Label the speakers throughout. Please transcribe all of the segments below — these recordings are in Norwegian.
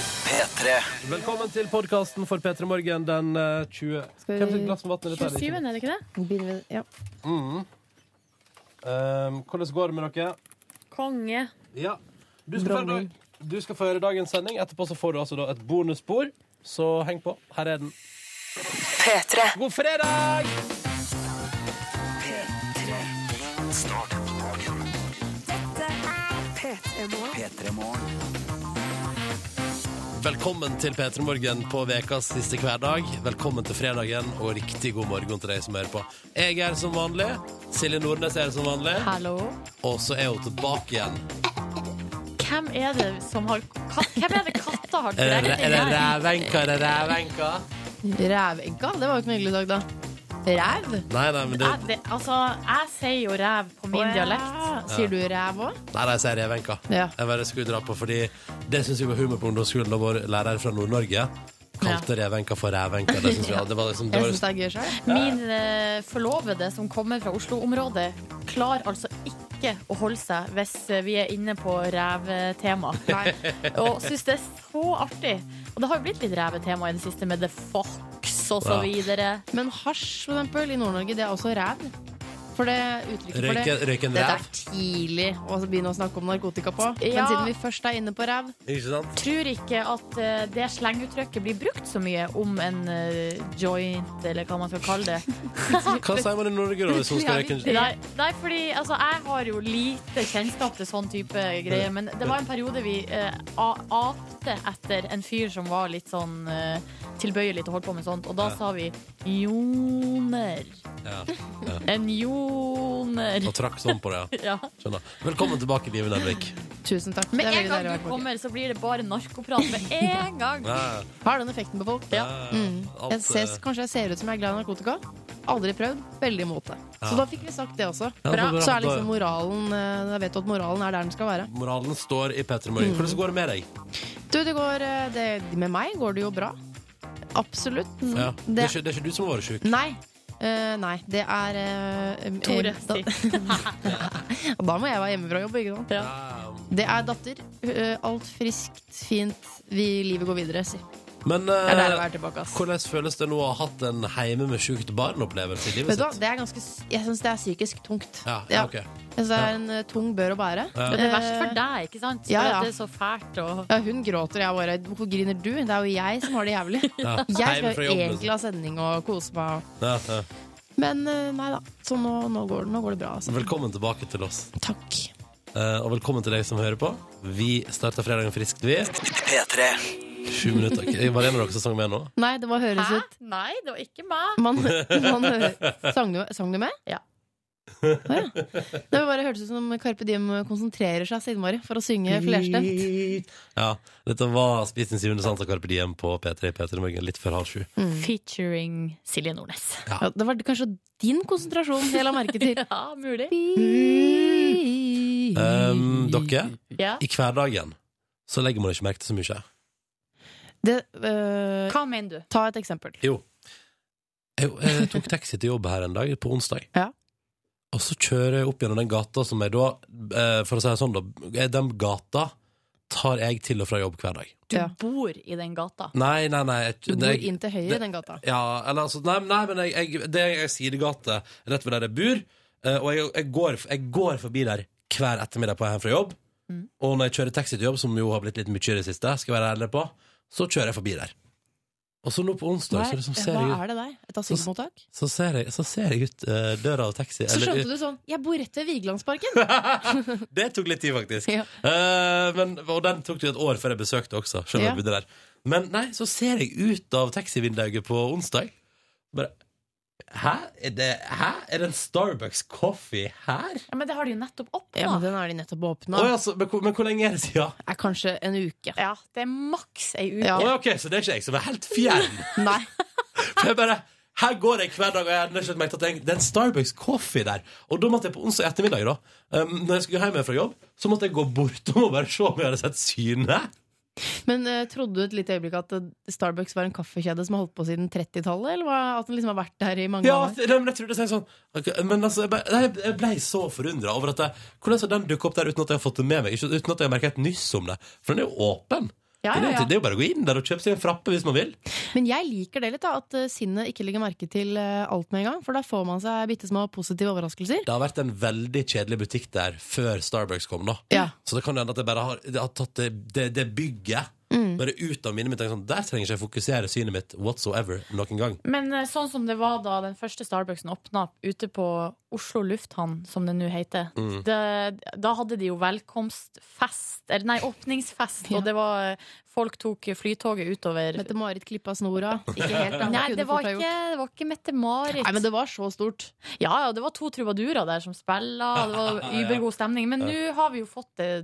Speaker 1: P3.
Speaker 2: Velkommen til podkasten for P3 Morgen den eh, 20...
Speaker 3: Skal vi-
Speaker 2: Hvem sitt glass med vann er dette?
Speaker 4: 27,
Speaker 2: her?
Speaker 4: er det ikke det?
Speaker 3: Vi Begynner med ja.
Speaker 2: Mm. Um, hvordan går det med dere?
Speaker 4: Konge.
Speaker 2: Ja. Du skal, få høre,
Speaker 3: Dronning.
Speaker 2: du skal få høre dagens sending. Etterpå så får du altså da et bonusspor, så heng på. Her er den.
Speaker 5: P3.
Speaker 2: God fredag!
Speaker 1: P3 Morgen.
Speaker 2: Velkommen til P3 Morgen på vekas siste hverdag. Velkommen til fredagen, og riktig god morgen til deg som hører på. Jeg er her som vanlig. Silje Nordnes er her som vanlig.
Speaker 4: Hallo.
Speaker 2: Og så er hun tilbake igjen.
Speaker 4: Hvem er det som har kat- Hvem er det katta har
Speaker 2: Er det
Speaker 4: drevet
Speaker 2: er det
Speaker 4: her?
Speaker 2: rævenka? Er det rævenka?
Speaker 3: Rævenka. Det var jo ikke noe hyggelig i dag, da. Ræv?
Speaker 2: Nei, nei, men det,
Speaker 4: Jeg- det- Altså, jeg sier jo ræv på min
Speaker 3: Å, ja.
Speaker 4: dialekt.
Speaker 3: Sier du ræv òg?
Speaker 2: nei, nei, jeg sier revenka.
Speaker 3: Ja.
Speaker 2: Jeg bare skulle dra på, fordi det syns jeg var humor på ungdomsskolen da vår lærer fra Nord-Norge kalte revenka for revenka. Det synes jeg, det var liksom, det
Speaker 3: Jeg
Speaker 2: var,
Speaker 3: syns det er gøy sjøl.
Speaker 4: Min eh, forlovede som kommer fra Oslo-området, klarer altså ikke å holde seg hvis eh, vi er inne på revetema. Og syns det er så artig. Og det har jo blitt litt revetema i det siste, med The Fox og
Speaker 2: Ja.
Speaker 4: så videre.
Speaker 3: Men hasj, for eksempel, i Nord-Norge, det er også ræv. For det uttrykket for det
Speaker 2: Røyken, røyken
Speaker 3: Dette
Speaker 2: rev,
Speaker 3: er tidlig å begynne å snakke om narkotika på.
Speaker 4: Ja.
Speaker 3: Men siden vi først er inne på ræv
Speaker 2: ikke sant?
Speaker 4: Tror ikke at eh, det slenguttrykket blir brukt så mye om en eh, joint, eller hva man skal kalle det.
Speaker 2: Hva sier man i Norge da, hvis hun skal røyke en
Speaker 4: Nei, nei fordi altså, jeg har jo lite kjennskap til sånn type greier, men det var en periode vi eh, a- apte etter en fyr som var litt sånn eh, tilbøyelig til å holde på med sånt, og da
Speaker 2: Ja.
Speaker 4: sa vi joner.
Speaker 2: Ja.
Speaker 4: En joner.
Speaker 2: Og trakk sånn på det, ja.
Speaker 4: Ja.
Speaker 2: Skjønner. Velkommen tilbake, Live Nelvik.
Speaker 3: Tusen takk.
Speaker 4: Med
Speaker 3: det er
Speaker 4: en
Speaker 3: veldig
Speaker 4: gang
Speaker 3: deilig å
Speaker 4: du
Speaker 3: være tilbake.
Speaker 4: kommer, så blir det bare narkoprat. Med en gang.
Speaker 2: Ja,
Speaker 3: Har den effekten på folk?
Speaker 2: ja,
Speaker 3: Mm.
Speaker 2: alt,
Speaker 3: Jeg ser,
Speaker 2: eh,
Speaker 3: kanskje jeg ser ut som jeg er glad i narkotika. Aldri prøvd. Veldig imot det. Så
Speaker 2: Ja.
Speaker 3: da fikk vi sagt det også.
Speaker 2: Ja, det var bra.
Speaker 3: Så er liksom moralen eh, Da vet du at moralen er der den skal være.
Speaker 2: Moralen står i P3 Morgen. Hvordan går det med deg?
Speaker 3: Du, det går eh, det, Med meg går det jo bra. Absolutt.
Speaker 2: Ja. Det,
Speaker 3: Mm. Det-
Speaker 2: er ikke, det er ikke du som har vært sjuk.
Speaker 3: Nei. Eh, nei, det er eh, em-
Speaker 4: Tore,
Speaker 3: em-
Speaker 4: si.
Speaker 3: da, da må jeg være hjemme fra jobb, ikke sant?
Speaker 4: Ja.
Speaker 3: Det er datter. eh, alt friskt, fint. Vi, livet går videre, si. Det
Speaker 2: Men
Speaker 3: er deilig å
Speaker 2: eh,
Speaker 3: være tilbake, ass.
Speaker 2: hvordan føles det nå å ha hatt en heime med sjukt barn-opplevelse i
Speaker 3: Vet
Speaker 2: livet
Speaker 3: du hva,
Speaker 2: sitt?
Speaker 3: det er ganske, s- jeg syns det er psykisk tungt.
Speaker 2: Ja, ja, ok.
Speaker 3: Jeg synes det er en eh, tung bør å bære.
Speaker 2: Ja.
Speaker 4: Men det er verst for deg, ikke sant? For
Speaker 3: Ja, ja.
Speaker 4: at det er så fælt og
Speaker 3: Eh, Ja, hun gråter, og jeg bare Hvorfor griner du? Det er jo jeg som har det jævlig.
Speaker 2: Ja. Heim
Speaker 3: Jeg
Speaker 2: fra altså.
Speaker 3: skal jo
Speaker 2: jobben,
Speaker 3: egentlig ha sending og kose meg.
Speaker 2: Ja, ja.
Speaker 3: Men eh, nei da. Så nå, nå, går, det- nå går det bra, altså.
Speaker 2: Velkommen tilbake til oss.
Speaker 3: Takk.
Speaker 2: Eh, og velkommen til deg som hører på. Vi starter fredagen friskt, vi.
Speaker 1: P3.
Speaker 2: Sju minutter. Ok, Var det en av dere som sang med nå?
Speaker 3: Nei, det var høres
Speaker 4: Hæ?
Speaker 3: ut
Speaker 4: Nei, det var ikke meg.
Speaker 3: man, man, hø- sang, du, sang du med?
Speaker 4: Ja.
Speaker 3: Å, ja. Det var bare hørtes ut som Carpe Diem konsentrerer seg så innmari for å synge flerstemt.
Speaker 2: Ja. Dette var Spis din syvende sans av Carpe Diem på P3 P3 Morgen litt før halv sju.
Speaker 3: Mm.
Speaker 4: Featuring Silje Nordnes.
Speaker 3: Ja, det var kanskje din konsentrasjon jeg la merke til.
Speaker 4: Ja, mulig.
Speaker 2: Um, dere,
Speaker 4: Ja.
Speaker 2: i hverdagen så legger man ikke merke til så mye.
Speaker 3: Det, eh,
Speaker 4: Hva mener du?
Speaker 3: ta et eksempel.
Speaker 2: Jo. Jeg, jeg tok taxi til jobb her en dag, på onsdag.
Speaker 3: Ja.
Speaker 2: Og så kjører jeg opp gjennom den gata som jeg da eh, For å si det sånn, da. eh, Den gata tar jeg til og fra jobb hver dag.
Speaker 4: Du
Speaker 3: Ja.
Speaker 4: bor i den gata.
Speaker 2: Nei, nei, nei. Jeg,
Speaker 3: Du bor
Speaker 2: det-
Speaker 3: inn til høyre i den gata.
Speaker 2: Ja, eller altså Nei, nei men jeg, jeg, det er en sidegate rett ved der jeg bor. eh, Og jeg, jeg, går, jeg går forbi der hver ettermiddag på vei hjem fra jobb.
Speaker 3: Mm.
Speaker 2: Og når jeg kjører taxi til jobb, som jo har blitt litt mye i det siste, skal jeg være ærlig på, så kjører jeg forbi der. Og så nå på onsdag så, liksom, ser,
Speaker 3: hva
Speaker 2: jeg, ut-
Speaker 3: er det der? Et asylmottak?
Speaker 2: så, ser, jeg, så ser jeg ut eh, døra av taxi.
Speaker 3: Så
Speaker 2: eller-
Speaker 3: skjønte du sånn Jeg bor rett ved Vigelandsparken!
Speaker 2: det tok litt tid, faktisk.
Speaker 3: Ja.
Speaker 2: Eh, men, og den tok det jo et år før jeg besøkte også. Selv om
Speaker 3: Ja.
Speaker 2: jeg bodde der Men nei, så ser jeg ut av taxivinduet på onsdag. Bare Hæ? Er det, hæ? Er det en Starbucks coffee her?
Speaker 4: Ja, men det har de jo nettopp
Speaker 3: Ja, men
Speaker 4: oppnå.
Speaker 3: Den har de nettopp åpna.
Speaker 2: Oi, altså, men, hvor- men hvor lenge er det siden?
Speaker 3: Er kanskje en uke.
Speaker 4: Ja, det er maks ei uke.
Speaker 3: Ja.
Speaker 2: Oi, ok, så det er ikke jeg som er helt fjern.
Speaker 3: Nei.
Speaker 2: For jeg bare her går jeg hver dag, og jeg hadde nesten merket at jeg- det er en Starbucks coffee der. Og da måtte jeg på onsdag ettermiddag, da um, Når jeg skulle hjem fra jobb, så måtte jeg gå bortom og bare se om jeg hadde sett synet.
Speaker 3: Men eh, trodde du et lite øyeblikk at eh, Starbucks var en kaffekjede som har holdt på siden 30-tallet? Eller hva, at den liksom har vært der i mange
Speaker 2: Ja,
Speaker 3: år?
Speaker 2: det- nei, men jeg trodde det sånn ok, Men altså, jeg ble, nei, jeg ble så forundra over at jeg, Hvordan skal den dukke opp der uten at jeg har fått det med meg? Ikke, uten at jeg har merket et nyss om det For den er jo åpen
Speaker 4: Ja,
Speaker 2: Men det, er jo
Speaker 4: ja,
Speaker 2: til-
Speaker 4: ja.
Speaker 2: det er jo bare å gå inn der og kjøpe seg en frappe hvis man vil.
Speaker 3: Men jeg liker det litt, da, at eh, sinnet ikke legger merke til eh, alt med en gang. For da får man seg bitte små positive overraskelser.
Speaker 2: Det har vært en veldig kjedelig butikk der før Starbucks kom, da.
Speaker 3: Ja.
Speaker 2: Så det kan hende at jeg bare har, det har tatt det, det, det bygget
Speaker 4: Mm.
Speaker 2: bare ut av minnet mitt. Tenker Sånn, der trenger ikke jeg fokusere synet mitt whatsoever noen gang.
Speaker 4: Men eh, sånn som det var da den første Starbucksen åpna ute på Oslo lufthavn, som det nå heter,
Speaker 2: Mm.
Speaker 4: det, da hadde de jo velkomstfest, eller nei, åpningsfest,
Speaker 3: Ja.
Speaker 4: og det var Folk tok flytoget utover.
Speaker 3: Mette-Marit klippa snora. Ikke helt, da.
Speaker 4: Nei,
Speaker 3: kunne
Speaker 4: det var
Speaker 3: fort ha gjort.
Speaker 4: ikke, det var ikke Mette-Marit.
Speaker 3: Nei, men det var så stort.
Speaker 4: Ja, ja, det var to trubadurer der som spilla, og det var übergod stemning. Men nå har vi jo fått eh,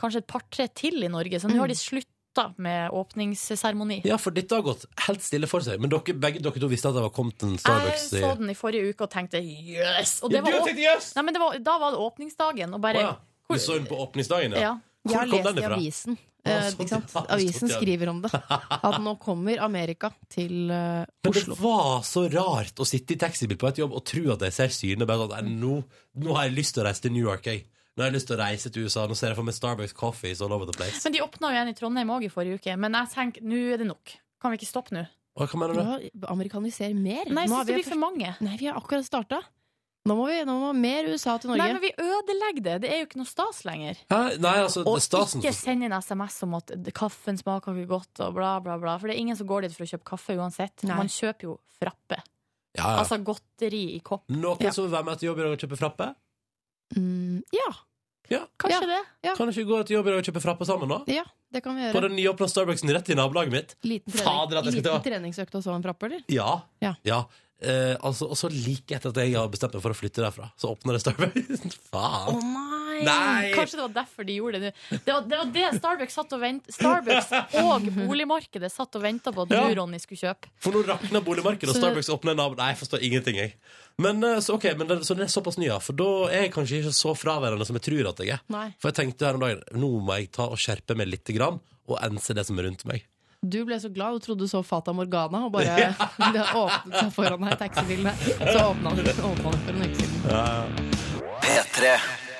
Speaker 4: kanskje et par-tre til i Norge, så nå har de slutta med åpningsseremoni.
Speaker 2: Ja, for dette har gått helt stille for seg. Men dere, begge dere to visste at det var kommet en
Speaker 4: Jeg
Speaker 2: Starbucks i
Speaker 4: så den i forrige uke og tenkte yes! Og det var, åp-
Speaker 2: yes!
Speaker 4: nei, men det var, da var det åpningsdagen, og bare
Speaker 2: Du så den på åpningsdagen, ja?
Speaker 4: ja.
Speaker 2: Hvor
Speaker 3: Jeg har
Speaker 2: kom
Speaker 3: lest
Speaker 2: den
Speaker 3: i
Speaker 2: ifra?
Speaker 3: avisen.
Speaker 2: Ja,
Speaker 3: Eh,
Speaker 2: sånn,
Speaker 3: ikke sant?
Speaker 2: ja, det stod
Speaker 3: Avisen
Speaker 2: i avisen.
Speaker 3: skriver om det. At nå kommer Amerika til eh,
Speaker 2: Men det
Speaker 3: Oslo.
Speaker 2: var så rart å sitte i taxibil på et jobb og tro at jeg ser synet. Bare sånn, "Nei, nå, nå har jeg lyst til å reise til New York, jeg. Nå har jeg lyst til å reise til USA. Nå ser jeg for meg Starbucks coffees all over the place.
Speaker 4: Men de åpna jo en i Trondheim òg i forrige uke, men jeg tenker nå er det nok. Kan vi ikke stoppe nå?
Speaker 2: Hva hva mener du?
Speaker 3: Ja, amerikanisere mer.
Speaker 4: Nei, jeg
Speaker 3: Nå har
Speaker 4: syns det
Speaker 3: vi
Speaker 4: blir for mange.
Speaker 3: Nei, vi har akkurat starta. Nå må vi nå må mer USA til Norge.
Speaker 4: Nei, men vi ødelegger det. Det er jo ikke noe stas lenger.
Speaker 2: Hæ? Nei, altså,
Speaker 4: Og
Speaker 2: stasen
Speaker 4: ikke send inn SMS om at kaffen smaker ikke godt, og bla, bla, bla. For det er ingen som går dit for å kjøpe kaffe uansett.
Speaker 3: Nei.
Speaker 4: Man kjøper jo frappe.
Speaker 2: ja, ja.
Speaker 4: Altså godteri i kopp.
Speaker 2: Noen
Speaker 3: Ja.
Speaker 2: som vil være med til jobb i dag og kjøpe frappe?
Speaker 3: Mm, ja,
Speaker 4: Kanskje det.
Speaker 3: Ja.
Speaker 2: Kan du ikke gå til jobb i dag og kjøpe frappe sammen, da?
Speaker 3: ja, det kan vi
Speaker 2: På
Speaker 3: gjøre.
Speaker 2: den nyåpna Starbucksen rett i nabolaget mitt?
Speaker 3: Liten, trening,
Speaker 2: Fader, at jeg skal
Speaker 3: liten
Speaker 2: ta-
Speaker 3: treningsøkt og så en frappe, eller?
Speaker 2: Ja.
Speaker 3: Ja.
Speaker 2: Eh, altså, og så like etter at jeg har bestemt meg for å flytte derfra, så åpner det Starbucks. Faen.
Speaker 3: nei!
Speaker 2: Nei!
Speaker 4: Kanskje det var derfor de gjorde det nå. Det var det, var det Starbucks, satt og vent, Starbucks og boligmarkedet satt og venta på at
Speaker 2: Ja.
Speaker 4: du, Ronny, skulle kjøpe.
Speaker 2: For nå rakna boligmarkedet, og
Speaker 4: Så-
Speaker 2: Starbucks åpner en nabo... Nei, jeg forstår ingenting, jeg. Men, eh, så, ok, men det, så det er såpass ny, ja. For da er jeg kanskje ikke så fraværende som jeg tror at jeg er.
Speaker 3: Nei.
Speaker 2: For jeg tenkte her om dagen nå må jeg ta og skjerpe meg litt grann, og ense det som er rundt meg.
Speaker 3: Du ble så glad, du trodde du så Fata Morgana, og bare det åpnet seg foran deg i taxibilene. Så åpna den åpna den for en uke siden.
Speaker 1: P3.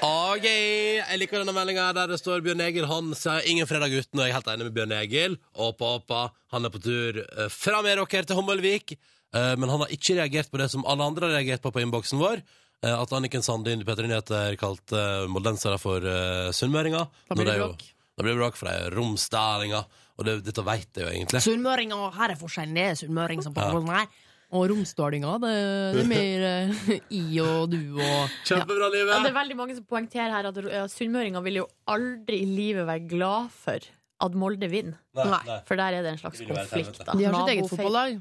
Speaker 2: Ok, Jeg liker denne meldinga der det står Bjørn Egil. Han sier 'ingen fredag uten', og jeg er helt enig med Bjørn Egil. Åpa, åpa. Han er på tur eh, fra Meråker til Hommelvik. Eh, Men han har ikke reagert på det som alle andre har reagert på på innboksen vår. eh, At Anniken Sandin i P3 Nyheter kalte eh, moldensere for eh, sunnmøringer.
Speaker 3: Da blir
Speaker 2: Når
Speaker 3: det
Speaker 2: jo-
Speaker 3: bråk.
Speaker 2: Da blir det bråk, for de er romsdalinger. Og det, dette veit jeg jo egentlig.
Speaker 3: Sunnmøring og her er forskjellen. Det er sunnmøring som på her. Og romsdalinga, det, det er mer eh, i og du og
Speaker 2: Kjempebra,
Speaker 4: Ja, det
Speaker 2: livet!
Speaker 4: er veldig mange som poengterer her at ja, sunnmøringer vil jo aldri i livet være glad for at Molde vinner.
Speaker 3: Nei.
Speaker 4: For der er det en slags
Speaker 2: Det vil jo være et
Speaker 4: konflikt.
Speaker 2: helvete.
Speaker 4: da.
Speaker 3: De har sitt eget
Speaker 4: Nabofeit.
Speaker 3: fotballag.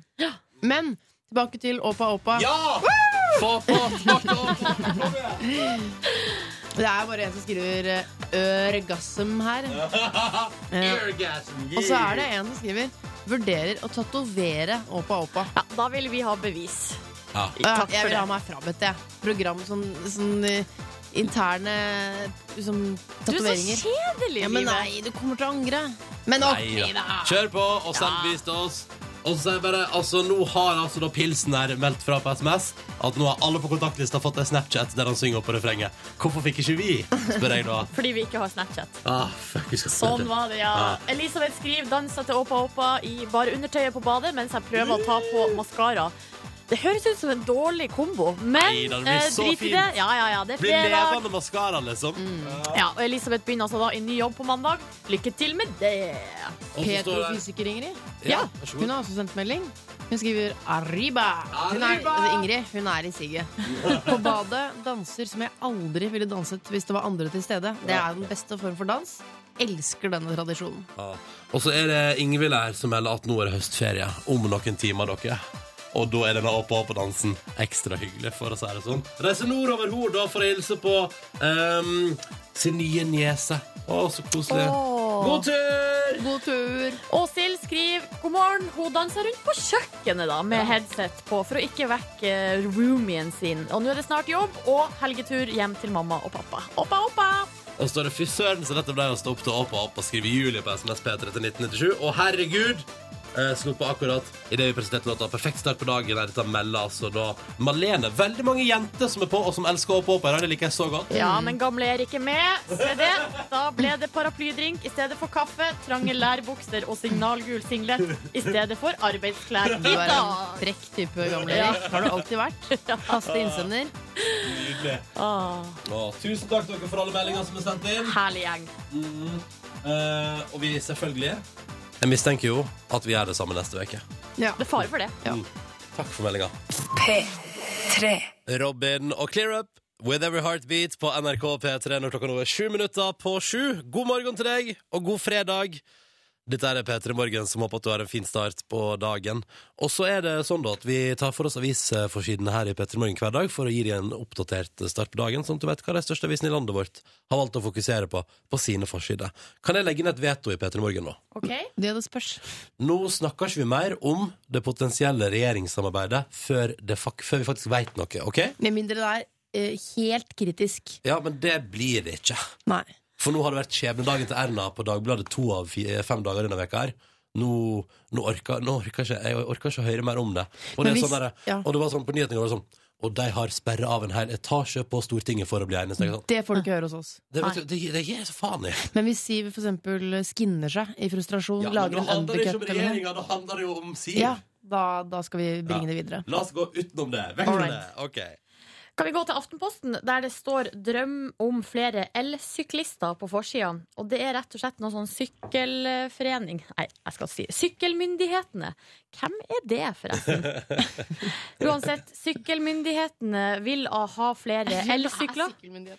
Speaker 3: Men tilbake til Åpa Åpa.
Speaker 2: Ja! Få på smakte opp!
Speaker 3: Det er bare en som skriver eh, 'ørgasm' her. Eh,
Speaker 2: Orgasm,
Speaker 3: Og så er det en som skriver 'vurderer å tatovere Åpa Åpa'.
Speaker 4: Ja, da vil vi ha bevis.
Speaker 2: Ja.
Speaker 3: Ja,
Speaker 4: Takk
Speaker 3: jeg
Speaker 4: for
Speaker 3: vil
Speaker 4: det.
Speaker 3: ha meg frabedt, jeg. Program sånn, sånn eh, interne sånn,
Speaker 4: Du er så
Speaker 3: tatoveringer.
Speaker 4: kjedelig,
Speaker 3: Ja, men
Speaker 4: Live.
Speaker 3: nei, du kommer til å angre. Men ok,
Speaker 2: Nei da.
Speaker 3: da.
Speaker 2: Kjør på, og send vis til oss. Og så er bare, altså Nå har altså da Pilsen her meldt fra på SMS at nå har alle på kontaktlista fått en Snapchat der han synger opp på refrenget. Hvorfor fikk ikke vi? spør jeg da.
Speaker 4: Fordi vi ikke har Snapchat.
Speaker 2: Ah, fuck, vi skal
Speaker 4: Sånn var det, ja. Elisabeth skriver 'dansa til Åpa Åpa' i bare undertøyet på badet mens jeg prøver å ta på maskara. Det høres ut som en dårlig kombo, men
Speaker 2: Nei da, det blir
Speaker 4: eh,
Speaker 2: så
Speaker 4: drit i det.
Speaker 2: fint.
Speaker 4: Ja, ja, ja, det Mm. er
Speaker 2: Blir
Speaker 4: fredag.
Speaker 2: levende maskara, liksom.
Speaker 4: Ja, og Elisabeth begynner altså da i ny jobb på mandag. Lykke til med det.
Speaker 2: Og så står det-
Speaker 3: Petrofysiker Ingrid.
Speaker 2: Ja, vær så
Speaker 3: Hun
Speaker 2: god.
Speaker 3: har også sendt melding. Hun skriver 'arriba'. Hun er, altså,
Speaker 2: Arriba!
Speaker 3: Ingrid, hun er i siget. På badet danser som jeg aldri ville danset hvis det var andre til stede. Det er den beste form for dans. Elsker denne tradisjonen.
Speaker 2: Ja. Og så er det Ingvild her som melder at nå er det høstferie. Om noen timer, dere. Og da er denne opp-og-opp-dansen ekstra hyggelig, for å si det sånn. Reise nordover Hord da for å hilse på ehm, sin nye niese. Å, så koselig. God tur!
Speaker 3: God tur!
Speaker 4: Åshild skriver god morgen. Hun danser rundt på kjøkkenet da, med headset på for å ikke vekke roomien sin. Og nå er det snart jobb og helgetur hjem til mamma og pappa. Oppa, oppa!
Speaker 2: Og står det fy søren så dette ble å stå opp til opp og opp og skrive Julie på SMS P3 til 1997. Og herregud, eh, som oppe akkurat i det vi presenterte låta Perfekt start på dagen. Der dette melder altså da Malene. Veldig mange jenter som er på, og som elsker å hoppe opp her. Det liker jeg så godt.
Speaker 4: Ja, men gamle er ikke med. Se det. Da ble det paraplydrink i stedet for kaffe, trange lærbukser og signalgul singlet i stedet for arbeidsklær.
Speaker 3: Du er
Speaker 4: Gitta!
Speaker 3: en frekk type, gamle Erik. Har du alltid vært. Faste innsender.
Speaker 2: Nydelig.
Speaker 4: Åh,
Speaker 2: Og tusen takk dere for alle meldinger som er sendt inn.
Speaker 4: herlig gjeng.
Speaker 2: Eh, og vi selvfølgelig Jeg mistenker jo at vi gjør det samme neste uke.
Speaker 3: Ja.
Speaker 4: Det er fare for det.
Speaker 2: Takk for meldinga.
Speaker 5: P3.
Speaker 2: Robin og Clear Up With Every Heartbeat på NRK P3 når klokka nå er sju minutter på sju. God morgen til deg, og god fredag. Dette er P3 Morgen, som håper at du har en fin start på dagen. Og så er det sånn da at vi tar for oss avisforsidene her i P3 Morgen hver dag for å gi deg en oppdatert start på dagen, sånn at du vet hva de største avisene i landet vårt har valgt å fokusere på på sine forsider. Kan jeg legge inn et veto i P3 Morgen nå?
Speaker 4: OK?
Speaker 3: Det er det spørs.
Speaker 2: Nå snakker ikke vi mer om det potensielle regjeringssamarbeidet før, det, fak- før vi faktisk veit noe, OK?
Speaker 3: Med mindre det er eh, helt kritisk.
Speaker 2: Ja, men det blir det ikke.
Speaker 3: Nei.
Speaker 2: For nå har det vært skjebnedagen til Erna på Dagbladet to av fi- eh, fem dager denne veka her. Nå, nå, orker, nå orker ikke, jeg orker ikke å høre mer om det. Og det,
Speaker 3: Men
Speaker 2: er
Speaker 3: hvis-
Speaker 2: sånn derre-
Speaker 3: ja.
Speaker 2: og det var sånn på nyhetene i går, det var sånn, og de har sperra av en hel etasje på Stortinget for å bli enige. Så jeg er Sånn.
Speaker 3: Det får du ikke høre hos oss.
Speaker 2: Det, vet du, det, det gir jeg så faen i.
Speaker 3: Men hvis Siv for eksempel skinner seg i frustrasjon, lager en undercut eller noe,
Speaker 2: da handler det jo om Siv.
Speaker 3: ja, da, da skal vi bringe
Speaker 2: Ja.
Speaker 3: det videre.
Speaker 2: La oss gå utenom det. Vekk fra
Speaker 3: All right.
Speaker 2: det. Ok.
Speaker 4: Kan vi gå til Aftenposten, der det står 'Drøm om flere elsyklister' på forsiden. Og det er rett og slett noe sånn sykkelforening Nei, jeg skal si Sykkelmyndighetene. Hvem er det, forresten? Uansett, Sykkelmyndighetene vil ha flere elsykler.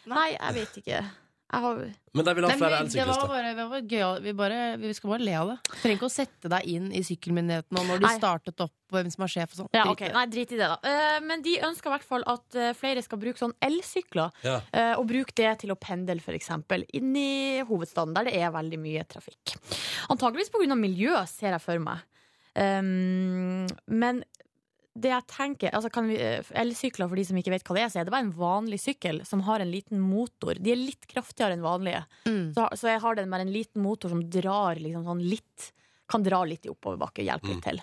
Speaker 4: Nei, jeg vet ikke. Jeg har
Speaker 2: Men de vil ha
Speaker 3: Nei,
Speaker 2: flere
Speaker 3: men det var
Speaker 2: elsyklister.
Speaker 3: bare, det var gøy. Vi, bare, vi skal bare le av det. Du trenger ikke å sette deg inn i sykkelmyndighetene og når de
Speaker 4: Nei.
Speaker 3: startet opp, og hvem som er sjef og sånn.
Speaker 4: ja,
Speaker 3: Drit
Speaker 4: ok,
Speaker 3: i det.
Speaker 4: Nei, drit i det, da. Eh, Men de ønsker i hvert fall at eh, flere skal bruke sånn elsykler.
Speaker 2: Ja.
Speaker 4: Eh, Og bruk det til å pendle f.eks. inn i hovedstaden, der det er veldig mye trafikk. Antageligvis pga. miljø, ser jeg for meg. Um, men det jeg tenker altså kan vi, eh, Elsykler, for de som ikke vet hva det er, så er det bare en vanlig sykkel som har en liten motor. De er litt kraftigere enn vanlige.
Speaker 3: Mm.
Speaker 4: Så, så jeg har den med en liten motor som drar liksom sånn litt. Kan dra litt i oppoverbakke. Hjelper litt til.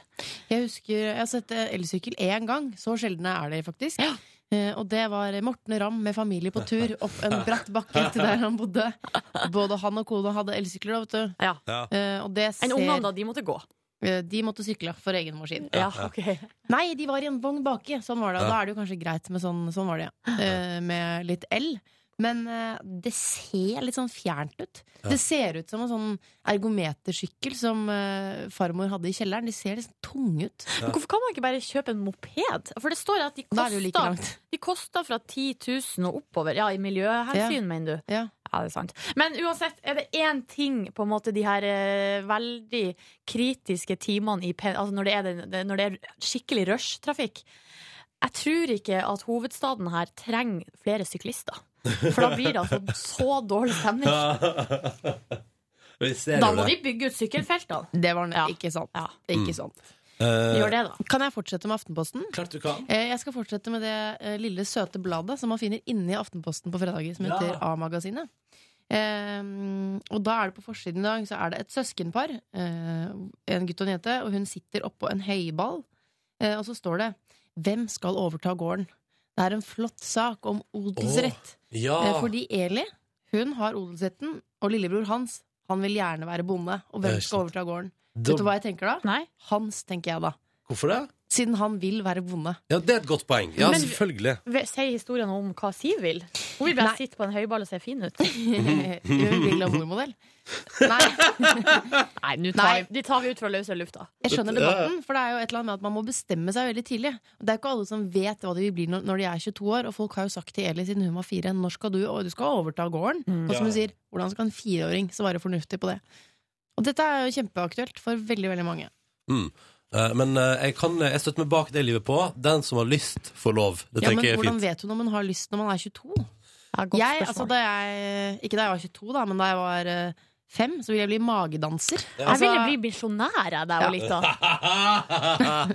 Speaker 3: Jeg husker, jeg har sett eh, elsykkel én gang. Så sjeldne er de faktisk. Eh, og det var Morten Ramm med familie på tur opp en bratt bakke til der han bodde. Både han og kona hadde elsykler, da, vet du.
Speaker 4: Ja.
Speaker 2: Ja.
Speaker 3: Eh, og det
Speaker 4: Enn
Speaker 3: ser
Speaker 4: ungene, da. De måtte gå.
Speaker 3: Eh, De måtte sykle for egen maskin.
Speaker 4: Ja, ok
Speaker 3: Nei, de var i en vogn baki. Sånn var det. Og
Speaker 2: Ja.
Speaker 3: da er det jo kanskje greit med sånn, sånn var det, ja. Eh, med litt el. Men eh, det ser litt sånn fjernt ut. Det ser ut som en sånn ergometersykkel som eh, farmor hadde i kjelleren. De ser litt sånn tunge ut.
Speaker 4: Men Hvorfor kan man ikke bare kjøpe en moped? For det står at de
Speaker 3: Da er det jo like
Speaker 4: koster,
Speaker 3: langt.
Speaker 4: de koster fra 10 000 og oppover. Ja, i miljøhensyn,
Speaker 3: Ja.
Speaker 4: mener du.
Speaker 3: Ja.
Speaker 4: Ja, det er sant. Men uansett, er det én ting på en måte de her eh, veldig kritiske timene i pen- altså når, det er den- det, når det er skikkelig rushtrafikk Jeg tror ikke at hovedstaden her trenger flere syklister. For da blir det altså så dårlig stemning.
Speaker 2: Vi ser
Speaker 4: Da
Speaker 2: jo
Speaker 4: må
Speaker 2: det.
Speaker 4: de bygge ut sykkelfeltene.
Speaker 3: Det var
Speaker 4: Ja.
Speaker 3: ikke sant.
Speaker 4: Ja.
Speaker 3: Det er
Speaker 2: Mm.
Speaker 3: ikke sant.
Speaker 2: Eh,
Speaker 4: Gjør det, da.
Speaker 3: Kan jeg fortsette med Aftenposten?
Speaker 2: Klart du kan.
Speaker 3: Eh, Jeg skal fortsette med det eh, lille søte bladet som man finner inni Aftenposten på fredager, som heter A-magasinet. Eh, og da er det på forsiden i dag Så er det et søskenpar, eh, en gutt og en jente, og hun sitter oppå en høyball. Eh, og så står det 'Hvem skal overta gården?' Det er en flott sak om odelsrett.
Speaker 2: Ja.
Speaker 3: Eh, fordi Eli, hun har odelsretten, og lillebror hans, han vil gjerne være bonde.
Speaker 2: Ja,
Speaker 3: Og hvem
Speaker 2: ikke sant.
Speaker 3: skal overta gården?
Speaker 2: Da-
Speaker 3: Vet du hva jeg tenker da?
Speaker 4: Nei?
Speaker 3: Hans, tenker jeg da.
Speaker 2: Hvorfor det?
Speaker 3: Siden han vil være bonde.
Speaker 2: Ja, det er et godt poeng. Ja,
Speaker 4: Men-
Speaker 2: selvfølgelig.
Speaker 4: Ve- Sier historien om hva Siv vil? Hun vil bare
Speaker 3: Nei.
Speaker 4: sitte på en høyball og se fin ut.
Speaker 3: Hun Eh, vil ha mormodell. Nei,
Speaker 4: Nei, nå
Speaker 3: Nei.
Speaker 4: tar, vi- de tar vi ut fra løse lufta.
Speaker 3: jeg skjønner debatten, for det er jo et eller annet med at man må bestemme seg veldig tidlig. Og Det er jo ikke alle som vet hva de vil bli når, når de er 22 år, og folk har jo sagt til Eli siden hun var fire, når skal du, og du skal overta gården?
Speaker 4: Mm.
Speaker 3: Og som hun sier, hvordan skal en fireåring svare fornuftig på det? Og dette er jo kjempeaktuelt for veldig, veldig mange.
Speaker 2: Mm. Eh, Men eh, jeg, kan, jeg støtter meg bak det livet på. Den som har lyst, får lov. Det
Speaker 3: Ja, men
Speaker 2: tenker jeg er
Speaker 3: hvordan
Speaker 2: fint.
Speaker 3: vet hun om hun har lyst når man er 22?
Speaker 4: Ja, godt
Speaker 3: Jeg,
Speaker 4: spørsmål.
Speaker 3: altså, da jeg, ikke da jeg var 22 da, men da jeg var eh, fem, så ville jeg bli magedanser.
Speaker 4: jeg
Speaker 3: Altså,
Speaker 4: ville bli misjonær, jeg, da jeg var lita.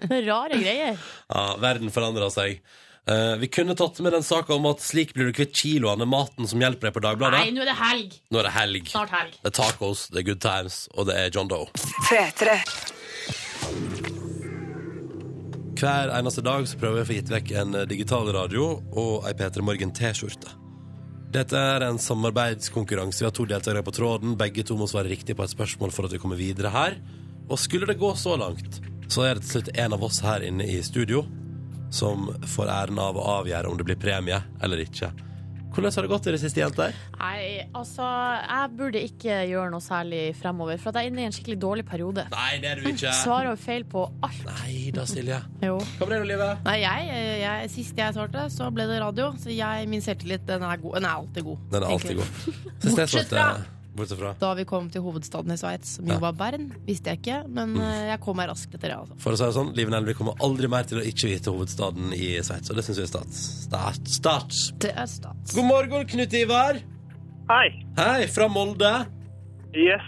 Speaker 4: Det er Rare greier.
Speaker 2: ja, verden forandrer seg. Eh, vi kunne tatt med den saka om at slik blir du kvitt kiloene maten som hjelper deg på Dagbladet.
Speaker 4: Nei, nå er det helg!
Speaker 2: Nå er det helg.
Speaker 4: Snart helg.
Speaker 2: Det er tacos, det er good times, og det er John Doe.
Speaker 5: P3.
Speaker 2: Hver eneste dag så prøver jeg å få gitt vekk en eh, digital radio og ei P3 Morgen T-skjorte. Dette er en samarbeidskonkurranse. Vi har to deltakere på tråden. Begge to må svare riktig på et spørsmål for at vi kommer videre her. Og skulle det gå så langt, så er det til slutt en av oss her inne i studio som får æren av å avgjøre om det blir premie eller ikke. Hvordan har det gått i det siste, jenter?
Speaker 4: Nei, altså, jeg burde ikke gjøre noe særlig fremover, for at jeg er inne i en skikkelig dårlig periode.
Speaker 2: Nei, det er du ikke.
Speaker 4: Svarer jo feil på alt.
Speaker 2: Nei da, Silje.
Speaker 4: Jo.
Speaker 2: Hva ble det, Live?
Speaker 3: Nei, jeg, jeg, Sist jeg svarte, så ble det radio. Så jeg, min selvtillit den er, god. Den er alltid god.
Speaker 2: Den er alltid
Speaker 3: egentlig.
Speaker 2: god. Sist jeg
Speaker 3: Bortsett
Speaker 2: svarte Bortsett fra.
Speaker 3: Da vi kom til hovedstaden i Sveits, som
Speaker 2: Ja. Mm.
Speaker 3: jo var Bern, visste jeg ikke. Men eh, jeg kom meg raskt etter det. altså
Speaker 2: For å si det sånn, Liven Elvik kommer aldri mer til å ikke vite hovedstaden i Sveits, og det syns vi er stats. Stats. stats.
Speaker 3: Det er stats.
Speaker 2: God morgen, Knut Ivar.
Speaker 6: Hei.
Speaker 2: Hei, fra Molde.
Speaker 6: Yes.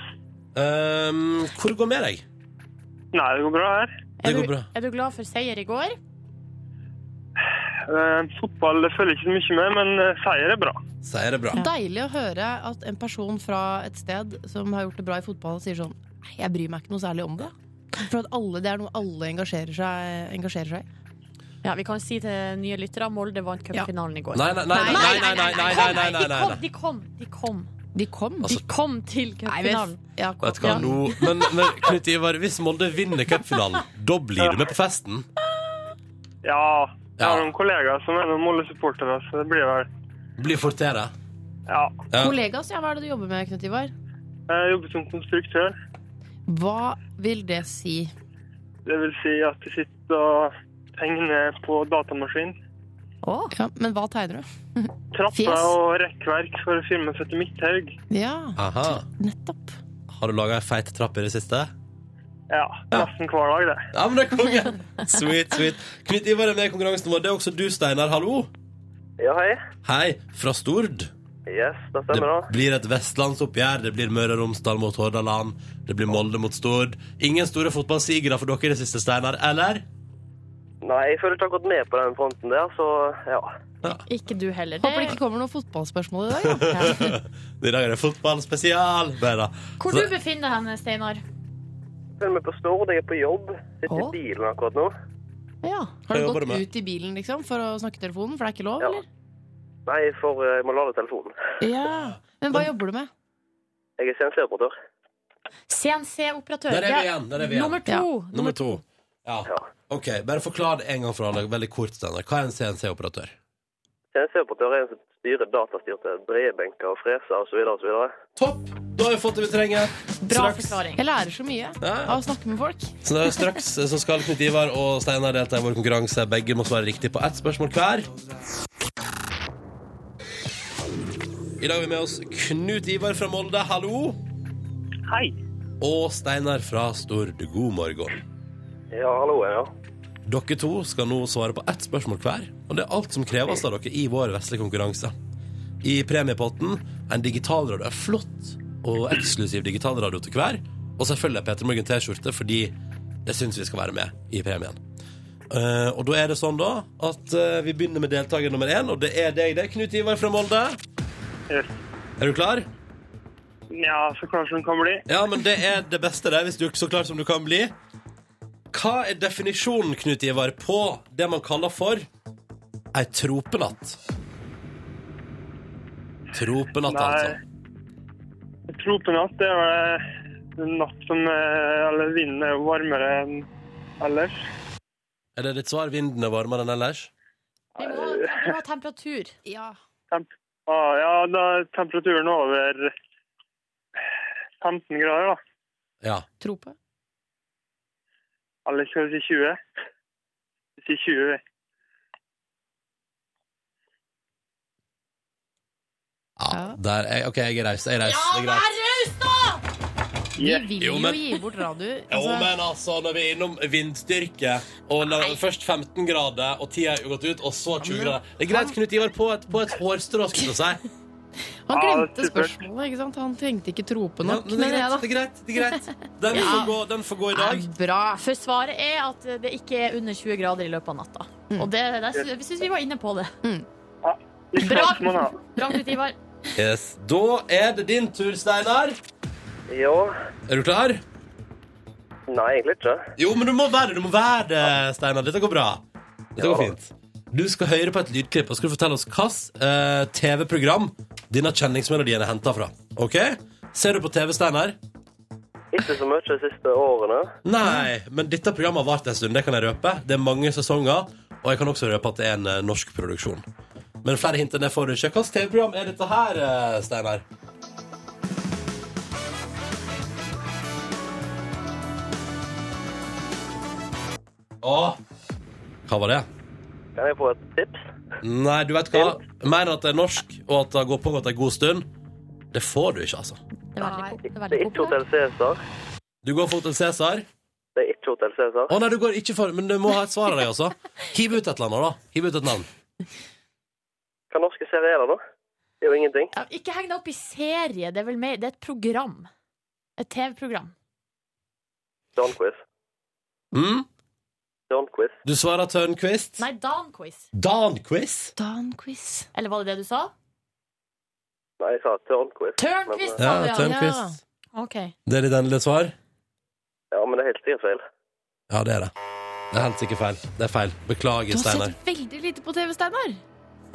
Speaker 2: Ehm, hvor går det med deg?
Speaker 6: Nei, det går bra her.
Speaker 2: Det
Speaker 4: Er
Speaker 2: går
Speaker 4: du,
Speaker 2: bra.
Speaker 4: er du glad for seier i går?
Speaker 6: Eh, fotball følger ikke så mye med, men eh, seier er bra.
Speaker 2: Sier det bra.
Speaker 3: Deilig å høre at en person fra et sted som har gjort det bra i fotball, sier sånn Nei, jeg bryr meg ikke noe særlig om det. For at alle, det er noe alle engasjerer seg, engasjerer seg i.
Speaker 4: Ja, vi kan si til nye lyttere Molde vant cupfinalen i går.
Speaker 2: Nei, nei, nei, nei, nei, nei, nei, nei, nei, nei, nei, nei.
Speaker 4: De kom, de kom.
Speaker 3: De kom.
Speaker 4: De kom, de kom til
Speaker 3: Nei, men-
Speaker 4: cupfinalen.
Speaker 3: ja,
Speaker 2: Altså, Vet du hva, nå men, men Knut Ivar, hvis Molde vinner cupfinalen, da blir du med på festen?
Speaker 6: Ja. Jeg har
Speaker 2: Ja.
Speaker 6: noen kollegaer som er noen Molde-supportere, så det blir vel
Speaker 2: Blir fortere?
Speaker 6: Ja.
Speaker 2: Ja.
Speaker 3: Kollegas, ja, hva er det du jobber med, Knut Ivar?
Speaker 6: Jeg jobber som konstruktør.
Speaker 3: Hva vil det si?
Speaker 6: Det vil si at jeg sitter og tegner på datamaskin.
Speaker 4: Å,
Speaker 3: Ja, men hva tegner du?
Speaker 6: Trapper
Speaker 3: Fjes.
Speaker 6: og rekkverk for filmen som heter Midthaug.
Speaker 3: Ja,
Speaker 2: Aha.
Speaker 3: nettopp.
Speaker 2: Har du laga ei feit trapp i det siste?
Speaker 6: Ja, nesten hver dag, det.
Speaker 2: Ja, men det er konge! Sweet, sweet. Knut Ivar er med i konkurransen vår. Det er også du, Steinar. Hallo.
Speaker 6: Ja, hei.
Speaker 2: Hei, fra Stord.
Speaker 6: Yes, det
Speaker 2: Det blir et vestlandsoppgjør. Det blir Møre og Romsdal mot Hordaland. Det blir Molde mot Stord. Ingen store fotballsigere for dere i det siste, Steinar, eller?
Speaker 6: Nei, jeg føler ikke jeg har gått med på den fronten der, så ja.
Speaker 4: ikke du heller.
Speaker 3: Håper det
Speaker 4: Det,
Speaker 3: ikke kommer noen fotballspørsmål i dag. Ja.
Speaker 2: I dag er det fotballspesial! Nei da.
Speaker 4: hvor du befinner deg, Steinar?
Speaker 6: Følg med på Stord, jeg er på jobb. Sitter
Speaker 4: Å.
Speaker 6: i bilen akkurat nå.
Speaker 4: Ja.
Speaker 2: Jeg
Speaker 3: Har du
Speaker 2: jobber
Speaker 3: gått
Speaker 2: med.
Speaker 3: ut i bilen liksom, for å snakke i telefonen, for det er ikke lov,
Speaker 6: Ja.
Speaker 3: eller?
Speaker 6: Nei, for jeg må lade telefonen.
Speaker 3: Ja. Men hva jobber du med?
Speaker 6: Jeg er CNC-operatør.
Speaker 4: CNC-operatør.
Speaker 2: Der er vi
Speaker 4: Ja.
Speaker 2: igjen, der er vi igjen.
Speaker 4: Nummer to.
Speaker 3: Ja.
Speaker 2: Nummer to. Ja. OK, bare forklar det en gang for alle, veldig kort, Steinar. Hva er en CNC-operatør?
Speaker 6: CNC-operatør er en som styrer datastyrte dreiebenker og freser osv. videre.
Speaker 2: Topp! Da har vi fått det vi trenger.
Speaker 4: Bra
Speaker 2: Straks.
Speaker 4: forklaring.
Speaker 3: Jeg lærer så mye
Speaker 2: Ja.
Speaker 3: av å snakke med folk.
Speaker 2: Så da, straks eh, så skal Knut Ivar og Steinar delta i vår konkurranse. Begge må svare riktig på ett spørsmål hver. I dag har vi med oss Knut Ivar fra Molde, hallo.
Speaker 6: Hei.
Speaker 2: Og Steinar fra Stord. God morgen.
Speaker 6: Ja, hallo, ja.
Speaker 2: Dere to skal nå svare på ett spørsmål hver, og det er alt som kreves av dere i vår vesle konkurranse. I premiepotten en digitalradio. En flott og eksklusiv digitalradio til hver. Og selvfølgelig Peter Morgen T-skjorte, fordi det syns vi skal være med i premien. Eh, og da er det sånn da at eh, vi begynner med deltaker nummer én, og det er deg, det. Knut Ivar fra Molde.
Speaker 6: Yes.
Speaker 2: Er du klar?
Speaker 6: Ja, så klart som det kan bli.
Speaker 2: Ja, men det er det beste der, hvis du er så klar som du kan bli. Hva er definisjonen, Knut Ivar, på det man kaller for ei tropenatt? Tropenatt, altså.
Speaker 6: Tropenatt det er vel en natt som eh, Eller vinden er jo varmere enn ellers.
Speaker 2: Er det ditt svar? Vinden er varmere enn ellers?
Speaker 4: Vi må, ha- vi må ha temperatur.
Speaker 3: Ja.
Speaker 6: Temp ah, ja, da er temperaturen over 15 grader, da.
Speaker 2: Ja.
Speaker 3: Tro på.
Speaker 6: Eller skal vi si 20? Vi sier 20, vi.
Speaker 2: ja
Speaker 3: Ja.
Speaker 2: der er, OK, jeg er raus. Jeg er raus. Jeg er raus.
Speaker 3: Vi
Speaker 6: Yes.
Speaker 3: vil
Speaker 2: Jo,
Speaker 3: jo
Speaker 2: men-
Speaker 3: gi bort radio.
Speaker 2: Jo,
Speaker 3: Altså,
Speaker 2: men altså, når vi er innom vindstyrke og la, Først 15 grader, og tida er jo gått ut, og så 20 grader. Det er greit, Knut Ivar, på et, på et hårstrå, skulle jeg si.
Speaker 3: han glemte
Speaker 6: Ja, supert.
Speaker 3: spørsmålet, ikke sant? Han trengte ikke trope
Speaker 2: Men,
Speaker 3: nok.
Speaker 2: men det
Speaker 3: mener
Speaker 2: er
Speaker 3: jeg,
Speaker 2: greit. Det er greit. Det er greit. Den, får gå, den får gå i dag.
Speaker 3: da. Bra.
Speaker 4: For svaret er at det ikke er under 20 grader i løpet av natta. Og det, det sy- vi syns vi var inne på det.
Speaker 6: Litt
Speaker 4: Bra,
Speaker 6: knapp må man ha.
Speaker 4: Bra Knut Ivar.
Speaker 2: Yes. Da er det din tur, Steinar.
Speaker 6: Ja.
Speaker 2: Er du klar?
Speaker 6: Nei, egentlig ikke.
Speaker 2: Jo, men du må være det, du må være det, Steinar. Dette går bra. Dette
Speaker 6: Ja.
Speaker 2: går fint. Du skal høre på et lydklipp, og skal du fortelle oss hvilket eh, TV-program denne kjenningsmelodien er henta fra. Ok? Ser du på TV, Steinar?
Speaker 6: Ikke så mye de siste årene.
Speaker 2: Nei, men dette programmet har vart en stund, det kan jeg røpe. Det er mange sesonger, og jeg kan også røpe at det er en eh, norsk produksjon. Men flere hint enn det får du ikke. Hvilket TV-program er dette her, eh, Steinar? Åh, hva var det?
Speaker 6: Kan jeg få et tips?
Speaker 2: Nei, du vet hva. Jeg mener at det er norsk, og at det har gått pågått en god stund. Det får du ikke, altså.
Speaker 4: Det er veldig, det er
Speaker 6: Det er
Speaker 4: veldig
Speaker 6: ikke
Speaker 4: populært.
Speaker 6: Hotell Cæsar.
Speaker 2: Du går for Hotel Cæsar.
Speaker 6: Det er ikke Hotell Cæsar.
Speaker 2: Å nei, du går ikke for Men du må ha et svar av deg også. Hiv ut et eller annet, da. Hiv ut et navn.
Speaker 6: Hva norske serier er det, da? Det er jo ingenting.
Speaker 4: Ja, ikke heng deg opp i serie, det er vel mer Det er et program. Et TV-program.
Speaker 6: Dawnquiz.
Speaker 2: Mm?
Speaker 6: Dawnquiz.
Speaker 2: Du svarer Tørnquist.
Speaker 4: Nei, Dan-quiz.
Speaker 2: Danquiz.
Speaker 3: Dan-quiz.
Speaker 4: Eller var det det du sa?
Speaker 6: Nei, jeg sa Tørnquiz.
Speaker 4: Tørnquist,
Speaker 6: Men,
Speaker 4: sa
Speaker 2: Ja,
Speaker 4: du, ja.
Speaker 2: Tørnquist.
Speaker 4: Ok.
Speaker 2: Det er ditt endelige svar?
Speaker 6: eh, ja, men det er helt sikkert feil.
Speaker 2: Ja, det er det. Det er helt sikkert feil. Det er feil.
Speaker 3: Du
Speaker 2: Beklager,
Speaker 3: har
Speaker 2: Steinar.
Speaker 3: sett veldig lite på TV, Steinar.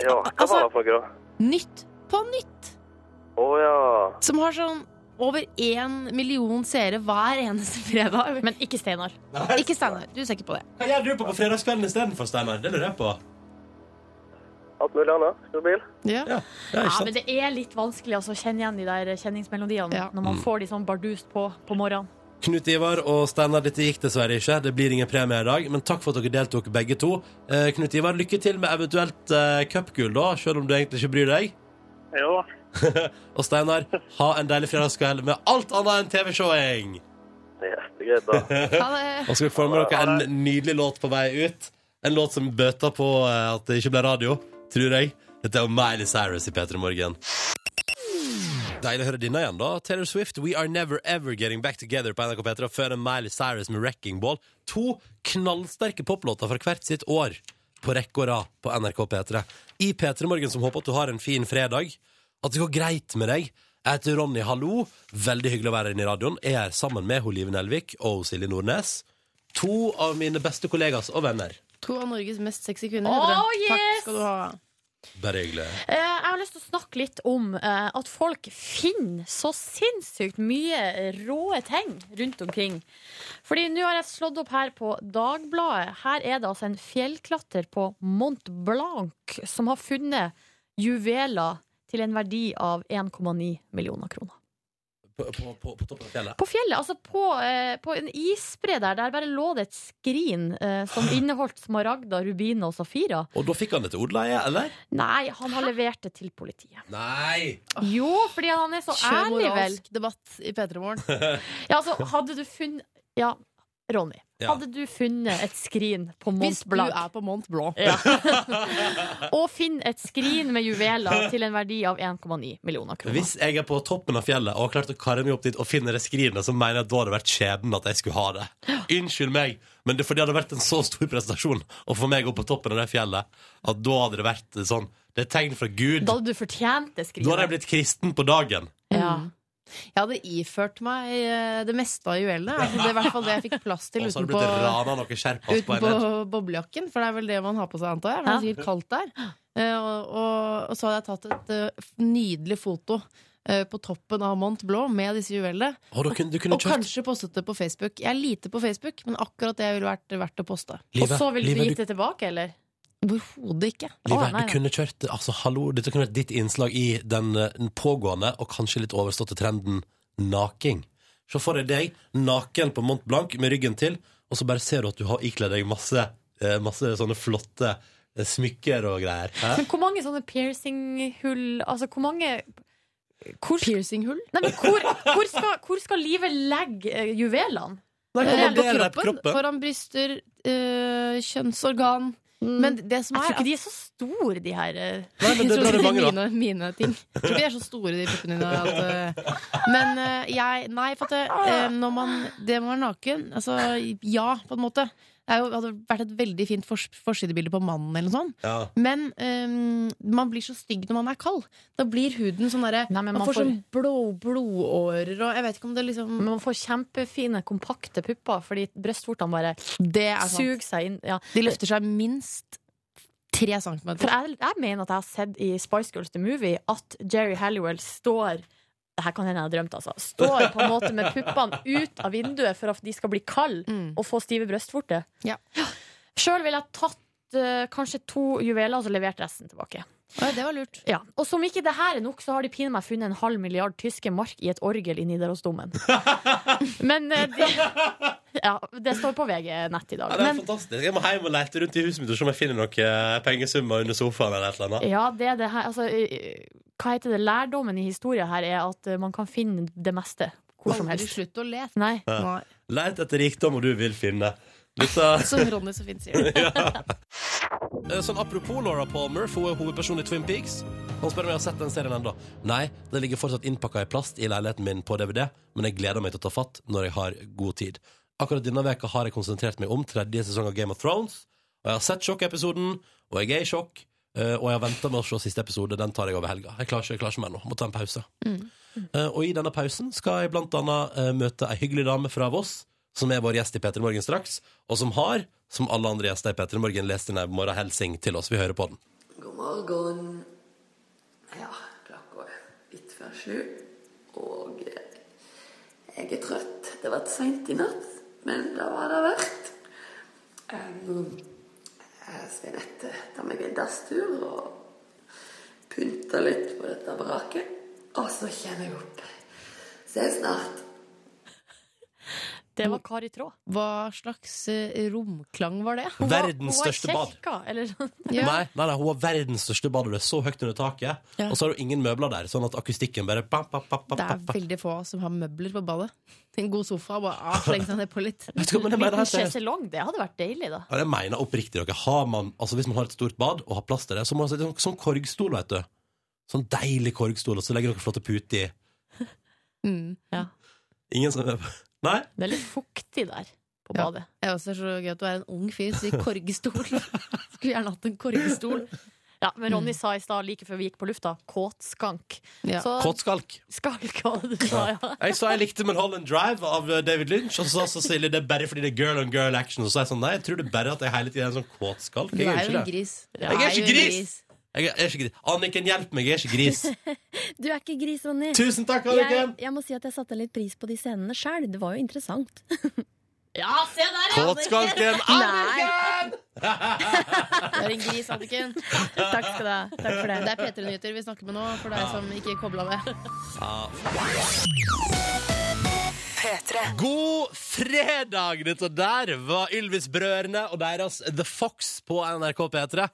Speaker 6: Ja, hva
Speaker 3: Altså-
Speaker 6: var det for noe, da?
Speaker 3: Nytt på nytt.
Speaker 6: Å ja.
Speaker 3: Som har sånn over én million seere hver eneste fredag.
Speaker 4: Men ikke Steinar.
Speaker 3: Ikke Steinar. Du ser ikke på det.
Speaker 2: Hva gjør du på på fredagskvelden istedenfor, Steinar? Det lurer jeg på.
Speaker 6: Alt mulig annet. Kjøre bil.
Speaker 3: Ja.
Speaker 2: Ja, ja
Speaker 4: Ja,
Speaker 2: ikke sant?
Speaker 4: men det er litt vanskelig altså, å kjenne igjen de der kjenningsmelodiene
Speaker 3: Ja.
Speaker 4: når
Speaker 2: Mm.
Speaker 4: man får de sånn bardust på på morgenen.
Speaker 2: Knut Ivar og Steinar, dette gikk dessverre ikke. Det blir ingen premie i dag, men takk for at dere deltok, begge to. Eh, Knut Ivar, lykke til med eventuelt eh, cupgull, da, selv om du egentlig ikke bryr deg.
Speaker 6: Jo da.
Speaker 2: Og Steinar, ha en deilig fredagskveld med alt annet enn TV-showing!
Speaker 6: Yes, det er greit, da.
Speaker 3: Ha det.
Speaker 2: Og så skal dere få med dere en nydelig låt på vei ut. En låt som bøter på eh, at det ikke ble radio, tror jeg. Dette er jo Miley Cyrus i P3 Morgen. Deilig å høre denne igjen, da. Taylor Swift, We Are Never Ever Getting Back Together på NRK P3. Og før det Miley Cyrus med Wrecking Ball. To knallsterke poplåter fra hvert sitt år på rekke og rad på NRK P3. I P3 Morgen, som håper at du har en fin fredag. At det går greit med deg. Jeg heter Ronny, hallo. Veldig hyggelig å være inne i radioen. Jeg er sammen med Live Nelvik og Silje Nordnes. To av mine beste kollegas og venner.
Speaker 3: To av Norges mest sexy kvinner.
Speaker 4: Åh,
Speaker 3: heter det. Takk
Speaker 4: yes!
Speaker 3: skal du ha.
Speaker 2: Bare hyggelig.
Speaker 4: Eh, jeg har lyst til å snakke litt om eh, at folk finner så sinnssykt mye eh, råe ting rundt omkring. Fordi nå har jeg slått opp her på Dagbladet. Her er det altså en fjellklatrer på Mont Blanc som har funnet juveler til en verdi av 1,9 millioner kroner.
Speaker 2: På, på, på, på toppen av fjellet.
Speaker 4: På fjellet, altså på, eh, på en isbre der, der bare lå det et skrin eh, som inneholdt smaragder, rubiner og safirer.
Speaker 2: Og da fikk han det til odleie, eller?
Speaker 4: Nei, han har levert det til politiet.
Speaker 2: Nei!
Speaker 4: Jo, fordi han er så
Speaker 3: Kjør
Speaker 4: ærlig, vel.
Speaker 3: moralsk debatt i P3 Morgen.
Speaker 4: Ja, altså, hadde du funnet Ja, Ronny.
Speaker 2: Ja.
Speaker 4: Hadde du funnet et skrin på
Speaker 3: Hvis
Speaker 4: Mont
Speaker 3: du
Speaker 4: Blanc
Speaker 3: er på Mont Blanc.
Speaker 4: ja. og finner et skrin med juveler til en verdi av 1,9 millioner kroner
Speaker 2: Hvis jeg er på toppen av fjellet og har klart å karre meg opp dit og finner det skrinet, så mener jeg at da hadde det vært skjebnen at jeg skulle ha det. Unnskyld meg, men det, for det hadde vært en så stor prestasjon å få meg opp på toppen av det fjellet, at da hadde det vært sånn Det er tegn fra Gud.
Speaker 4: Da
Speaker 2: Da
Speaker 4: hadde du fortjent det skrinet.
Speaker 2: hadde jeg blitt kristen på dagen.
Speaker 4: ja.
Speaker 3: Jeg hadde iført meg eh, det meste av juvelene. Altså, det er i hvert fall det jeg fikk plass til
Speaker 2: Og så hadde det
Speaker 3: utenpå,
Speaker 2: blitt rana noe skjerpas på en
Speaker 3: utenpå boblejakken. For det er vel det man har på seg, antar jeg. For det er sikkert kaldt der. Eh, Og, og, og så hadde jeg tatt et eh, f- nydelig foto eh, på toppen av Mont Blanc med disse juvelene.
Speaker 2: Og da kunne du kunne
Speaker 3: Og
Speaker 2: kjørt
Speaker 3: kanskje postet det på Facebook. Jeg er lite på Facebook, men akkurat det ville vært verdt å poste.
Speaker 4: Og så ville du
Speaker 2: Livet,
Speaker 4: gitt det tilbake, eller?
Speaker 3: Overhodet ikke.
Speaker 2: Livet,
Speaker 4: Å, nei,
Speaker 2: du
Speaker 4: nei.
Speaker 2: kunne kjørt altså, hallo, Dette kunne vært ditt innslag i den, eh, den pågående og kanskje litt overståtte trenden naking. Se for deg deg naken på Mont Blanc med ryggen til, og så bare ser du at du har ikledd deg masse, eh, masse sånne flotte eh, smykker og greier. Hæ?
Speaker 4: Men hvor mange sånne piercinghull Altså, hvor mange hvor, sk-
Speaker 3: Piercinghull?
Speaker 4: Nei, men hvor, hvor, skal, hvor skal livet legge eh, juvelene?
Speaker 2: Nei,
Speaker 4: Eh,
Speaker 2: kan man
Speaker 3: På
Speaker 2: dele på
Speaker 3: kroppen,
Speaker 2: kroppen?
Speaker 3: foran bryster, eh, kjønnsorgan. Men det som
Speaker 4: Jeg tror
Speaker 3: er
Speaker 4: ikke de er så store, de her. eh.
Speaker 2: Nei, men det
Speaker 3: Jeg tror
Speaker 2: drar
Speaker 3: ikke
Speaker 2: det
Speaker 3: det
Speaker 2: mange,
Speaker 3: er
Speaker 2: da.
Speaker 3: mine, mine ting. Jeg tror ikke de er så store, de puppene dine. At, eh, men eh, jeg Nei, for at det, eh, når man Det må være naken. Altså ja, på en måte. Det er jo, hadde vært et veldig fint fors forsidebilde på mannen, eller noe sånt.
Speaker 2: Ja.
Speaker 3: Men øhm, man blir så stygg når man er kald. Da blir huden sånn derre
Speaker 4: Nei, men man
Speaker 3: Man, får
Speaker 4: får-
Speaker 3: sånn blå, blodårer og Jeg vet ikke om det liksom
Speaker 4: Men man får kjempefine, kompakte pupper fordi brystvortene bare suger seg inn. Ja.
Speaker 3: De løfter seg minst tre centimeter.
Speaker 4: For jeg, jeg mener at jeg har sett i Spice Girls The Movie at Jerry Halliwell står det her kan hende jeg har drømt, altså. Står på en måte med puppene ut av vinduet for at de skal bli kalde
Speaker 3: Mm.
Speaker 4: og få stive brystvorter.
Speaker 3: Ja.
Speaker 4: Sjøl ville jeg tatt eh, kanskje to juveler og så levert resten tilbake.
Speaker 3: Ja, det var lurt.
Speaker 4: Ja. Og som ikke det her er nok, så har de pinadø meg funnet en halv milliard tyske mark i et orgel i Nidarosdomen. Men eh, det, ja, det står på VG nett i
Speaker 2: Ja,
Speaker 4: dag.
Speaker 2: det er
Speaker 4: Men
Speaker 2: fantastisk. Jeg må hjem og lete rundt i huset mitt og se om jeg finner noen eh, pengesummer under sofaen. eller et eller annet
Speaker 4: ja, det er det her altså, eh, Hva heter det? Lærdommen i historien her er at eh, man kan finne det meste hvor som
Speaker 3: Aldri
Speaker 4: helst.
Speaker 3: slutt å le.
Speaker 4: Nei.
Speaker 3: Nei.
Speaker 2: Let etter rikdom, og du vil finne. Dette-
Speaker 3: Som Ronny så fint sier.
Speaker 2: Eh, Sånn Apropos Laura Palmer, for hun er hovedperson i Twin Peaks. Han spør om jeg har sett den serien ennå. Nei, den ligger fortsatt innpakka i plast i leiligheten min på DVD, men jeg gleder meg til å ta fatt når jeg har god tid. Akkurat denne veka har jeg konsentrert meg om tredje sesong av Game of Thrones. Og jeg har sett sjokkepisoden, og jeg er i sjokk. eh, Og jeg har venta med å se siste episode. Den tar jeg over helga. Jeg klarer ikke, jeg klarer ikke mer nå. Må ta en pause. Eh, Og i denne pausen skal jeg blant annet eh, møte ei hyggelig dame fra Voss, som er vår gjest i P3 Morgen straks, og som har, som alle andre gjester i P3 Morgen, lest en morgenhelsing til oss. Vi hører på den.
Speaker 7: God morgen. Ja, klokka er litt før sju, og eh, jeg er trøtt. Det har vært seint i natt, men det var det verdt. Um, eh, Sveinette tar meg en dasstur og pynter litt på dette vraket. Og så kjenner jeg opp. Ses snart.
Speaker 4: Det var Kari Traa.
Speaker 3: Hva slags eh, romklang var det?
Speaker 4: Hun var- hun var
Speaker 2: Verdens største bad.
Speaker 4: kjelka, Eller sånn.
Speaker 3: Ja.
Speaker 2: Nei, nei, nei, hun har verdens største bad, og det er så høyt under taket.
Speaker 3: Ja.
Speaker 2: Og så har hun ingen møbler der, sånn at akustikken bare bam, bam, bam, bam,
Speaker 3: Det er
Speaker 2: bam, bam.
Speaker 3: veldig få som har møbler på badet. En god sofa og bare ah, slenge seg ned på litt.
Speaker 2: Vet du hva men jeg mener?
Speaker 4: Liten
Speaker 2: helt seriøst?
Speaker 4: sjeselong, det hadde vært deilig, da.
Speaker 2: Ja, Jeg mener oppriktig dere. Har man, altså hvis man har et stort bad og har plass til det, så må man sette sånn, sånn korgstol, vet du. Sånn deilig korgstol, og så legger dere flotte puter i.
Speaker 3: Mm.
Speaker 2: Ingen som Nei?
Speaker 4: Det er litt fuktig der på
Speaker 3: Ja.
Speaker 4: badet.
Speaker 3: Jeg også er så gøy at du er en ung fyr i korgstol. Skulle gjerne hatt en korgstol.
Speaker 4: Ja, men Ronny
Speaker 2: Mm.
Speaker 4: sa i stad, like før vi gikk på lufta, kåtskank.
Speaker 3: Ja.
Speaker 4: Så
Speaker 2: Kåtskalk.
Speaker 4: skalk, hva var det du sa, ja.
Speaker 2: Jeg sa jeg likte Mulholland Drive av eh, David Lynch, og så sa Cecilie det er bare fordi det er girl on girl action. Og så er jeg sånn, nei, jeg tror det er bare at jeg hele tiden er en sånn kåtskalk.
Speaker 3: Du
Speaker 2: Jeg
Speaker 3: er
Speaker 2: er
Speaker 3: jo
Speaker 2: jo
Speaker 3: en
Speaker 2: ikke det.
Speaker 3: gris.
Speaker 4: Jeg
Speaker 2: er
Speaker 3: Du
Speaker 2: ikke
Speaker 3: jo en
Speaker 2: gris! Jeg er, jeg er ikke gris. Anniken, hjelp meg, jeg er ikke gris.
Speaker 8: Du er ikke gris, Ronny.
Speaker 2: Tusen takk,
Speaker 8: Jeg,
Speaker 2: Anniken!
Speaker 8: jeg må si at jeg satte litt pris på de scenene sjøl. Det var jo interessant.
Speaker 4: Ja, se der, ja!
Speaker 2: Kåtskalken!
Speaker 8: Nei.
Speaker 3: Du er en gris, Anniken.
Speaker 4: Takk skal du ha. Takk for det.
Speaker 3: Det er P3-nyheter vi snakker med nå, for deg som ikke kobla med.
Speaker 5: P3.
Speaker 2: Ah, God fredag! Dette der var Ylvis-brødrene og deres The Fox på NRK P3.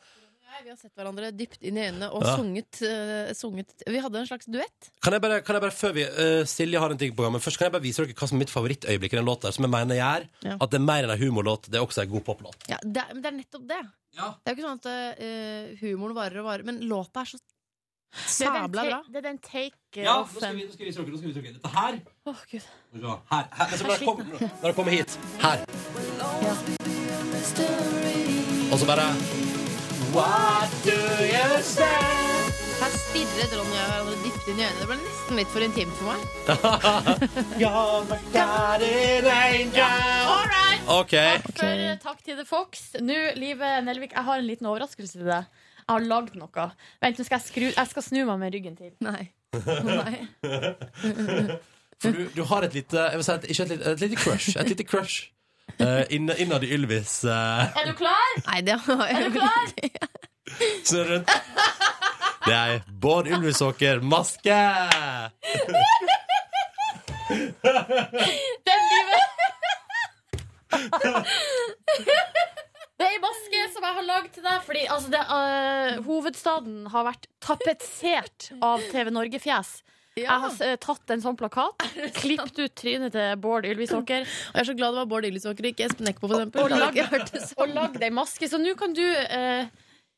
Speaker 3: Vi har sett hverandre dypt inn i øynene og
Speaker 2: Ja.
Speaker 3: sunget, eh, sunget Vi hadde en slags duett.
Speaker 2: Kan jeg bare, kan jeg bare før vi, eh, Silje har en ting på gang, men først kan jeg bare vise dere hva som er mitt favorittøyeblikk i den låta, som jeg mener jeg er.
Speaker 3: Ja.
Speaker 2: At det er mer enn en humorlåt, det er også en god poplåt.
Speaker 3: Ja, det, er- men det er nettopp det.
Speaker 2: Ja.
Speaker 3: Det er jo ikke sånn at eh, humoren varer og varer, men låta er så
Speaker 4: Det er den
Speaker 3: sabla
Speaker 4: ta-
Speaker 3: bra.
Speaker 4: Det er den take eh, offen.
Speaker 2: vise dere, nå skal vi vise dere. Dette her
Speaker 4: Å, Gud.
Speaker 2: Her, her. Men så bare kom, når dere kommer hit. Her. Og så bare What do you say?
Speaker 3: Her stirret Ronny og jeg hverandre dypt inn i øynene. Det ble nesten litt for intimt for meg.
Speaker 2: You're my guardian angel.
Speaker 4: All right!
Speaker 2: OK.
Speaker 4: Takk for, eh, takk til The Fox. Nå, Live Nelvik, jeg har en liten overraskelse til deg. Jeg har lagd noe. Vent, nå skal jeg, skru, jeg skal snu meg med ryggen til.
Speaker 3: Nei. Nei.
Speaker 2: For du, du har et lite jeg vil si et, Ikke et lite, et lite crush. Et lite crush. eh, inn- innad i Ylvis. eh,
Speaker 4: Er du klar?
Speaker 3: det har jeg
Speaker 4: Er du klar?
Speaker 2: snurr rundt. Det er Bård Ylvisåker maske!
Speaker 4: Den livet Det er ei maske som jeg har lagd til deg. Fordi altså, det, øh, hovedstaden har vært tapetsert av TV Norge-fjes. Jeg har s- tatt en sånn plakat, klippet ut trynet til Bård Ylvisåker
Speaker 3: Og jeg er så glad det var Bård Ylvisåker og ikke Espen Eckbo, for
Speaker 4: og
Speaker 3: eksempel.
Speaker 4: lagd og lagd ei maske. Så nå kan du øh,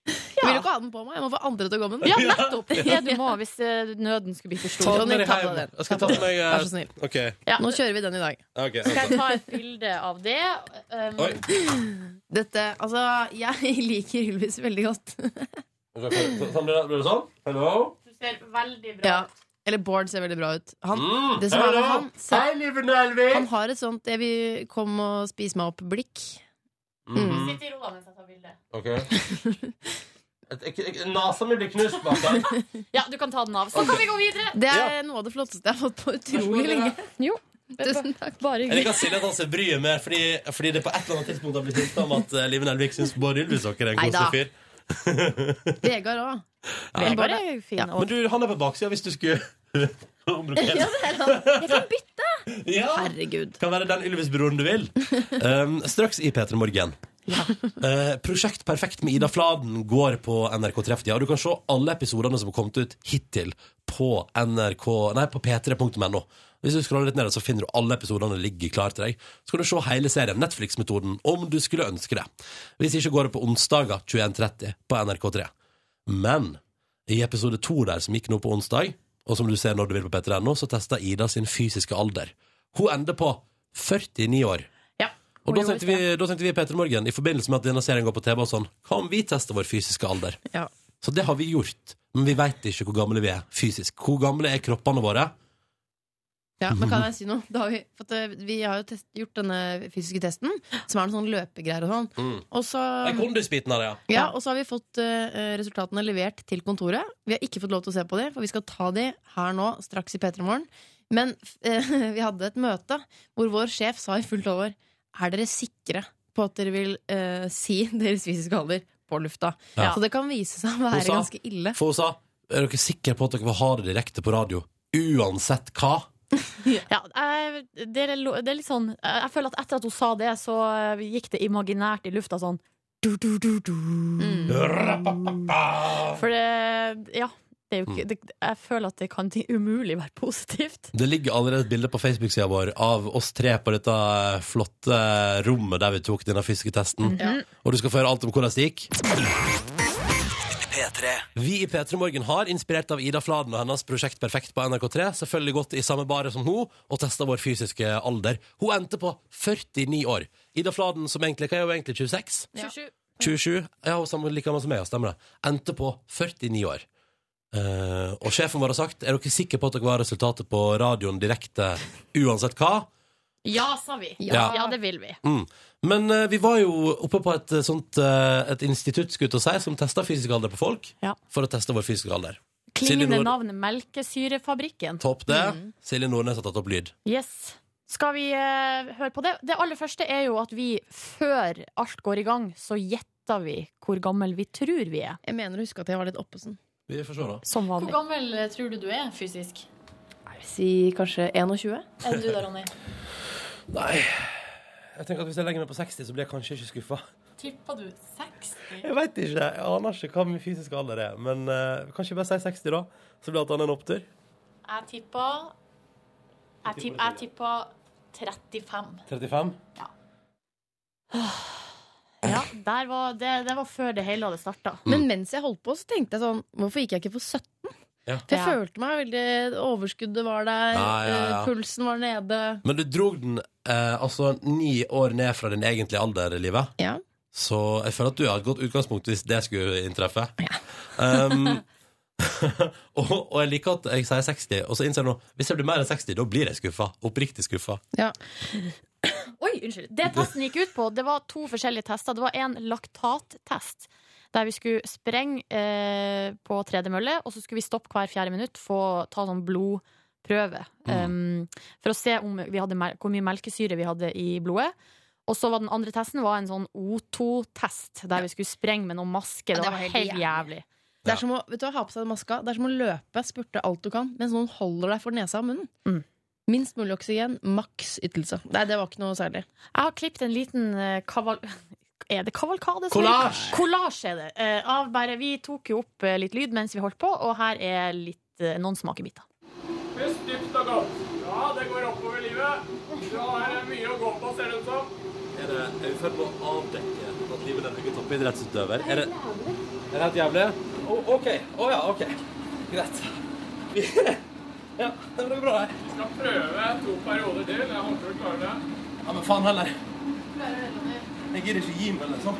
Speaker 3: Jeg vil jo ikke ha den på meg. Jeg må få andre til å gå med den.
Speaker 4: Ja, nettopp! Ja, du må, hvis eh, nøden skulle bli for
Speaker 2: Ta
Speaker 4: stor.
Speaker 2: den med deg
Speaker 3: ta på
Speaker 2: hjem.
Speaker 3: den.
Speaker 2: Jeg skal ta med meg eh,
Speaker 3: Vær så snill.
Speaker 2: OK.
Speaker 4: Ja.
Speaker 3: Nå kjører vi den i dag.
Speaker 2: ok,
Speaker 4: Skal
Speaker 2: altså.
Speaker 4: jeg ta et bilde av det? Um,
Speaker 2: Oi.
Speaker 3: Dette, altså, jeg liker Ylvis veldig godt.
Speaker 2: Sånn blir det- blir det sånn? Hello?
Speaker 4: du ser veldig bra
Speaker 3: Ja. Eller Bård ser veldig bra ut. Han,
Speaker 2: Mm,
Speaker 3: det som er med
Speaker 2: hello.
Speaker 3: han, så-
Speaker 2: Hei, livet Nelvi!
Speaker 3: han har et sånt 'jeg vil komme og spise meg opp'-blikk.
Speaker 2: Mhm.
Speaker 4: Sitt i ro da mens jeg tar bilde.
Speaker 2: Ok. Et- ek- ek- Nesa mi blir knust bak der.
Speaker 4: Ja, du kan ta den av. Så kan vi gå videre!
Speaker 3: Det er noe av det flotteste jeg har fått på utrolig lenge.
Speaker 8: Jo.
Speaker 3: Tusen takk.
Speaker 8: Bare
Speaker 2: Jeg
Speaker 8: hyggelig.
Speaker 2: liker at Silje danser bryet mer, fordi, fordi det på et eller annet tidspunkt har blitt hintet om at eh, Liven Elvik syns Bård Ylvisåker er en
Speaker 3: Neida.
Speaker 2: koselig fyr.
Speaker 3: Vegard òg.
Speaker 4: Vegard er jo fin.
Speaker 3: Ja.
Speaker 4: og-
Speaker 2: Men du, han er på baksida hvis du skulle
Speaker 4: Ja, det er sant. Jeg kan bytte.
Speaker 2: Ja!
Speaker 3: Herregud.
Speaker 2: Kan være den Ylvis-broren du vil. Um, straks i P3 Morgen. Eh, Prosjekt Perfekt med Ida Fladen går på NRK Trefftida. Du kan se alle episodene som har kommet ut hittil på NRK Nei, på p3.no. Hvis du scroller litt ned, så finner du alle episodene ligger klar til deg. Så kan du se hele serien, Netflix-metoden, om du skulle ønske det. Hvis ikke går det på onsdager 21.30 på NRK3. Men i episode to der, som gikk nå på onsdag, og som du ser når du vil på p3.no, så testa Ida sin fysiske alder. Hun ender på 49 år.
Speaker 4: Ja.
Speaker 2: Og da
Speaker 4: Hun
Speaker 2: tenkte,
Speaker 4: gjorde
Speaker 2: vi, da tenkte vi i Peter Morgen, i forbindelse med at denne serien går på TV og sånn, hva om vi tester vår fysiske alder?
Speaker 3: Ja.
Speaker 2: Så det har vi gjort, men vi vet ikke hvor gamle vi er fysisk. Hvor gamle er kroppene våre?
Speaker 3: Ja, men kan jeg si noe? Da har vi, for at, eh, vi har jo test, gjort denne fysiske testen, som er noen sånne løpegreier og sånn. Og så
Speaker 2: Det er kondisbiten av det, ja.
Speaker 3: Ja, og så har vi fått eh, resultatene levert til kontoret. Vi har ikke fått lov til å se på de, for vi skal ta de her nå, straks i P3 Morgen. Men eh, vi hadde et møte hvor vår sjef sa i fullt over Er dere sikre på at dere vil eh, si deres fysiske alder på lufta?
Speaker 2: Ja.
Speaker 3: Så det kan vise seg å
Speaker 2: Hun
Speaker 3: være
Speaker 2: sa-
Speaker 3: ganske ille.
Speaker 2: For hun sa, er dere sikre på at dere vil ha det direkte på radio? Uansett hva?
Speaker 4: Ja, jeg, det, er, lo- det er litt sånn Jeg jeg føler at etter at hun sa det, så eh, gikk det imaginært i lufta sånn du, du, du, du. Mm. For det Ja. Det er jo ikke, det, jeg føler at det kan ting umulig være positivt.
Speaker 2: Det ligger allerede et bilde på Facebook-sida vår av oss tre på dette flotte rommet der vi tok denne fysiske testen. Og du skal få høre alt om hvordan det gikk.
Speaker 1: P3.
Speaker 2: Vi i P3 Morgen har, inspirert av Ida Fladen og hennes prosjekt Perfekt på NRK3, selvfølgelig gått i samme bare som hun og testa vår fysiske alder. Hun endte på 49 år. Ida Fladen, som egentlig hva er hun egentlig 26? 27? Ja, hun samme like gammel som meg, ja, stemmer det. Endte på 49 år. Eh, og sjefen vår har sagt Er dere sikre på at dere har resultatet på radioen direkte uansett hva.
Speaker 4: Ja, sa vi.
Speaker 2: Ja.
Speaker 4: ja det vil vi.
Speaker 2: Mm. Men eh, vi var jo oppe på et eh, sånt eh, Et institutt skulle jeg til å si, som testa fysisk alder på folk.
Speaker 4: Ja.
Speaker 2: For å teste vår fysiske alder.
Speaker 4: Klingende
Speaker 2: Nord-
Speaker 4: navn Melkesyrefabrikken.
Speaker 2: Topp det. Silje Nordnes har tatt opp lyd.
Speaker 4: Yes. Skal vi eh, høre på det? Det aller første er jo at vi, før alt går i gang, så gjetter vi hvor gammel vi tror vi er.
Speaker 3: Jeg mener å huske at jeg var litt oppe sånn.
Speaker 2: Vi får se, da.
Speaker 4: Som vanlig.
Speaker 9: gammel eh, tror du du er fysisk?
Speaker 3: Si kanskje 21?
Speaker 9: Er du da, Ronny?
Speaker 2: Nei. Jeg tenker at Hvis jeg legger meg på 60, så blir jeg kanskje ikke skuffa.
Speaker 9: Tipper du 60?
Speaker 2: Jeg vet ikke. Jeg aner ikke hva min fysiske alder er. Men eh, kanskje jeg bare si 60, da. Så blir det at han er en opptur.
Speaker 9: Jeg tipper Jeg tipp- jeg tipper 35.
Speaker 2: 35.
Speaker 4: Ja, der var, det, det var før det hele hadde starta.
Speaker 2: Mm.
Speaker 3: Men mens jeg holdt på, så tenkte jeg sånn Hvorfor gikk jeg ikke for 17?
Speaker 2: Ja.
Speaker 3: For jeg
Speaker 4: Ja.
Speaker 3: følte meg veldig Overskuddet var der,
Speaker 2: Ja, ja, ja.
Speaker 3: eh, pulsen var nede.
Speaker 2: Men du drog den eh, altså ni år ned fra din egentlige alder i livet.
Speaker 3: Ja.
Speaker 2: Så jeg føler at du har et godt utgangspunkt hvis det skulle inntreffe. um, og, og jeg liker at jeg sier 60, og så innser jeg nå hvis jeg blir mer enn 60, da blir jeg skuffa. Oppriktig skuffa.
Speaker 4: Oi, unnskyld. Det testen gikk ut på, det var to forskjellige tester. Det var en laktattest. Der vi skulle sprenge eh, på tredemølle, og så skulle vi stoppe hver fjerde minutt for å ta sånn blodprøve. em, for å se om vi hadde, mel- hvor mye melkesyre vi hadde i blodet. Og så var den andre testen var en sånn O2-test, der vi skulle sprenge med noen maske.
Speaker 3: Ja,
Speaker 4: Det var helt jævlig.
Speaker 3: Det er som å, vet du, hva, ha på seg den maska Det er som å løpe, spurte alt du kan, mens noen holder deg for nesa og munnen.
Speaker 4: Mm.
Speaker 3: Minst mulig oksygen, maks ytelse. Nei, det var ikke noe særlig.
Speaker 4: Jeg har klippet en liten eh, kaval... Er det kavalkade? som
Speaker 2: Collage!
Speaker 4: heter? Collage er det. Eh, av bare, vi tok jo opp eh, litt lyd mens vi holdt på, og her er litt, eh, noen smakebiter.
Speaker 6: Pust dypt og godt. Ja, det går oppover livet. Du har mye å gå på, ser det ut som.
Speaker 2: Er, det, er vi i ferd med å avdekke at livet er en toppidrettsutøver? Er det, Det er helt jævlig. Å, OK. Å ja, OK. Greit. ja, det blir bra, det.
Speaker 10: Skal prøve to perioder til. Jeg håper du klarer det.
Speaker 2: Ja, men faen heller. Jeg gidder ikke gi meg, liksom.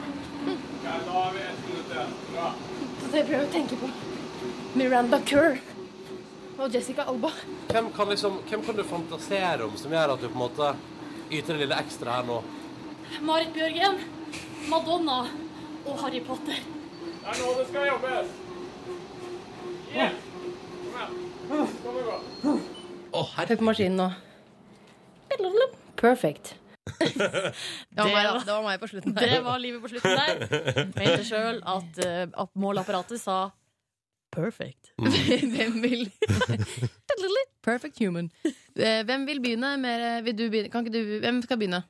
Speaker 10: Ja, da har vi funnet det. Bra.
Speaker 11: Så jeg prøver å tenke på Miranda Kerr og Jessica Alba.
Speaker 2: Hvem kan, liksom, hvem kan du fantasere om som gjør at du på en måte yter det lille ekstra her nå?
Speaker 9: Marit Bjørgen, Madonna og Harry Potter.
Speaker 10: Det er nå det skal jobbes. Yeah. Kom igjen. Nå må du gå.
Speaker 3: Trykk på maskinen nå. Perfect. Det var meg, da.
Speaker 4: Det var meg på slutten
Speaker 3: der.
Speaker 4: Det var livet på slutten der. Jeg mente sjøl at, eh, at måleapparatet sa Perfect.
Speaker 3: Hvem vil Perfect human. Eh, Hvem vil begynne? Mer, vil du begynne? Kan ikke du, hvem skal begynne?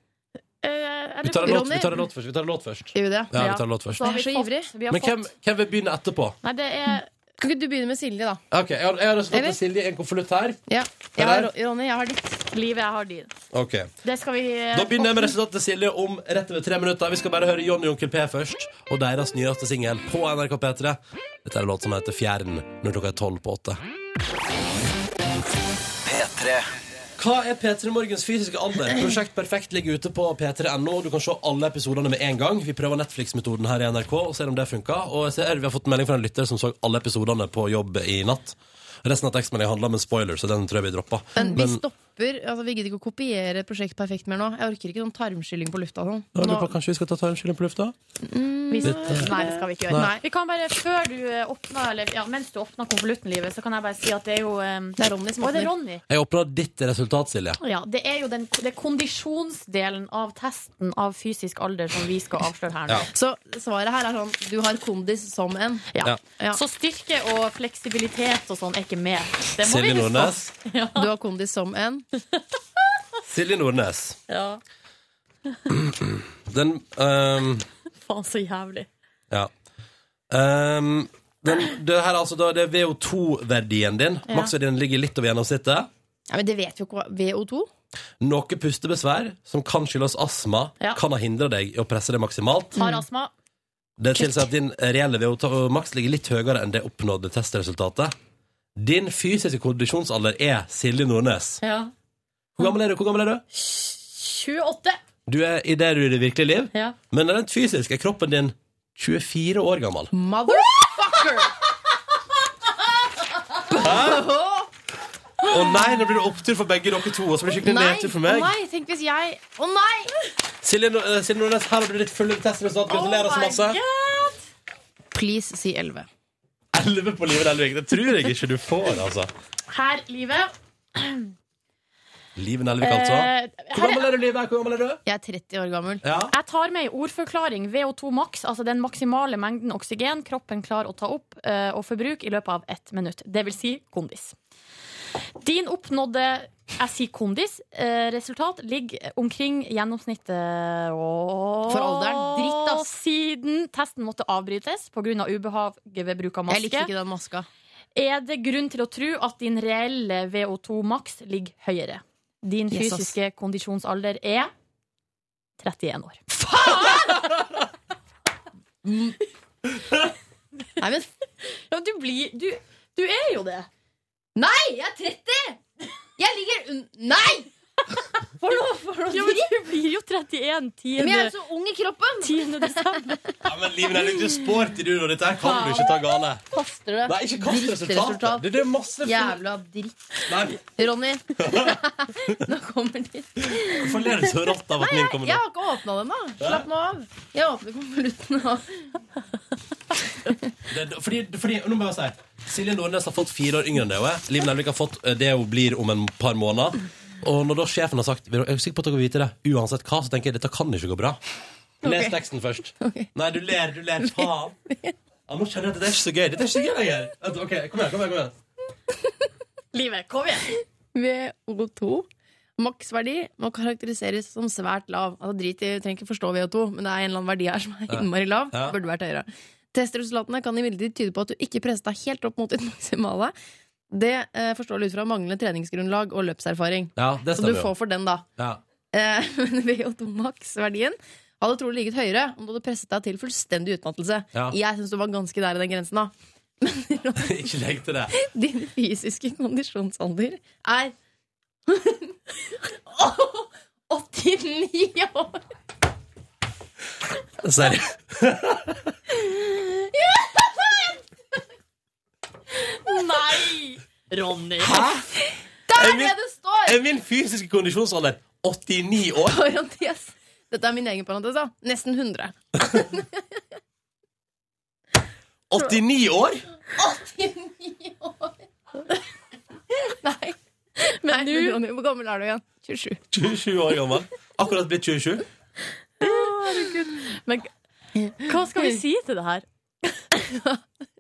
Speaker 4: Eh,
Speaker 2: Vi tar en låt, vi tar en låt først. Vi tar en låt først.
Speaker 3: Gjør vi det?
Speaker 2: Ja, vi tar en låt først.
Speaker 3: Jeg er så ivrig.
Speaker 2: Men hvem, hvem vil begynne etterpå?
Speaker 3: Nei, det er... Kan ikke du begynne med Silje, da?
Speaker 2: Ok, Jeg har, jeg har slått
Speaker 3: Eller?
Speaker 2: til Silje i en konvolutt her.
Speaker 3: Ja. Jeg har, Ronny, jeg har ditt.
Speaker 4: Livet, jeg har din.
Speaker 2: Ok
Speaker 4: Det skal vi eh,
Speaker 2: Da begynner jeg med resultatet til Silje om rett over tre minutter. Vi skal bare høre Johnny og Onkel P først, og deres nyeste singel på NRK P3. Dette er en låt som heter Fjern, når klokka er tolv på åtte.
Speaker 1: P3.
Speaker 2: Hva er P3 Morgens fysiske alder? Prosjekt Perfekt ligger ute på p3.no. Du kan se alle episodene med en gang. Vi prøver Netflix-metoden her i NRK og ser om det funker. Og jeg ser, vi har fått melding fra en lytter som så alle episodene på jobb i natt. Resten av tekstmeldingen handler om en spoiler, så den tror jeg vi dropper.
Speaker 3: Men vi stopper. Altså, vi gidder ikke å kopiere Prosjekt Perfekt mer nå. Jeg orker ikke sånn tarmskylling på lufta. og Sånn.
Speaker 2: Ja,
Speaker 3: Nå,
Speaker 2: lurer på, kanskje vi skal ta tarmskylling på lufta?
Speaker 4: Vi-
Speaker 2: Litt.
Speaker 4: Nei, det skal vi ikke gjøre.
Speaker 2: Nei.
Speaker 4: Vi kan bare, før du eh, åpner, eller ja, mens du åpner konvolutten, livet, så kan jeg bare si at det er jo Det
Speaker 3: er Ronny
Speaker 4: som Det er Ronny.
Speaker 2: Jeg åpna ditt resultat, Silje.
Speaker 4: Ja, det er jo den, det er kondisjonsdelen av testen av fysisk alder som vi skal avsløre her nå.
Speaker 2: Ja.
Speaker 3: Så svaret her er sånn du har kondis som en.
Speaker 2: Ja.
Speaker 4: Så styrke og fleksibilitet og sånn er ikke med. Det må
Speaker 2: Silje
Speaker 4: vi huske
Speaker 2: Nordnes.
Speaker 4: på.
Speaker 3: Du har kondis som en.
Speaker 2: Silje Nordnes.
Speaker 4: Ja.
Speaker 2: Den ehm,
Speaker 4: Faen, så jævlig.
Speaker 2: Ja. Ehm, den, det her er altså da, det er VO2-verdien din.
Speaker 3: Ja.
Speaker 2: Maksverdien ligger litt over gjennomsnittet.
Speaker 3: Ja, men det vet vi jo ikke hva VO2.
Speaker 2: Noe pustebesvær som kan skyldes astma,
Speaker 4: Ja.
Speaker 2: kan ha hindra deg i å presse det maksimalt.
Speaker 4: Har astma.
Speaker 2: Det tilsier at din reelle VO2 maks ligger litt høyere enn det oppnådde testresultatet. Din fysiske kondisjonsalder er Silje Nordnes.
Speaker 4: Ja.
Speaker 2: Hvor gammel er du? Hvor gammel er du?
Speaker 4: 28.
Speaker 2: Du er i det du er i det virkelige liv,
Speaker 4: Ja.
Speaker 2: men rent fysisk er kroppen din 24 år gammel.
Speaker 3: Motherfucker!
Speaker 2: Hæ? Å nei, nå blir det opptur for begge dere to, og så blir det skikkelig
Speaker 3: Nei,
Speaker 2: nedtur for meg.
Speaker 3: Å nei, tenk hvis jeg Å nei!
Speaker 2: Silje, Nor- eh, Silje Nordnes, her har du ditt fulle testresultat. Gratulerer så masse.
Speaker 3: Please si 11.
Speaker 2: 11 på livet, Nelvik. Det tror jeg ikke du får, altså.
Speaker 4: Her, livet.
Speaker 2: Livet Nelvik, altså.
Speaker 4: Eh,
Speaker 2: Hvor gammel er du, Livet? Hvor gammel er du?
Speaker 3: Jeg er 30 år gammel.
Speaker 2: Ja.
Speaker 4: Jeg tar med en ordforklaring. VO2 maks, altså den maksimale mengden oksygen kroppen klarer å ta opp eh, og forbruke i løpet av ett minutt. Det vil si kondis. Din oppnådde jeg sier kondis. eh, resultat ligger omkring gjennomsnittet og
Speaker 3: For alderen. Dritt, ass.
Speaker 4: Siden testen måtte avbrytes pga. Av ubehaget ved bruk av maske.
Speaker 3: Jeg likte ikke den maska.
Speaker 4: Er det grunn til å tro at din reelle VO2 maks ligger høyere? Din
Speaker 3: Yes, ass.
Speaker 4: fysiske kondisjonsalder er 31 år.
Speaker 3: Mm. Nei, men
Speaker 4: Ja, men du blir du, du er jo det.
Speaker 3: Nei, jeg er 30! Jeg ligger un... Nei! For noe, for noe
Speaker 4: Ja, men du blir jo 31
Speaker 3: Men jeg
Speaker 4: 10.
Speaker 3: er jo så ung i kroppen!
Speaker 4: 10. desember.
Speaker 2: ja men Livet Nelvik, du er sporty, du, og dette her kan du ikke ta gale.
Speaker 3: Kaster det.
Speaker 2: Nei, ikke kast resultatet. Det- Det er masse
Speaker 3: Jævla dritt.
Speaker 2: Nei,
Speaker 3: Ronny, nå kommer ditt.
Speaker 2: Hvorfor ler du så rått av at min kommer
Speaker 3: Jeg
Speaker 2: nå?
Speaker 3: har ikke åpna den, da. Slapp nå av. Jeg åpner konvolutten nå.
Speaker 2: Det- Fordi, fordi, nå må jeg bare si Silje Nordnes har fått fire år yngre enn det hun er. Liv Nelvik har fått eh, det hun blir om en par måneder. Og når da sjefen har sagt Jeg er sikker på at dere vil vite det, uansett hva, så tenker jeg dette kan ikke gå bra. Les
Speaker 3: Ok.
Speaker 2: teksten først. Nei, du ler, du ler. Faen. Ja, nå kjenner jeg at dette er ikke så gøy. Dette er ikke så gøy lenger. Vent, Ok, kom igjen, kom igjen, kom igjen.
Speaker 4: Livet, kom igjen!
Speaker 3: VO2. Maksverdi må karakteriseres som svært lav. Altså drit i, Trenger ikke forstå VO2, men det er en eller annen verdi her som er
Speaker 2: Ja.
Speaker 3: innmari lav.
Speaker 2: Ja.
Speaker 3: Burde vært høyere. Testresultatene kan imidlertid tyde på at du ikke presset deg helt opp mot ditt maksimale. Det eh, forstår du ut fra manglende treningsgrunnlag og løpserfaring.
Speaker 2: Ja, det
Speaker 3: Så du
Speaker 2: stemmer jo.
Speaker 3: får for den, da.
Speaker 2: Ja.
Speaker 3: Eh, Men VO2 maksverdien hadde trolig ligget høyere om du hadde presset deg til fullstendig utmattelse.
Speaker 2: Ja.
Speaker 3: Jeg syns du var ganske nær i den grensen, da.
Speaker 2: Ikke legg til det.
Speaker 3: Din fysiske kondisjonsalder er 89 år!
Speaker 2: Sorry.
Speaker 4: Nei! Ronny.
Speaker 2: Hæ?
Speaker 3: Der
Speaker 2: Er
Speaker 3: er
Speaker 2: min-
Speaker 3: det det står!
Speaker 2: Er min fysiske kondisjonsalder 89 år?
Speaker 3: Parentes. Dette er min egen parentes, da. Nesten 100.
Speaker 2: 89 år?
Speaker 3: 89 år! Nei. Men du, Ronny, hvor gammel er du igjen? 27.
Speaker 2: 27 år gammel. Akkurat blitt 27.
Speaker 4: Men hva skal vi si til det her?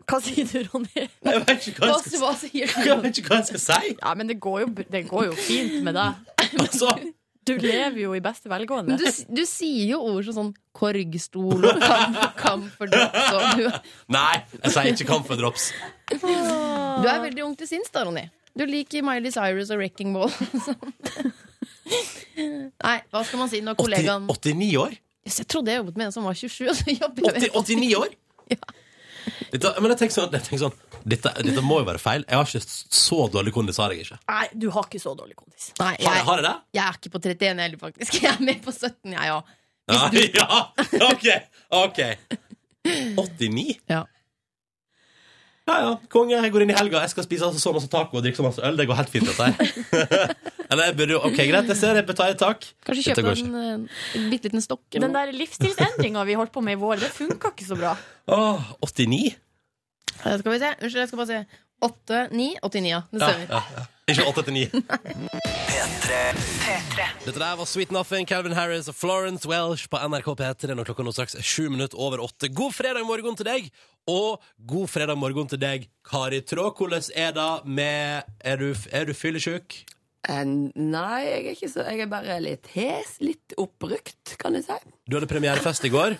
Speaker 4: Hva sier du, Ronny?
Speaker 2: Jeg vet ikke hva jeg skal,
Speaker 4: hva sier
Speaker 2: jeg vet ikke hva jeg skal si.
Speaker 4: Ja, men det går jo, det går jo fint med deg. Du lever jo i beste velgående.
Speaker 3: Men du, du sier jo ord som sånn korgstol og kam, kam for drops og du,
Speaker 2: Nei, jeg sier ikke kamp for drops.
Speaker 3: du er veldig ung til sinns, da, Ronny. Du liker Miley Cyrus og Wrecking Ball. Nei, hva skal man si når kollegaen
Speaker 2: 89 år?
Speaker 3: Jøss, Jeg trodde jeg jobbet med en som var 27, og så jobber jeg med
Speaker 2: 80, 89 år? Dette, men jeg tenker sånn, jeg tenker sånn dette, dette må jo være feil. Jeg har ikke så dårlig kondis, har jeg ikke.
Speaker 4: Nei, du har ikke så dårlig kondis.
Speaker 3: Nei,
Speaker 2: Har jeg, har jeg det?
Speaker 3: Jeg er ikke på 31 jeg heller, faktisk. Jeg er med på 17, jeg òg.
Speaker 2: Ja, ja, ok, ok 89?
Speaker 3: Ja.
Speaker 2: ja, konge, jeg går inn i helga Jeg skal spise altså så masse taco og drikke så masse øl Det går helt fint dette her Eller jeg burde jo, ok, greit, jeg ser, jeg betaler tak
Speaker 3: Kanskje
Speaker 2: Dette
Speaker 3: kjøpe
Speaker 2: går ikke.
Speaker 3: en, eh, en bitte liten stokk eller
Speaker 4: Den
Speaker 3: noe.
Speaker 4: der livsstilsendringa vi holdt på med i vår, det funka ikke så bra.
Speaker 2: Åh, 89?
Speaker 3: Eh, Skal vi se. Unnskyld, jeg skal bare se. 8, 9, 89, ja. Det
Speaker 2: Ja,
Speaker 3: stemmer.
Speaker 2: ja, ja. Ikke 8-9 Dette der var Sweet Nothing, Calvin Harris og Florence Welsh på NRK P3 Når klokka nå straks er 7 minutter over 8 God fredag morgen til deg Og god fredag morgen til deg, Kari Trå Hvordan er det med Er du, er du fyllesjuk?
Speaker 12: Eh, nei, jeg er ikke så Jeg er bare litt hes. Litt oppbrukt, kan jeg si.
Speaker 2: Du hadde premierefest i går.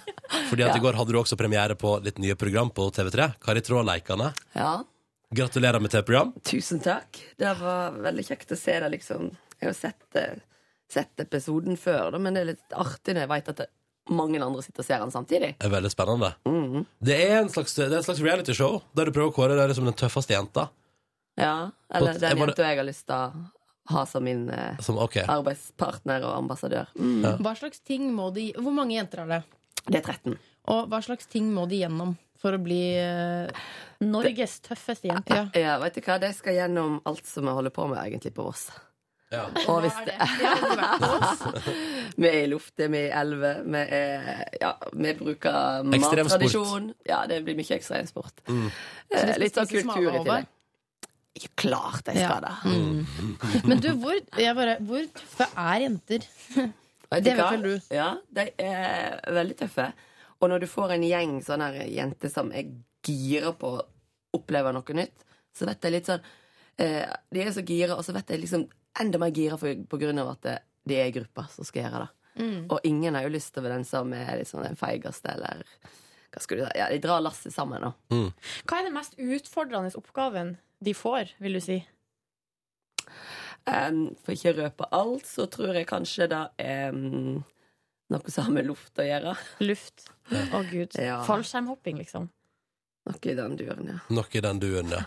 Speaker 2: Fordi at
Speaker 12: Ja.
Speaker 2: i går hadde du også premiere på ditt nye program på TV3. Kari Tråleikane.
Speaker 12: Ja.
Speaker 2: Gratulerer med TV-program.
Speaker 12: Tusen takk. Det var veldig kjekt å se det, liksom. Jeg har sett, eh, sett episoden før, da, men det er litt artig når jeg veit at det, mange andre sitter og ser den samtidig.
Speaker 2: Det er veldig spennende. Det er en slags, det er en slags realityshow der du prøver å kåre deg som den tøffeste jenta.
Speaker 12: Ja,
Speaker 2: På-
Speaker 12: Eller den
Speaker 2: var det-
Speaker 12: jenta jeg har lyst til å ha som min eh,
Speaker 2: Som, ok.
Speaker 12: arbeidspartner og ambassadør. Mm.
Speaker 3: Hva slags ting må de Hvor mange jenter er det?
Speaker 12: Det er 13.
Speaker 3: Og hva slags ting må de gjennom for å bli eh, Norges tøffeste jente? Ja.
Speaker 12: Ja, vet du hva? De skal gjennom alt som vi holder på med egentlig på Voss.
Speaker 2: Ja.
Speaker 12: Og hvis det Vi er i lufta, vi er i elver, vi er Ja, vi bruker
Speaker 2: Ekstremsport.
Speaker 12: mattradisjon. Ja, det blir mye ekstremsport.
Speaker 2: Mm.
Speaker 12: Eh,
Speaker 3: Så de skal
Speaker 12: Litt sånn
Speaker 3: spise
Speaker 12: kultur i
Speaker 3: smalahove?
Speaker 12: tillegg. Ja, Klart de skal det.
Speaker 3: Men du, hvor, jeg bare, hvor tøffe er jenter?
Speaker 12: Vet
Speaker 3: Det
Speaker 12: hva?
Speaker 3: vet vel du.
Speaker 12: Ja, de er veldig tøffe. Og når du får en gjeng sånne her jenter som er gira på å oppleve noe nytt, så vet de litt sånn eh, De er så gira, og så vet de liksom enda mer gira for, på grunn av at det- de er i gruppa som skal gjøre det.
Speaker 3: Mm.
Speaker 12: Og ingen har jo lyst til å være den som er liksom den feigeste, eller hva skal du si Ja, de drar lasset sammen, da.
Speaker 4: Hva er den mest utfordrende oppgaven de får, vil du si?
Speaker 12: Em, for ikke å røpe alt, så tror jeg kanskje det er em, noe som har med luft å gjøre.
Speaker 4: Luft. Å, gud.
Speaker 12: Ja.
Speaker 4: Fallskjermhopping, liksom.
Speaker 12: Noe i den duren, ja.
Speaker 2: Noe i den duen, ja.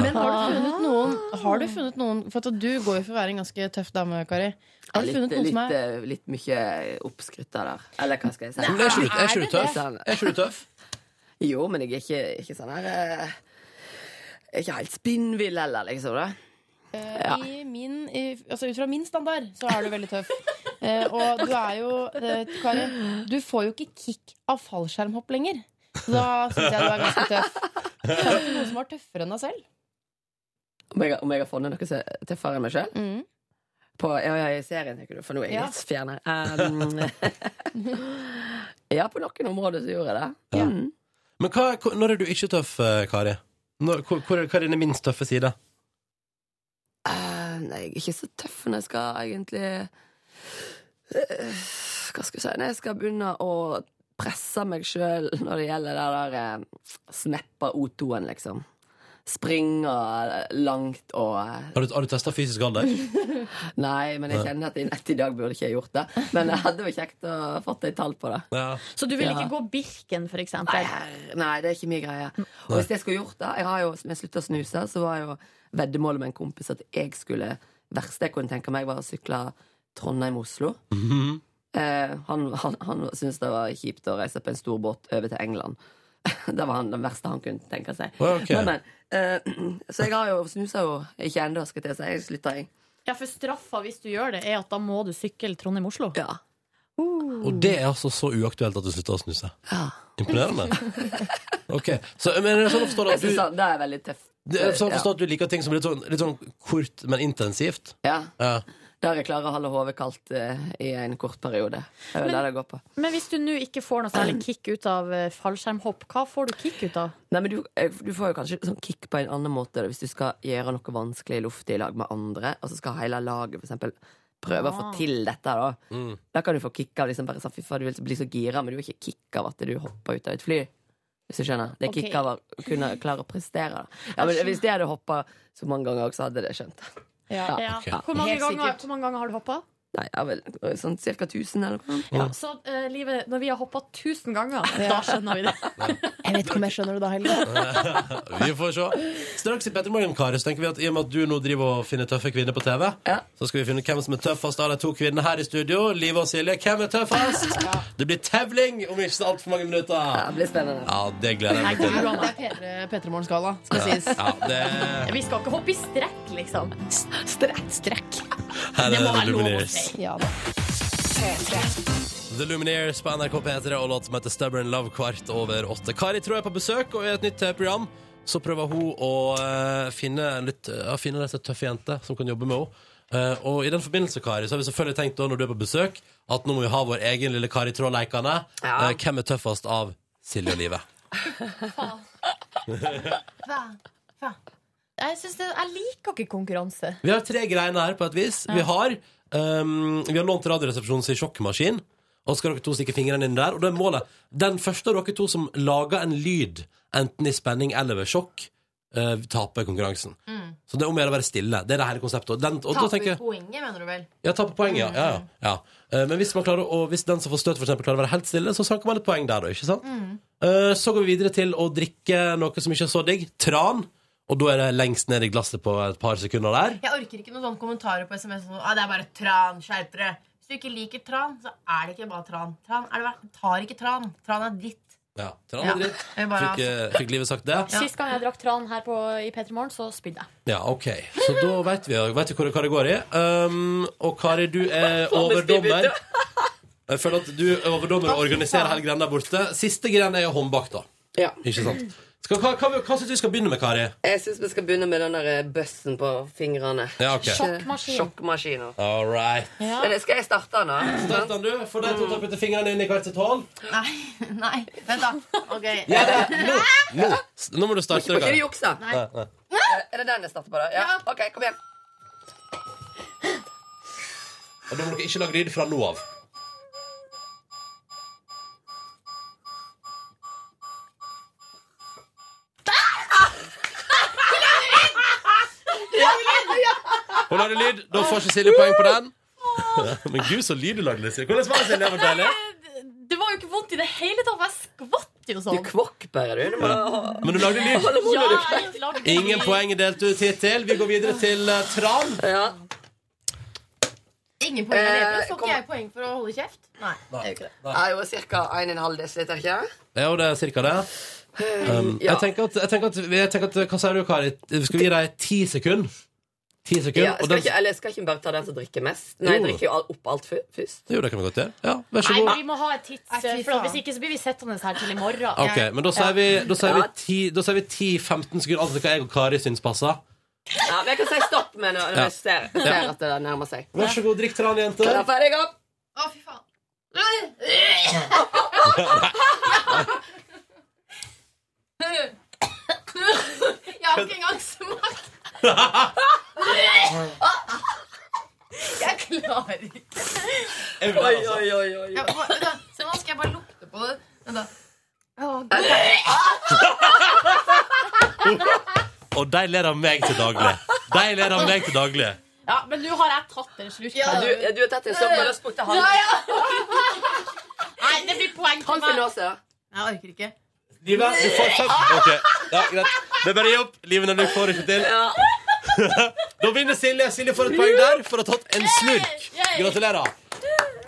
Speaker 3: Men har du funnet noen, har du funnet noen For at du går jo for å være en ganske tøff dame, Kari.
Speaker 12: Ja,
Speaker 3: Har du
Speaker 12: litt,
Speaker 3: funnet noen
Speaker 12: litt,
Speaker 3: som er
Speaker 12: eh, litt mye oppskrytta der. Eller hva skal jeg si?
Speaker 2: Men er ikke du- er ikke du tøff?
Speaker 12: Sånn,
Speaker 2: Er ikke du tøff?
Speaker 12: Jo, men jeg er ikke, ikke sånn her eh, Ikke helt spinnvill heller, liksom. Da. Ja.
Speaker 3: eh, I min, i, altså ut fra min standard så er du veldig tøff. Eh, og du er jo eh, Kari, du får jo ikke kick av fallskjermhopp lenger. Så Da syns jeg du er ganske tøff. Det er ikke noen som er tøffere enn deg selv.
Speaker 12: Om jeg, har- om jeg har funnet noe som er tøffere enn meg sjøl?
Speaker 3: Mm.
Speaker 12: På ja, ja, i serien, tenker du, for nå er jeg
Speaker 3: Ja.
Speaker 12: litt fjern her. Um, ja, på noen områder så gjorde jeg det. Mm.
Speaker 2: Men hva, hvor- når er du ikke tøff, eh, Kari? Når, hvor, hvor er- hva er dine minst tøffe sider?
Speaker 12: Eh, nei, jeg er ikke så tøff når jeg skal egentlig eh, Hva skal jeg si? Når jeg skal begynne å presse meg sjøl når det gjelder det der eh, snappa O2-en, liksom. springer langt og eh,
Speaker 2: Har du, har du testa fysisk alder?
Speaker 12: Nei, men jeg
Speaker 2: Nei.
Speaker 12: kjenner at i nett i dag burde ikke jeg gjort det. Men det hadde vært kjekt å fått et tall på det.
Speaker 2: Ja.
Speaker 4: Så du vil
Speaker 12: Ja.
Speaker 4: ikke gå Birken, for eksempel?
Speaker 12: Nei, det er ikke min greie. Og hvis jeg skulle gjort det Jeg har jo, når jeg slutta å snuse, så var jo veddemålet med en kompis at jeg skulle verste jeg kunne tenke meg, var å sykle Trondheim-Oslo. Eh, han han, han syntes det var kjipt å reise på en stor båt over til England. det var han, den verste han kunne tenke seg.
Speaker 2: Å, ok.
Speaker 12: Men, men, eh, så jeg har jo snusa jo ikke ennå, skal jeg til å si. Jeg slutta, jeg.
Speaker 4: Ja, for straffa hvis du gjør det, er at da må du sykle Trondheim-Oslo.
Speaker 12: Ja.
Speaker 2: Og det er altså så uaktuelt at du slutter å snuse. Imponerende. Ok, så men er det sånn å forstå at
Speaker 12: Jeg
Speaker 2: du,
Speaker 12: synes han- det er veldig tøft.
Speaker 2: det er sånn å
Speaker 12: Ja.
Speaker 2: forstå at du liker ting som er litt sånn, litt sånn kort, men intensivt?
Speaker 12: Ja.
Speaker 2: Ja.
Speaker 12: Der jeg klarer å holde hodet kaldt eh, i en kort periode. Det er jo
Speaker 4: Men-
Speaker 12: det det går på.
Speaker 4: Men hvis du nå ikke får noe særlig kick ut av eh, fallskjermhopp, hva får du kick ut av?
Speaker 12: Nei, men du, eh, du får jo kanskje sånn kick på en annen måte da, hvis du skal gjøre noe vanskelig i luft i lag med andre, og så skal hele laget for eksempel prøve å få
Speaker 4: Ah.
Speaker 12: til dette. Da
Speaker 2: Mm.
Speaker 12: Da kan du få kick av liksom bare sånn, fy faen, du vil bli så gira, men du er ikke kick av at du hopper ut av et fly. Hvis du skjønner. Det er
Speaker 4: Ok.
Speaker 12: kick av å kunne klare å prestere. Da. Ja, men
Speaker 4: Jeg skjønner.
Speaker 12: Hvis jeg hadde hoppa så mange ganger også, hadde jeg skjønt det. Ja.
Speaker 4: Ja.
Speaker 12: Ok.
Speaker 4: Hvor, mange
Speaker 12: Helt
Speaker 4: ganger,
Speaker 12: sikkert.
Speaker 4: hvor mange ganger har du hoppa?
Speaker 12: Nei, ja, vel, sånn cirka 1000 eller noe.
Speaker 4: Ja, så eh, Live, når vi har hoppa 1000 ganger,
Speaker 12: Ja.
Speaker 4: da skjønner vi det.
Speaker 3: Jeg vet ikke om jeg skjønner det da heller.
Speaker 2: vi får se. Straks i Petter Morgen, Kari, så tenker vi at i og med at du nå driver og finner tøffe kvinner på TV, så skal vi finne ut hvem som er tøffest av de to kvinnene her i studio. Live og Silje, hvem er tøffest? Det blir tevling om ikke så altfor mange minutter. Ja,
Speaker 12: det blir spennende.
Speaker 2: Ja, det gleder jeg meg til.
Speaker 3: Det er P3morgen-skala, skal
Speaker 2: Ja,
Speaker 3: sies.
Speaker 2: ja, det-
Speaker 4: Vi skal ikke hoppe i strekk, liksom.
Speaker 3: Strekk. Strekk.
Speaker 2: Her er The Lumineers.
Speaker 3: Ja da.
Speaker 2: The Lumineers på NRK P3 og låt som heter Stubborn Love kvart over åtte. Kari tror jeg er på besøk og i et nytt eh, program. Så prøver hun å eh, finne en litt eh, ja, finne disse tøffe jenter som kan jobbe med henne. Eh, og i den forbindelse, Kari, så har vi selvfølgelig tenkt da, når du er på besøk, at nå må vi ha vår egen lille Kari Tråd-leikende.
Speaker 12: Ja.
Speaker 2: Eh, hvem er tøffest av Silje og Live? vi
Speaker 4: Jeg, synes det, jeg liker ikke konkurranse.
Speaker 2: har tre greiene her på et vis. Vi har um, Vi har lånt Radioresepsjonens sjokkmaskin. Og så skal dere to stikke fingrene inn der. Og da er målet Den første av dere to som lager en lyd, enten i spenning eller ved sjokk, eh, taper konkurransen. Så det er om å gjøre å være stille. Det er det hele konseptet. Og den, og da tenker jeg
Speaker 3: poenget, mener du vel?
Speaker 2: ja, taper poeng, ja. ja, ja, ja. Eh, Men hvis, man klarer, å- og hvis den som får støt, for eksempel, klarer å være helt stille, så sanker man et poeng der, da. ikke sant? Eh, Så går vi videre til å drikke noe som ikke er så digg. Tran. Og da er det lengst ned i glasset på et par sekunder der.
Speaker 3: Jeg orker ikke noen sånne kommentarer på SMS som ah, 'det er bare tran', skjerp dere. Hvis du ikke liker tran, så er det ikke bare tran. Tran er det verdt. Tar ikke tran. Tran er dritt.
Speaker 2: Ja, tran
Speaker 3: Ja.
Speaker 2: er dritt.
Speaker 3: Jeg bare-
Speaker 2: Fikk, eh, fikk livet sagt det?
Speaker 4: Sist gang jeg drakk tran her på, i P3 Morgen, så spydde jeg.
Speaker 2: Ja, ok. Så da vet vi, vet vi hvor, hva det går i. Um, og Kari, du er overdommer. Jeg føler at du er overdommer og organiserer hele greia der borte. Siste greia er håndbak, da.
Speaker 12: Ja.
Speaker 2: Ikke sant? Skal, hva hva, hva syns du vi skal begynne med, Kari?
Speaker 12: Jeg syns vi skal begynne med den der eh, bøssen på fingrene.
Speaker 2: Ja, ok.
Speaker 12: Sjokkmaskin. Sjokkmaskiner.
Speaker 2: All right.
Speaker 12: Eller Skal jeg starte den, da?
Speaker 2: Start den, du. Få de to til å putte fingrene inn i hvert sitt hånd.
Speaker 3: Nei. Nei. Vent, da. Ok.
Speaker 2: Ja, det- nå, nå, nå må du starte.
Speaker 12: Må ikke
Speaker 2: Kari.
Speaker 12: du jukse.
Speaker 3: Nei.
Speaker 2: nei.
Speaker 12: Er det den jeg starter på, da? Ja. OK, kom igjen.
Speaker 2: Og da må dere ikke lage lyd fra nå av. Hun lagde lyd. Da får ikke Silje poeng på den. Men gud, så lyd du lagde, Silje. Hvordan var det, Silje? Var det deilig?
Speaker 4: Eh, Det var jo ikke vondt i det hele tatt. Jeg skvatt jo sånn.
Speaker 12: Du kvokk bare, du. du må...
Speaker 2: Men du lagde lyd.
Speaker 12: Hold munnen,
Speaker 4: Ja,
Speaker 12: du.
Speaker 4: jeg lagde
Speaker 2: Ingen
Speaker 4: lyd.
Speaker 2: poeng er delt ut hittil. Vi går videre til eh, Tran.
Speaker 3: Ingen poeng av dere.
Speaker 12: Eh,
Speaker 3: Så
Speaker 12: kom-
Speaker 3: ikke jeg poeng for å holde kjeft? Nei. det gjør ikke det.
Speaker 12: Det er jo ca. 1,5 dl, ikke
Speaker 2: Det er jo det, cirka det. Um,
Speaker 12: ja.
Speaker 2: jeg, tenker at, jeg, tenker at, jeg tenker at Hva sier du, Kari? Skal vi gi deg ti sekunder? Ti sekunder.
Speaker 12: Ja,
Speaker 2: og
Speaker 12: skal
Speaker 2: den,
Speaker 12: ikke, eller skal ikke vi bare ta den som drikker mest? Nei, jeg
Speaker 2: Jo.
Speaker 12: drikker jo all- opp alt fu- først.
Speaker 2: Jo, det kan vi godt gjøre. Ja, vær så
Speaker 4: Nei,
Speaker 2: god.
Speaker 4: men vi må ha et tids... eh,
Speaker 3: fy
Speaker 4: For
Speaker 3: faen.
Speaker 4: hvis ikke så blir vi sittende her til i morgen.
Speaker 2: Ok, men da sier vi, da sier vi, ti, da sier vi 10-15 sekunder, altså hva jeg og Kari syns passer.
Speaker 12: Ja, men jeg kan si stopp med når når
Speaker 2: Ja.
Speaker 12: jeg ser,
Speaker 2: Ja.
Speaker 12: ser at det nærmer seg.
Speaker 2: Vær så god, drikk tran, jenter.
Speaker 12: Klar, ferdig, opp!
Speaker 3: Å, fy faen. Jeg har ikke engang smakt. Jeg klarer ikke.
Speaker 12: Oi,
Speaker 2: altså.
Speaker 12: oi, oi, oi.
Speaker 3: Ja, hva- vent da, så nå skal jeg bare lukte på det. Vent da. Å, Gud.
Speaker 2: og de ler av meg til daglig. De ler av meg til daglig.
Speaker 4: Ja, men nå har jeg tatt en slurk.
Speaker 12: Ja, du- du har tatt en slurk, men da spurte han.
Speaker 4: Ja, ja. Nei, det blir poeng til
Speaker 12: Han får nå se.
Speaker 4: Jeg orker ikke.
Speaker 2: Live, du får fem Ok, ja, greit. Det er bare jobb. Liven og Luke får ikke til. da vinner Silje. Silje får et poeng der for å ha tatt en slurk. Gratulerer. Da er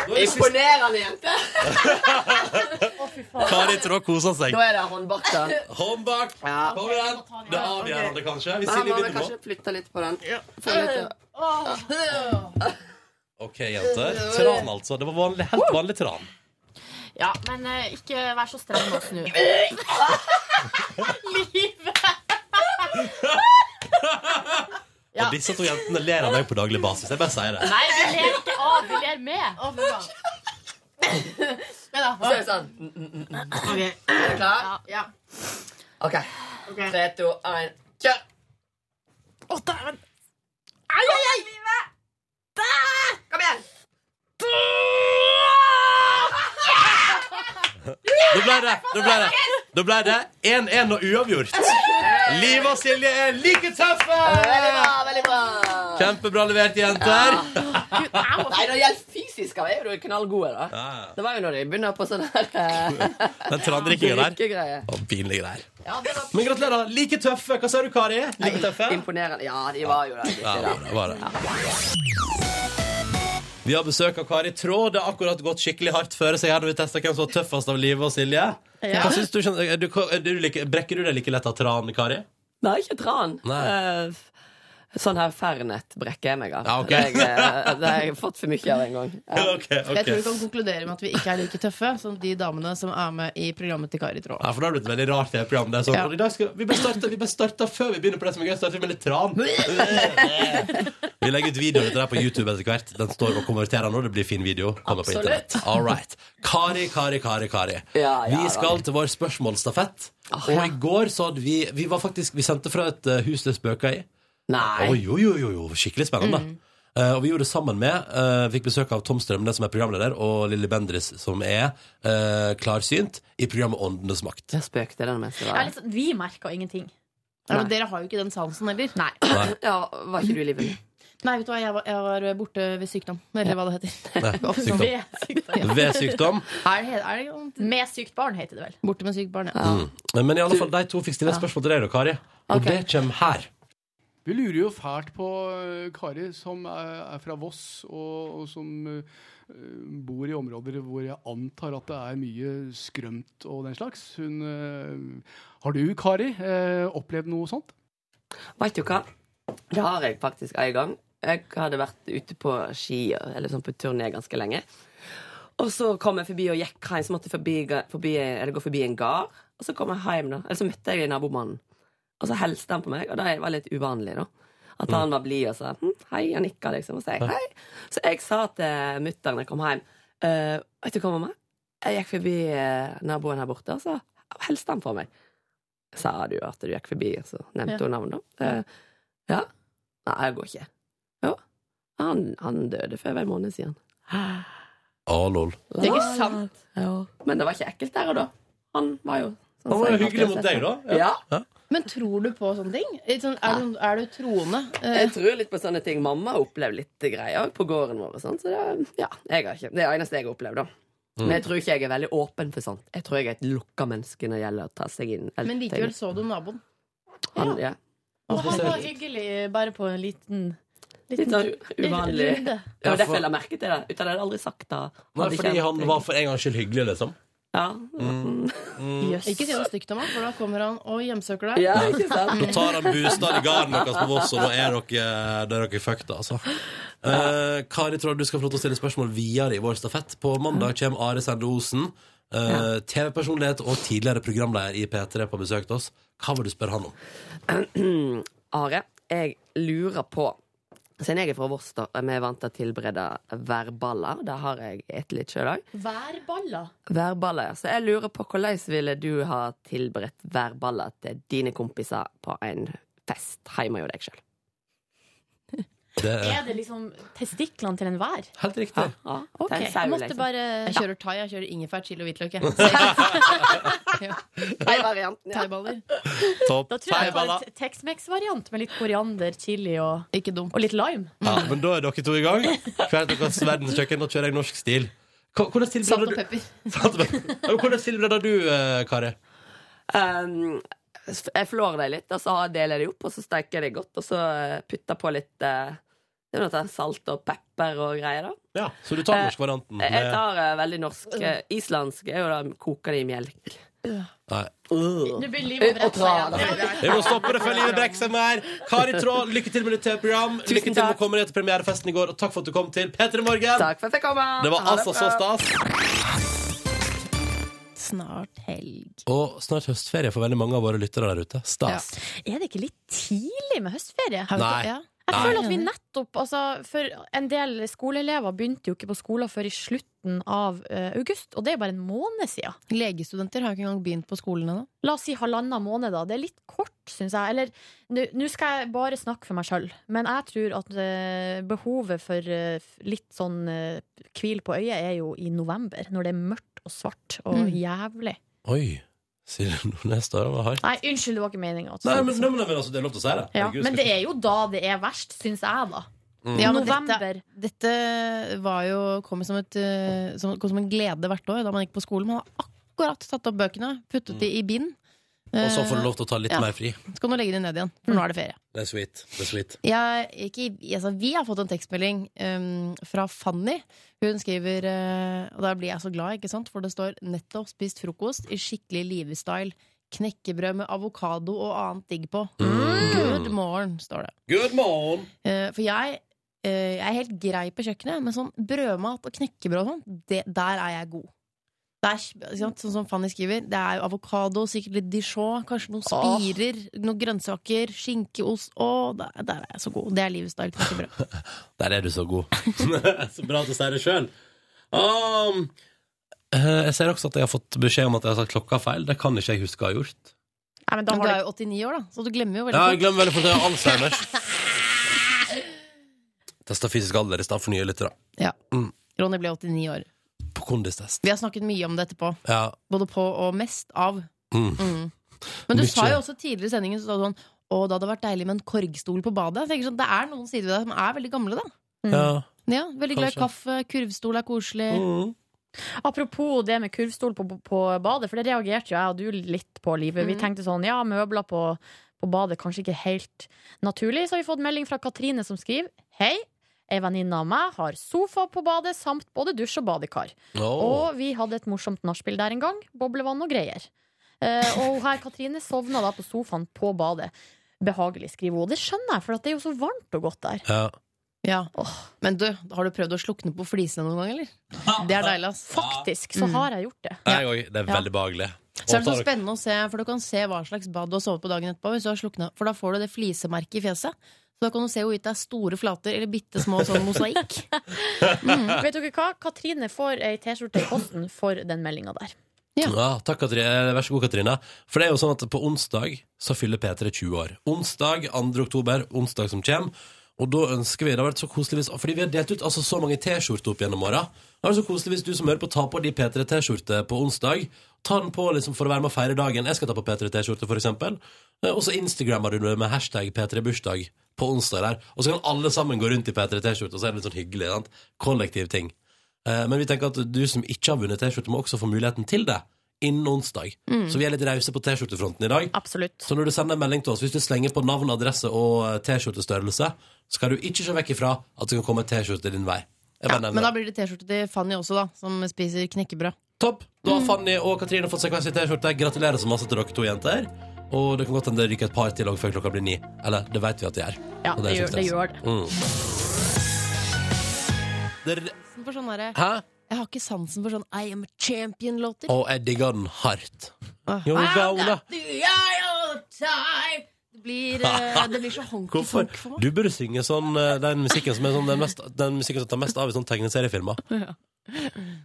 Speaker 2: det siste-
Speaker 12: Imponerende jente.
Speaker 2: Kari tror hun koser seg.
Speaker 12: Da er det håndbakt, da.
Speaker 2: Håndbak. Kom igjen. Det er avgjørende, kanskje. Hvis
Speaker 12: Men han
Speaker 2: Silje
Speaker 12: må vel
Speaker 2: vinner nå.
Speaker 12: kanskje flytte litt på den. Føler litt, ja.
Speaker 2: OK, jenter. Tran, altså. Det var vanlig, helt vanlig tran.
Speaker 4: Ja, men eh, ikke vær så streng med oss nå.
Speaker 2: Og disse to jentene ler av meg på daglig basis. Jeg bare sier det.
Speaker 4: Nei, vi ler ikke av, vi ler med.
Speaker 12: Men da, så er det sånn. Ok. Er du klar?
Speaker 4: Ja.
Speaker 12: Ok. Tre, to, én, kjør!
Speaker 4: Å, dæven!
Speaker 12: Ai, ai, ai! Kom igjen!
Speaker 2: Da ble det Da ble det Da ble det 1-1 og uavgjort. Liv og Silje er like tøffe!
Speaker 12: Veldig bra, veldig bra.
Speaker 2: Kjempebra levert, jenter.
Speaker 12: Nei, når det gjelder fysisk, er jo du knallgod. Da. Det var jo når de begynner på sånn her eh,
Speaker 2: Den trandrikkinga der.
Speaker 12: drikkegreier.
Speaker 2: Å, Pinlige greier.
Speaker 12: Ja, det var
Speaker 2: Men gratulerer. Like tøffe. Hva sa du, Kari? Like tøffe?
Speaker 12: imponerende. Ja, de var jo det.
Speaker 2: Ja, det var det, det var det. Vi har besøk av Kari Traa. Det har akkurat gått skikkelig hardt før, så jeg hadde vi testa hvem som var tøffest av Live og Silje.
Speaker 12: Ja.
Speaker 2: Hva synes du, skjønner- er du, er du like, brekker du deg like lett av tran, Kari?
Speaker 12: Nei, ikke tran.
Speaker 2: Nei.
Speaker 12: Eh, sånn her fernet brekker jeg meg av.
Speaker 2: Ja, ok.
Speaker 12: det, har jeg, eh, det har jeg fått for mye av en gang. Ja.
Speaker 3: Jeg tror vi kan konkludere med at vi ikke er like tøffe som de damene som er med i programmet til Kari Traa.
Speaker 2: Ja, for det har blitt veldig rart det programmet. Det er sånn,
Speaker 3: Ja.
Speaker 2: og i dag skal, vi bare starter, vi bare starter før vi begynner på det som er gøy. Starter vi med litt tran. Vi legger ut videoen til deg på YouTube etter hvert. Den står og konverterer nå. Det blir fin video. Kommer på
Speaker 12: Absolutt.
Speaker 2: internett. All right. Kari, Kari, Kari, Kari.
Speaker 12: Ja, ja, Ah,
Speaker 2: vi skal til vår spørsmålsstafett. Og i går så hadde vi Vi var faktisk, vi sendte fra et eh, hus det spøka i.
Speaker 12: Nei. Mm.
Speaker 2: Å, jo, jo, jo, jo. Skikkelig spennende. Eh, og vi gjorde det sammen med eh, Fikk besøk av Tom Strømnes, som er programleder, og Lilly Bendriss, som er eh, klarsynt, i programmet Åndenes makt.
Speaker 12: Jeg spøkte den meste
Speaker 4: Jeg er litt sånn- vi merker ingenting.
Speaker 3: Ja, men dere har jo ikke den sansen heller.
Speaker 4: Nei.
Speaker 2: Nei.
Speaker 12: var ikke du i livet?
Speaker 3: Nei, vet du hva, jeg var, jeg var borte ved sykdom. Eller hva det heter.
Speaker 2: Nei, sykdom.
Speaker 3: Ved
Speaker 4: sånn.
Speaker 3: sykdom.
Speaker 2: Ved sykdom.
Speaker 3: Er det, er det
Speaker 4: Med sykt barn, heter det vel.
Speaker 3: Borte med sykt barn, ja.
Speaker 2: Mm. Men i alle fall, de to fikk stille et
Speaker 3: Ja.
Speaker 2: spørsmål til deg, da, Kari. Og
Speaker 13: Ok.
Speaker 2: det kommer her.
Speaker 13: Vi lurer jo fælt på eh, Kari, som er er fra Voss, og, og som eh, bor i områder hvor jeg antar at det er mye skrømt og den slags. Hun, eh, har du, Kari, eh, opplevd noe sånt?
Speaker 12: Vet du hva? Det har jeg faktisk en gang. Jeg hadde vært ute på ski, eller sånn på turné ganske lenge. Og så kom jeg forbi og gikk hjem, så måtte jeg forbi, forbi, eller gå forbi en gard. Og så kom jeg hjem, da. Eller så møtte jeg nabomannen. Og så hilste han på meg, og det var litt uvanlig, da. At han var blid og sa hm, hei, og nikka, liksom. Og så jeg hei. Så jeg sa til mutter'n da jeg kom hjem, «Eh, vet du hva, mamma? Jeg gikk forbi eh, naboen her borte, og så hilste han på meg. Sa du at du gikk forbi, og så nevnte
Speaker 14: Ja.
Speaker 12: hun navnet, da. Eh, ja. Nei, det går ikke. Jo. Han, han døde for over en måned siden.
Speaker 2: Å, lol.
Speaker 12: Det er ikke sant. Ja. Men det var ikke ekkelt der og da. Han var jo sånn
Speaker 2: Han var jo
Speaker 12: som jeg
Speaker 2: hyggelig mot
Speaker 12: alltid har sett
Speaker 2: deg, da.
Speaker 12: han. Ja.
Speaker 3: Men tror du på sånne ting? Litt Sånn, er, du, er du troende? Eh,
Speaker 12: Jeg tror litt på sånne ting. Mamma har opplevd litt greier også på gården vår. Og sånn, så det, er- ja, jeg har ikke, det er det eneste jeg har opplevd, da.
Speaker 2: Mm.
Speaker 12: Men jeg tror ikke jeg er veldig åpen for sånt. Jeg tror jeg er et lukka menneske når det gjelder å ta seg inn.
Speaker 3: Men likevel så du naboen.
Speaker 12: Han, ja.
Speaker 4: Og han var hyggelig bare på en liten
Speaker 12: Litt sånn uvanlig.
Speaker 4: runde.
Speaker 12: Det var derfor jeg la merke til det. Uten det hadde jeg aldri sagt det.
Speaker 2: Nei,
Speaker 12: Hadde ikke
Speaker 2: fordi
Speaker 12: jeg-
Speaker 2: han var for en gangs skyld hyggelig, liksom.
Speaker 12: Ja.
Speaker 2: Mm. Mm.
Speaker 3: Ikke si noe stygt om han, for da kommer han og hjemsøker deg.
Speaker 12: Ja,
Speaker 2: Da tar han bostad i garden deres på Voss, og nå er dere, da er dere fucked, altså. Eh, Kari tror du skal få lov til å stille spørsmål videre i vår stafett. På mandag kommer Are Sende Osen, eh, TV-personlighet og tidligere programleder i P3, på besøk til oss. Hva vil du spørre han om?
Speaker 12: Are, jeg lurer på Siden jeg er fra Voss, da, vi er vant til å tilberede værballer. Det har jeg et litt sjøl òg.
Speaker 4: Værballer.
Speaker 12: Værballer, ja. Så jeg lurer på hvordan ville du ha tilberedt værballer til dine kompiser på en fest hjemme hos deg sjøl?
Speaker 4: Er det liksom testiklene til enhver?
Speaker 2: Helt riktig.
Speaker 12: Ja,
Speaker 4: Ok,
Speaker 12: Det er en sau,
Speaker 4: jeg måtte
Speaker 12: liksom.
Speaker 4: bare
Speaker 3: Jeg kjører thai, jeg kjører ingefær, chili og hvitløk. jeg.
Speaker 4: Thai-varianten, ja. Thaiballer.
Speaker 2: Topp.
Speaker 4: Da tror jeg jeg tar
Speaker 2: Thaiballer.
Speaker 4: en Tex-Mex-variant med litt koriander, chili og, og litt lime.
Speaker 2: Ja, men da er dere to i gang. Hvert deres verdenskjøkken. Da kjører jeg norsk stil. Hva- Hvordan
Speaker 4: Salt og
Speaker 2: tilbereder du,
Speaker 4: pepper.
Speaker 2: Ja, men hvordan tilbereder du eh, Kari?
Speaker 12: Um, jeg flår det litt, og så deler jeg det opp, og så steker jeg det godt. Og så eh, putter på litt eh, det er noe sånn salt og pepper og greier. da
Speaker 2: Ja, så du tar den norske varianten?
Speaker 12: Eh, Jeg
Speaker 2: med-
Speaker 12: tar eh, veldig norsk. eh, islandsk er jo da koker det i melk.
Speaker 2: Nei.
Speaker 4: Nå blir
Speaker 12: livet bredt seg igjen.
Speaker 2: Vi må stoppe det før livet brekker seg mer. Kari Traa, lykke til med ditt program. Lykke til med å komme ned til premierefesten i går, og takk for at du kom til P3 Morgen.
Speaker 12: Takk for at jeg kom.
Speaker 2: Det var altså så stas.
Speaker 8: Snart helg.
Speaker 2: Og snart høstferie for veldig mange av våre lyttere der ute. Stas.
Speaker 4: Er det ikke litt tidlig med høstferie?
Speaker 2: Har vi ikke- Nei. ja.
Speaker 4: Jeg
Speaker 2: Nei.
Speaker 4: føler at vi nettopp altså, for En del skoleelever begynte jo ikke på skolen før i slutten av eh, august, og det er jo bare en måned siden.
Speaker 3: Legestudenter har jo ikke engang begynt på skolen ennå.
Speaker 4: La oss si halvannen måned, da. Det er litt kort, syns jeg. Eller nå- nå skal jeg bare snakke for meg sjøl, men jeg tror at eh, behovet for eh, f- litt sånn eh, hvil på øyet er jo i november, når det er mørkt og svart og
Speaker 2: Mm.
Speaker 4: jævlig.
Speaker 2: Oi. Silje Nordnes der, det var hardt.
Speaker 4: Nei, unnskyld, det var ikke meninga.
Speaker 2: Nei, men, nei, men, men altså, det er lov til å si det.
Speaker 4: Ja,
Speaker 2: Herregud, skal
Speaker 4: men det er jo da det er verst, syns jeg, da.
Speaker 2: Mm.
Speaker 3: Ja, men
Speaker 4: November.
Speaker 3: Dette var jo, kom, som et, eh, som, kom som en glede hvert år da man gikk på skolen. Man har akkurat tatt opp bøkene, puttet de i bind.
Speaker 2: ikke- Mm. Og så får du lov til å ta litt
Speaker 3: Ja.
Speaker 2: mer fri.
Speaker 3: Så kan du legge de ned igjen, for nå er det ferie.
Speaker 2: Det er sweet. Det er sweet.
Speaker 3: Jeg, ikke, altså, vi har fått en tekstmelding um, fra Fanny. Hun skriver eh, Og da blir jeg så glad, ikke sant? For det står 'nettopp spist frokost i skikkelig livestyle'. Knekkebrød med avokado og annet digg på. Good morgen, står det.
Speaker 2: Good morning!
Speaker 3: Eh, for jeg, eh, jeg er helt grei på kjøkkenet, men sånn brødmat og knekkebrød og sånn, det- der er jeg god. Det er, ikke sant, sånn som Fanny skriver, det er jo avokado, sikkert litt dijon, kanskje noen
Speaker 2: Åh.
Speaker 3: spirer, noen grønnsaker, skinkeost Å, der, der er jeg så god. Det er livets dag, knekkebrød.
Speaker 2: Der er du så god. så bra at du sier det sjøl. Um, eh, jeg ser også at jeg har fått beskjed om at jeg har sagt klokka feil. Det kan ikke jeg huske å ha gjort.
Speaker 3: men
Speaker 4: da
Speaker 3: du
Speaker 4: har
Speaker 3: er jo 89 år, da, så du glemmer jo veldig
Speaker 2: Ja, jeg glemmer veldig fort at jeg har Alzheimers. Testa fysisk alder i stad for nye lyttere.
Speaker 3: Ja.
Speaker 2: Mm.
Speaker 3: Ronny ble 89 år.
Speaker 2: På kondistest.
Speaker 3: Vi har snakket mye om det etterpå.
Speaker 2: Ja.
Speaker 3: Både på og mest av.
Speaker 2: Mm.
Speaker 3: Mm. Men du
Speaker 2: Mykje.
Speaker 3: sa jo også tidligere i sendingen så sa du sånn Å, det hadde vært deilig med en korgstol på badet. Jeg tenker sånn, Det er noen sider ved deg som er veldig gamle,
Speaker 4: Mm.
Speaker 3: da.
Speaker 2: Ja.
Speaker 3: Ja, Veldig glad i
Speaker 4: Kanskje.
Speaker 3: kaffe. Kurvstol er koselig.
Speaker 4: Apropos det med kurvstol på, på badet, for det reagerte jo jeg og du litt på, Livet. Vi
Speaker 3: Mhm.
Speaker 4: tenkte sånn, ja, møbler på, på badet kanskje ikke helt naturlig. Så har vi fått melding fra Katrine som skriver Hei, ei venninne av meg har sofa på badet samt både dusj og badekar.
Speaker 2: Mm.
Speaker 14: Åh.
Speaker 4: Og vi hadde et morsomt nachspiel der en gang. Boblevann og greier. Eh, og hun her Katrine sovna da på sofaen på badet. Behagelig, skriver hun. Og Det skjønner jeg, for at det er jo så varmt og godt der.
Speaker 2: Ja.
Speaker 3: Ja. Men du, har du prøvd å slukne på flisene noen gang, eller? Det er deilig, ass.
Speaker 4: Faktisk så har jeg gjort det.
Speaker 2: Jeg òg. Det er veldig behagelig.
Speaker 3: Så er det så
Speaker 2: Og tar-
Speaker 3: spennende å se, for du kan se hva slags bad du har sovet på dagen etterpå. Hvis du har sluknet, for da får du det flisemerket i fjeset. Så da kan du se hvorvidt det er store flater eller bitte små sånn mosaikk.
Speaker 4: Vet dere hva? Katrine får ei T-skjorte i posten for den meldinga der.
Speaker 2: Ja. takk, Katrine. Vær så god, Katrine. For det er jo sånn at på onsdag så fyller P3 20 år. Onsdag 2. oktober, onsdag som kommer. Og da ønsker vi, det har vært så koselig hvis, Fordi vi har delt ut altså, så mange T-skjorter opp gjennom åra. Det har vært så koselig hvis du som hører på, tar på de P3-T-skjorte på onsdag. Ta den på liksom, for å være med og feire dagen. Jeg skal ta på P3-T-skjorte, for eksempel. Eh, Og så instagrammer du det med hashtag P3bursdag på onsdag der. Og så kan alle sammen gå rundt i P3-T-skjorte, og så er det litt sånn hyggelig. sant? Kollektiv ting. Eh, Men vi tenker at du som ikke har vunnet T-skjorte, må også få muligheten til det innen onsdag.
Speaker 4: Mm.
Speaker 2: Så vi er litt rause på T-skjortefronten i dag.
Speaker 4: Absolutt.
Speaker 2: Så når du sender en melding til oss, hvis du slenger på navn, adresse og eh, T-skjortestørrelse, skal du ikke se vekk ifra at det kan komme T-skjorte din vei. Jeg bare
Speaker 3: Men da
Speaker 2: nevner det.
Speaker 3: blir det T-skjorte til Fanny også, da, som spiser knekkebrød.
Speaker 2: Topp! Da har Fanny og Katrine fått seg hver sin T-skjorte. Gratulerer så masse til dere to jenter. Og det kan godt hende det ryker et par til også før klokka blir ni. Eller det vet vi at det gjør.
Speaker 4: Ja,
Speaker 2: Og
Speaker 4: det
Speaker 2: er
Speaker 4: gjør-
Speaker 2: kjempestress.
Speaker 4: det
Speaker 2: Mm. Det er-
Speaker 3: For sånn derre-
Speaker 2: Hæ?
Speaker 3: Jeg har ikke sansen for sånn I am a Ah. champion-låter.
Speaker 2: Og jeg digger den hardt. Jo,
Speaker 4: Ah,
Speaker 2: men hva, Ola?
Speaker 3: Du er all the time. Det blir, eh, det blir så honky
Speaker 2: Hvorfor?
Speaker 3: tonk for meg.
Speaker 2: Du burde synge sånn eh, den musikken som, er sånn, den mest, den musikken som tar mest av i sånne tegneseriefilmer.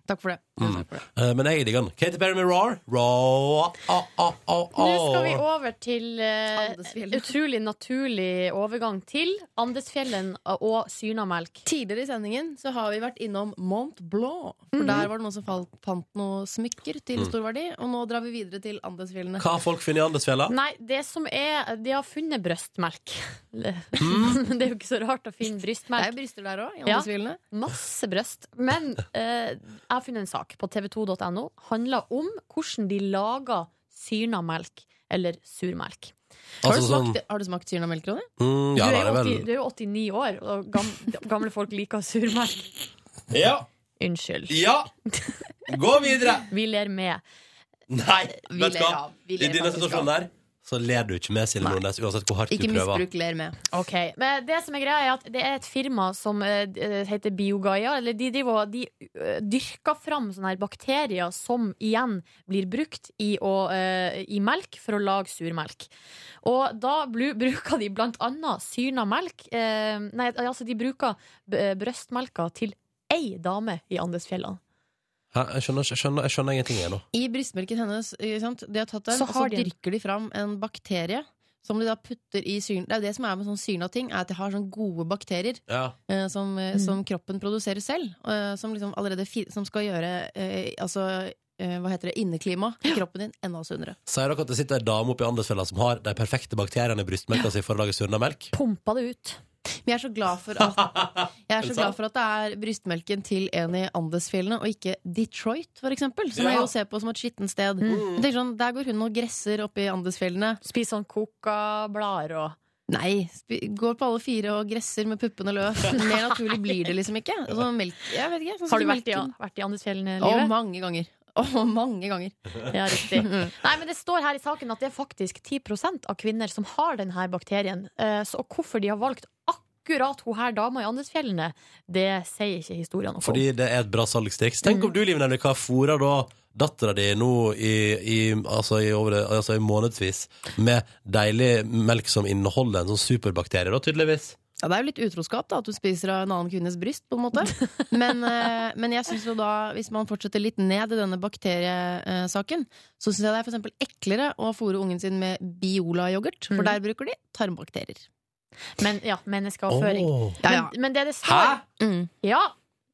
Speaker 3: Takk for det.
Speaker 2: Mm. Eh, Men jeg digger den. Katy Perry med Raw. Raw. Ah, ah, ah, ah.
Speaker 4: Nå skal vi over til uh, utrolig naturlig overgang til Andesfjellen og Synamelk.
Speaker 3: Tidligere i sendingen så har vi vært innom Mont Blanc.
Speaker 4: Mm.
Speaker 3: For
Speaker 2: Mhm.
Speaker 3: der var det noen som falt, fant noen smykker til
Speaker 2: Mm.
Speaker 3: stor verdi. Og nå drar vi videre til Andesfjellene.
Speaker 2: Hva har folk funnet i Andesfjella?
Speaker 4: Nei, det som er De har funnet brystmelk. Det,
Speaker 2: Mm.
Speaker 4: det er jo ikke så rart å finne brystmelk.
Speaker 3: Det er bryster der òg, i
Speaker 4: Ja,
Speaker 3: Andesfjellene.
Speaker 4: masse brøst. Men eh, jeg har funnet en sak på tv2.no. Handler om hvordan de lager syrnamelk eller surmelk.
Speaker 3: Har, du
Speaker 4: Altså
Speaker 3: smakt,
Speaker 4: sånn-
Speaker 3: har du smakt syrna melk, Ronny?
Speaker 2: Mm, ja,
Speaker 4: du,
Speaker 2: da er
Speaker 4: er jo
Speaker 2: det
Speaker 4: 80,
Speaker 2: vel
Speaker 4: du er jo 89 år, og gam- gamle folk liker surmelk.
Speaker 2: Ja.
Speaker 4: Unnskyld.
Speaker 2: Ja! Gå videre!
Speaker 4: Vi ler med.
Speaker 2: Nei,
Speaker 4: Vi
Speaker 2: vet du
Speaker 4: ler
Speaker 2: hva?
Speaker 4: av. Vi
Speaker 2: I
Speaker 4: ler
Speaker 2: denne
Speaker 4: faktisk
Speaker 2: situasjonen
Speaker 4: av.
Speaker 2: der så ler du ikke med Silje Nordnes, uansett hvor hardt du
Speaker 3: Ikke
Speaker 2: prøver.
Speaker 3: misbruk ler med.
Speaker 4: Ok, men Det som er greia er at det er et firma som eh, d- heter Biogaia. Eller de, driver, og- de eh, dyrker fram sånne her bakterier som igjen blir brukt i, å, eh, i melk for å lage surmelk. Og da blu, bruker de blant annet syrna melk eh, Nei, altså de bruker eh, brøstmelka til ei dame i Andesfjellene.
Speaker 2: Hæ? Jeg skjønner, ikke- jeg skjønner, jeg skjønner ingenting ennå.
Speaker 3: I brystmelken hennes, ikke sant? De har tatt den,
Speaker 4: Så
Speaker 3: og
Speaker 4: har
Speaker 3: så
Speaker 4: de en.
Speaker 3: dyrker de fram en bakterie. Som de da putter i syren Det er jo det som er med sånn syrna ting, er at de har sånne gode bakterier
Speaker 2: Ja.
Speaker 3: eh, som,
Speaker 4: Mm.
Speaker 3: eh, som kroppen produserer selv. eh, som liksom allerede fi, som skal gjøre eh, altså, eh, hva heter det, inneklima i kroppen din enda sunnere.
Speaker 2: Sier dere at det sitter ei dame oppe i Andesfjella som har de perfekte bakteriene i brystmelka si for å lage sunna melk?
Speaker 4: Pumpa det ut.
Speaker 3: Men jeg er så glad for at, jeg er så glad
Speaker 2: sant?
Speaker 3: for at det er brystmelken til en i Andesfjellene, og ikke Detroit, for eksempel. Som jeg
Speaker 4: Ja. Mm.
Speaker 3: jo ser på som et skittent sted. Jeg tenker sånn, Der går hun og gresser oppe i Andesfjellene.
Speaker 4: Spiser sånn coca-blader og
Speaker 3: Nei, spi går på alle fire og gresser med puppene løs. Mer naturlig blir det liksom ikke. Altså, melk, jeg vet ikke, sånn som
Speaker 4: Har du vært i,
Speaker 3: melken.
Speaker 4: vært i Andesfjellene,
Speaker 3: Å,
Speaker 4: Live?
Speaker 3: mange ganger. Å, mange ganger.
Speaker 4: Ja, riktig. Nei, men Det står her i saken at det er faktisk 10 av kvinner som har denne bakterien. Eh, Så hvorfor de har valgt akkurat hun her dama i Andesfjellene, det sier ikke historien noe
Speaker 2: Fordi
Speaker 4: om.
Speaker 2: det er et bra salgstriks. Tenk
Speaker 4: Mm.
Speaker 2: om du, Liv Nelvik, har fôra da dattera di nå i, i, altså i, over, altså i månedsvis med deilig melk som inneholder en sånn superbakterie, da, tydeligvis.
Speaker 3: Ja, det er jo litt utroskap da, at du spiser av en annen kvinnes bryst, på en måte. Men, eh, men jeg synes jo da, hvis man fortsetter litt ned i denne bakteriesaken, så syns jeg det er for eksempel eklere å fôre ungen sin med Biola-yoghurt, for der bruker de tarmbakterier.
Speaker 4: Men ja, menneskeavføring.
Speaker 3: Åh. Ja, ja.
Speaker 4: Men, men det det står
Speaker 3: mm.
Speaker 4: Ja,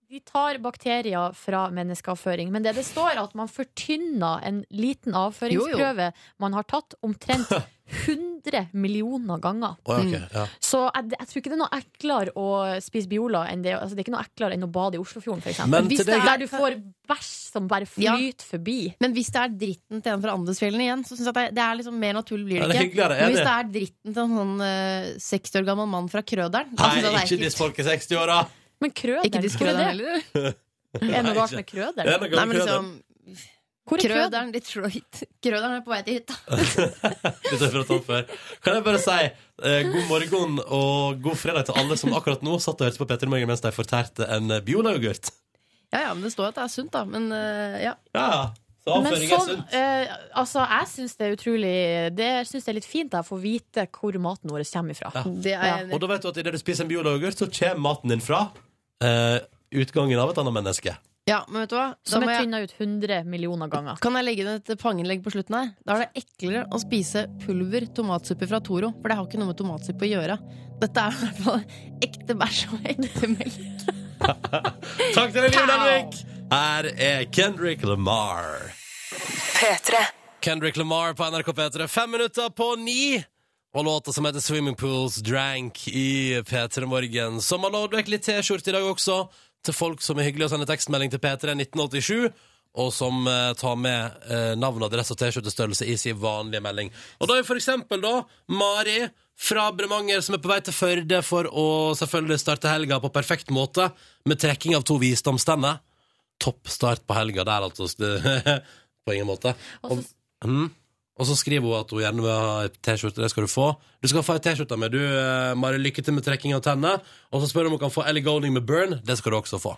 Speaker 4: de tar bakterier fra menneskeavføring. Men det det står, er at man fortynner en liten avføringsprøve man har tatt omtrent 100 millioner ganger.
Speaker 2: Å, ja, ok, ja.
Speaker 4: Så jeg, jeg tror ikke det er noe eklere å spise biola enn det, altså det er ikke noe eklere enn å bade i Oslofjorden, for eksempel.
Speaker 3: Men
Speaker 4: Hvis
Speaker 3: til
Speaker 4: det
Speaker 3: deg-
Speaker 4: er der du får bæsj som bare flyter forbi.
Speaker 3: Men hvis det er dritten til en fra Andesfjellene igjen, så syns jeg at det, det er liksom mer naturlig blir
Speaker 2: Ja,
Speaker 3: det
Speaker 2: det er
Speaker 3: ikke.
Speaker 2: hyggeligere,
Speaker 3: Men
Speaker 2: enig.
Speaker 3: hvis det er dritten til en sånn eh, 60 år gammel mann fra Krøderen da
Speaker 2: Nei,
Speaker 3: synes jeg det er
Speaker 2: ikke
Speaker 3: ekkelt.
Speaker 2: diss folk i 60-åra!
Speaker 4: Men krøder,
Speaker 3: Ikke diss
Speaker 4: hvor er
Speaker 3: Krøderen
Speaker 4: det?
Speaker 3: heller.
Speaker 4: Er det noe
Speaker 2: Nei,
Speaker 4: galt
Speaker 2: ikke.
Speaker 4: med krøder?
Speaker 2: Det er noe galt
Speaker 3: Nei, men
Speaker 2: med
Speaker 3: liksom
Speaker 4: Hvor er
Speaker 3: Krøderen, Detroit. Krøderen er på vei til hytta.
Speaker 2: Dette har jeg pratet om før. Kan jeg bare si eh, god morgen og god fredag til alle som akkurat nå satt og hørte på Petter Morgen mens de fortærte en eh, Biola-yoghurt?
Speaker 3: Ja, ja, men det står at det er sunt, da. Men eh, ja.
Speaker 2: Ja, så
Speaker 4: Men
Speaker 2: avføring er
Speaker 4: sånn,
Speaker 2: sunt.
Speaker 4: eh, altså, jeg syns det er utrolig Det synes det er litt fint da, å få vite hvor maten vår kommer ifra. Ja.
Speaker 2: Og da vet du at idet du spiser en Biola-yoghurt, så kommer maten din fra eh, utgangen av et annet menneske.
Speaker 3: Ja, men vet du hva? Da
Speaker 4: Som
Speaker 3: må
Speaker 4: er
Speaker 3: jeg-
Speaker 4: tynna ut 100 millioner ganger.
Speaker 3: Kan jeg legge inn et panginnlegg på slutten her? Da er det eklere å spise pulver tomatsuppe fra Toro, for det har ikke noe med tomatsuppe å gjøre. Dette er i hvert fall ekte bæsj og ekte melk.
Speaker 2: Takk til deg, Liv Nelvik! Her er Kendrick Lamar.
Speaker 5: P3.
Speaker 2: Kendrick Lamar på NRK P3. Fem minutter på ni. Og låta som heter Swimming Pools Drank i P3 Morgen. Som har lovd vekk litt T-skjorte i dag også, til folk som er hyggelig å sende tekstmelding til P3 1987. Og som eh, tar med eh, navn, adresse og T-skjortestørrelse i sin vanlige melding. Og da er for eksempel da Mari fra Bremanger som er på vei til Førde for å selvfølgelig starte helga på perfekt måte med trekking av to visdomstenner. Topp start på helga der, altså. Det- på ingen måte. Og, mm, og så skriver hun at hun gjerne vil ha et T-skjorte. Det skal du få. Du skal få ei T-skjorte med, du, eh, Mari. Lykke til med trekking av tennene. Og så spør hun om hun kan få Ellie Golding med Burn. Det skal du også få.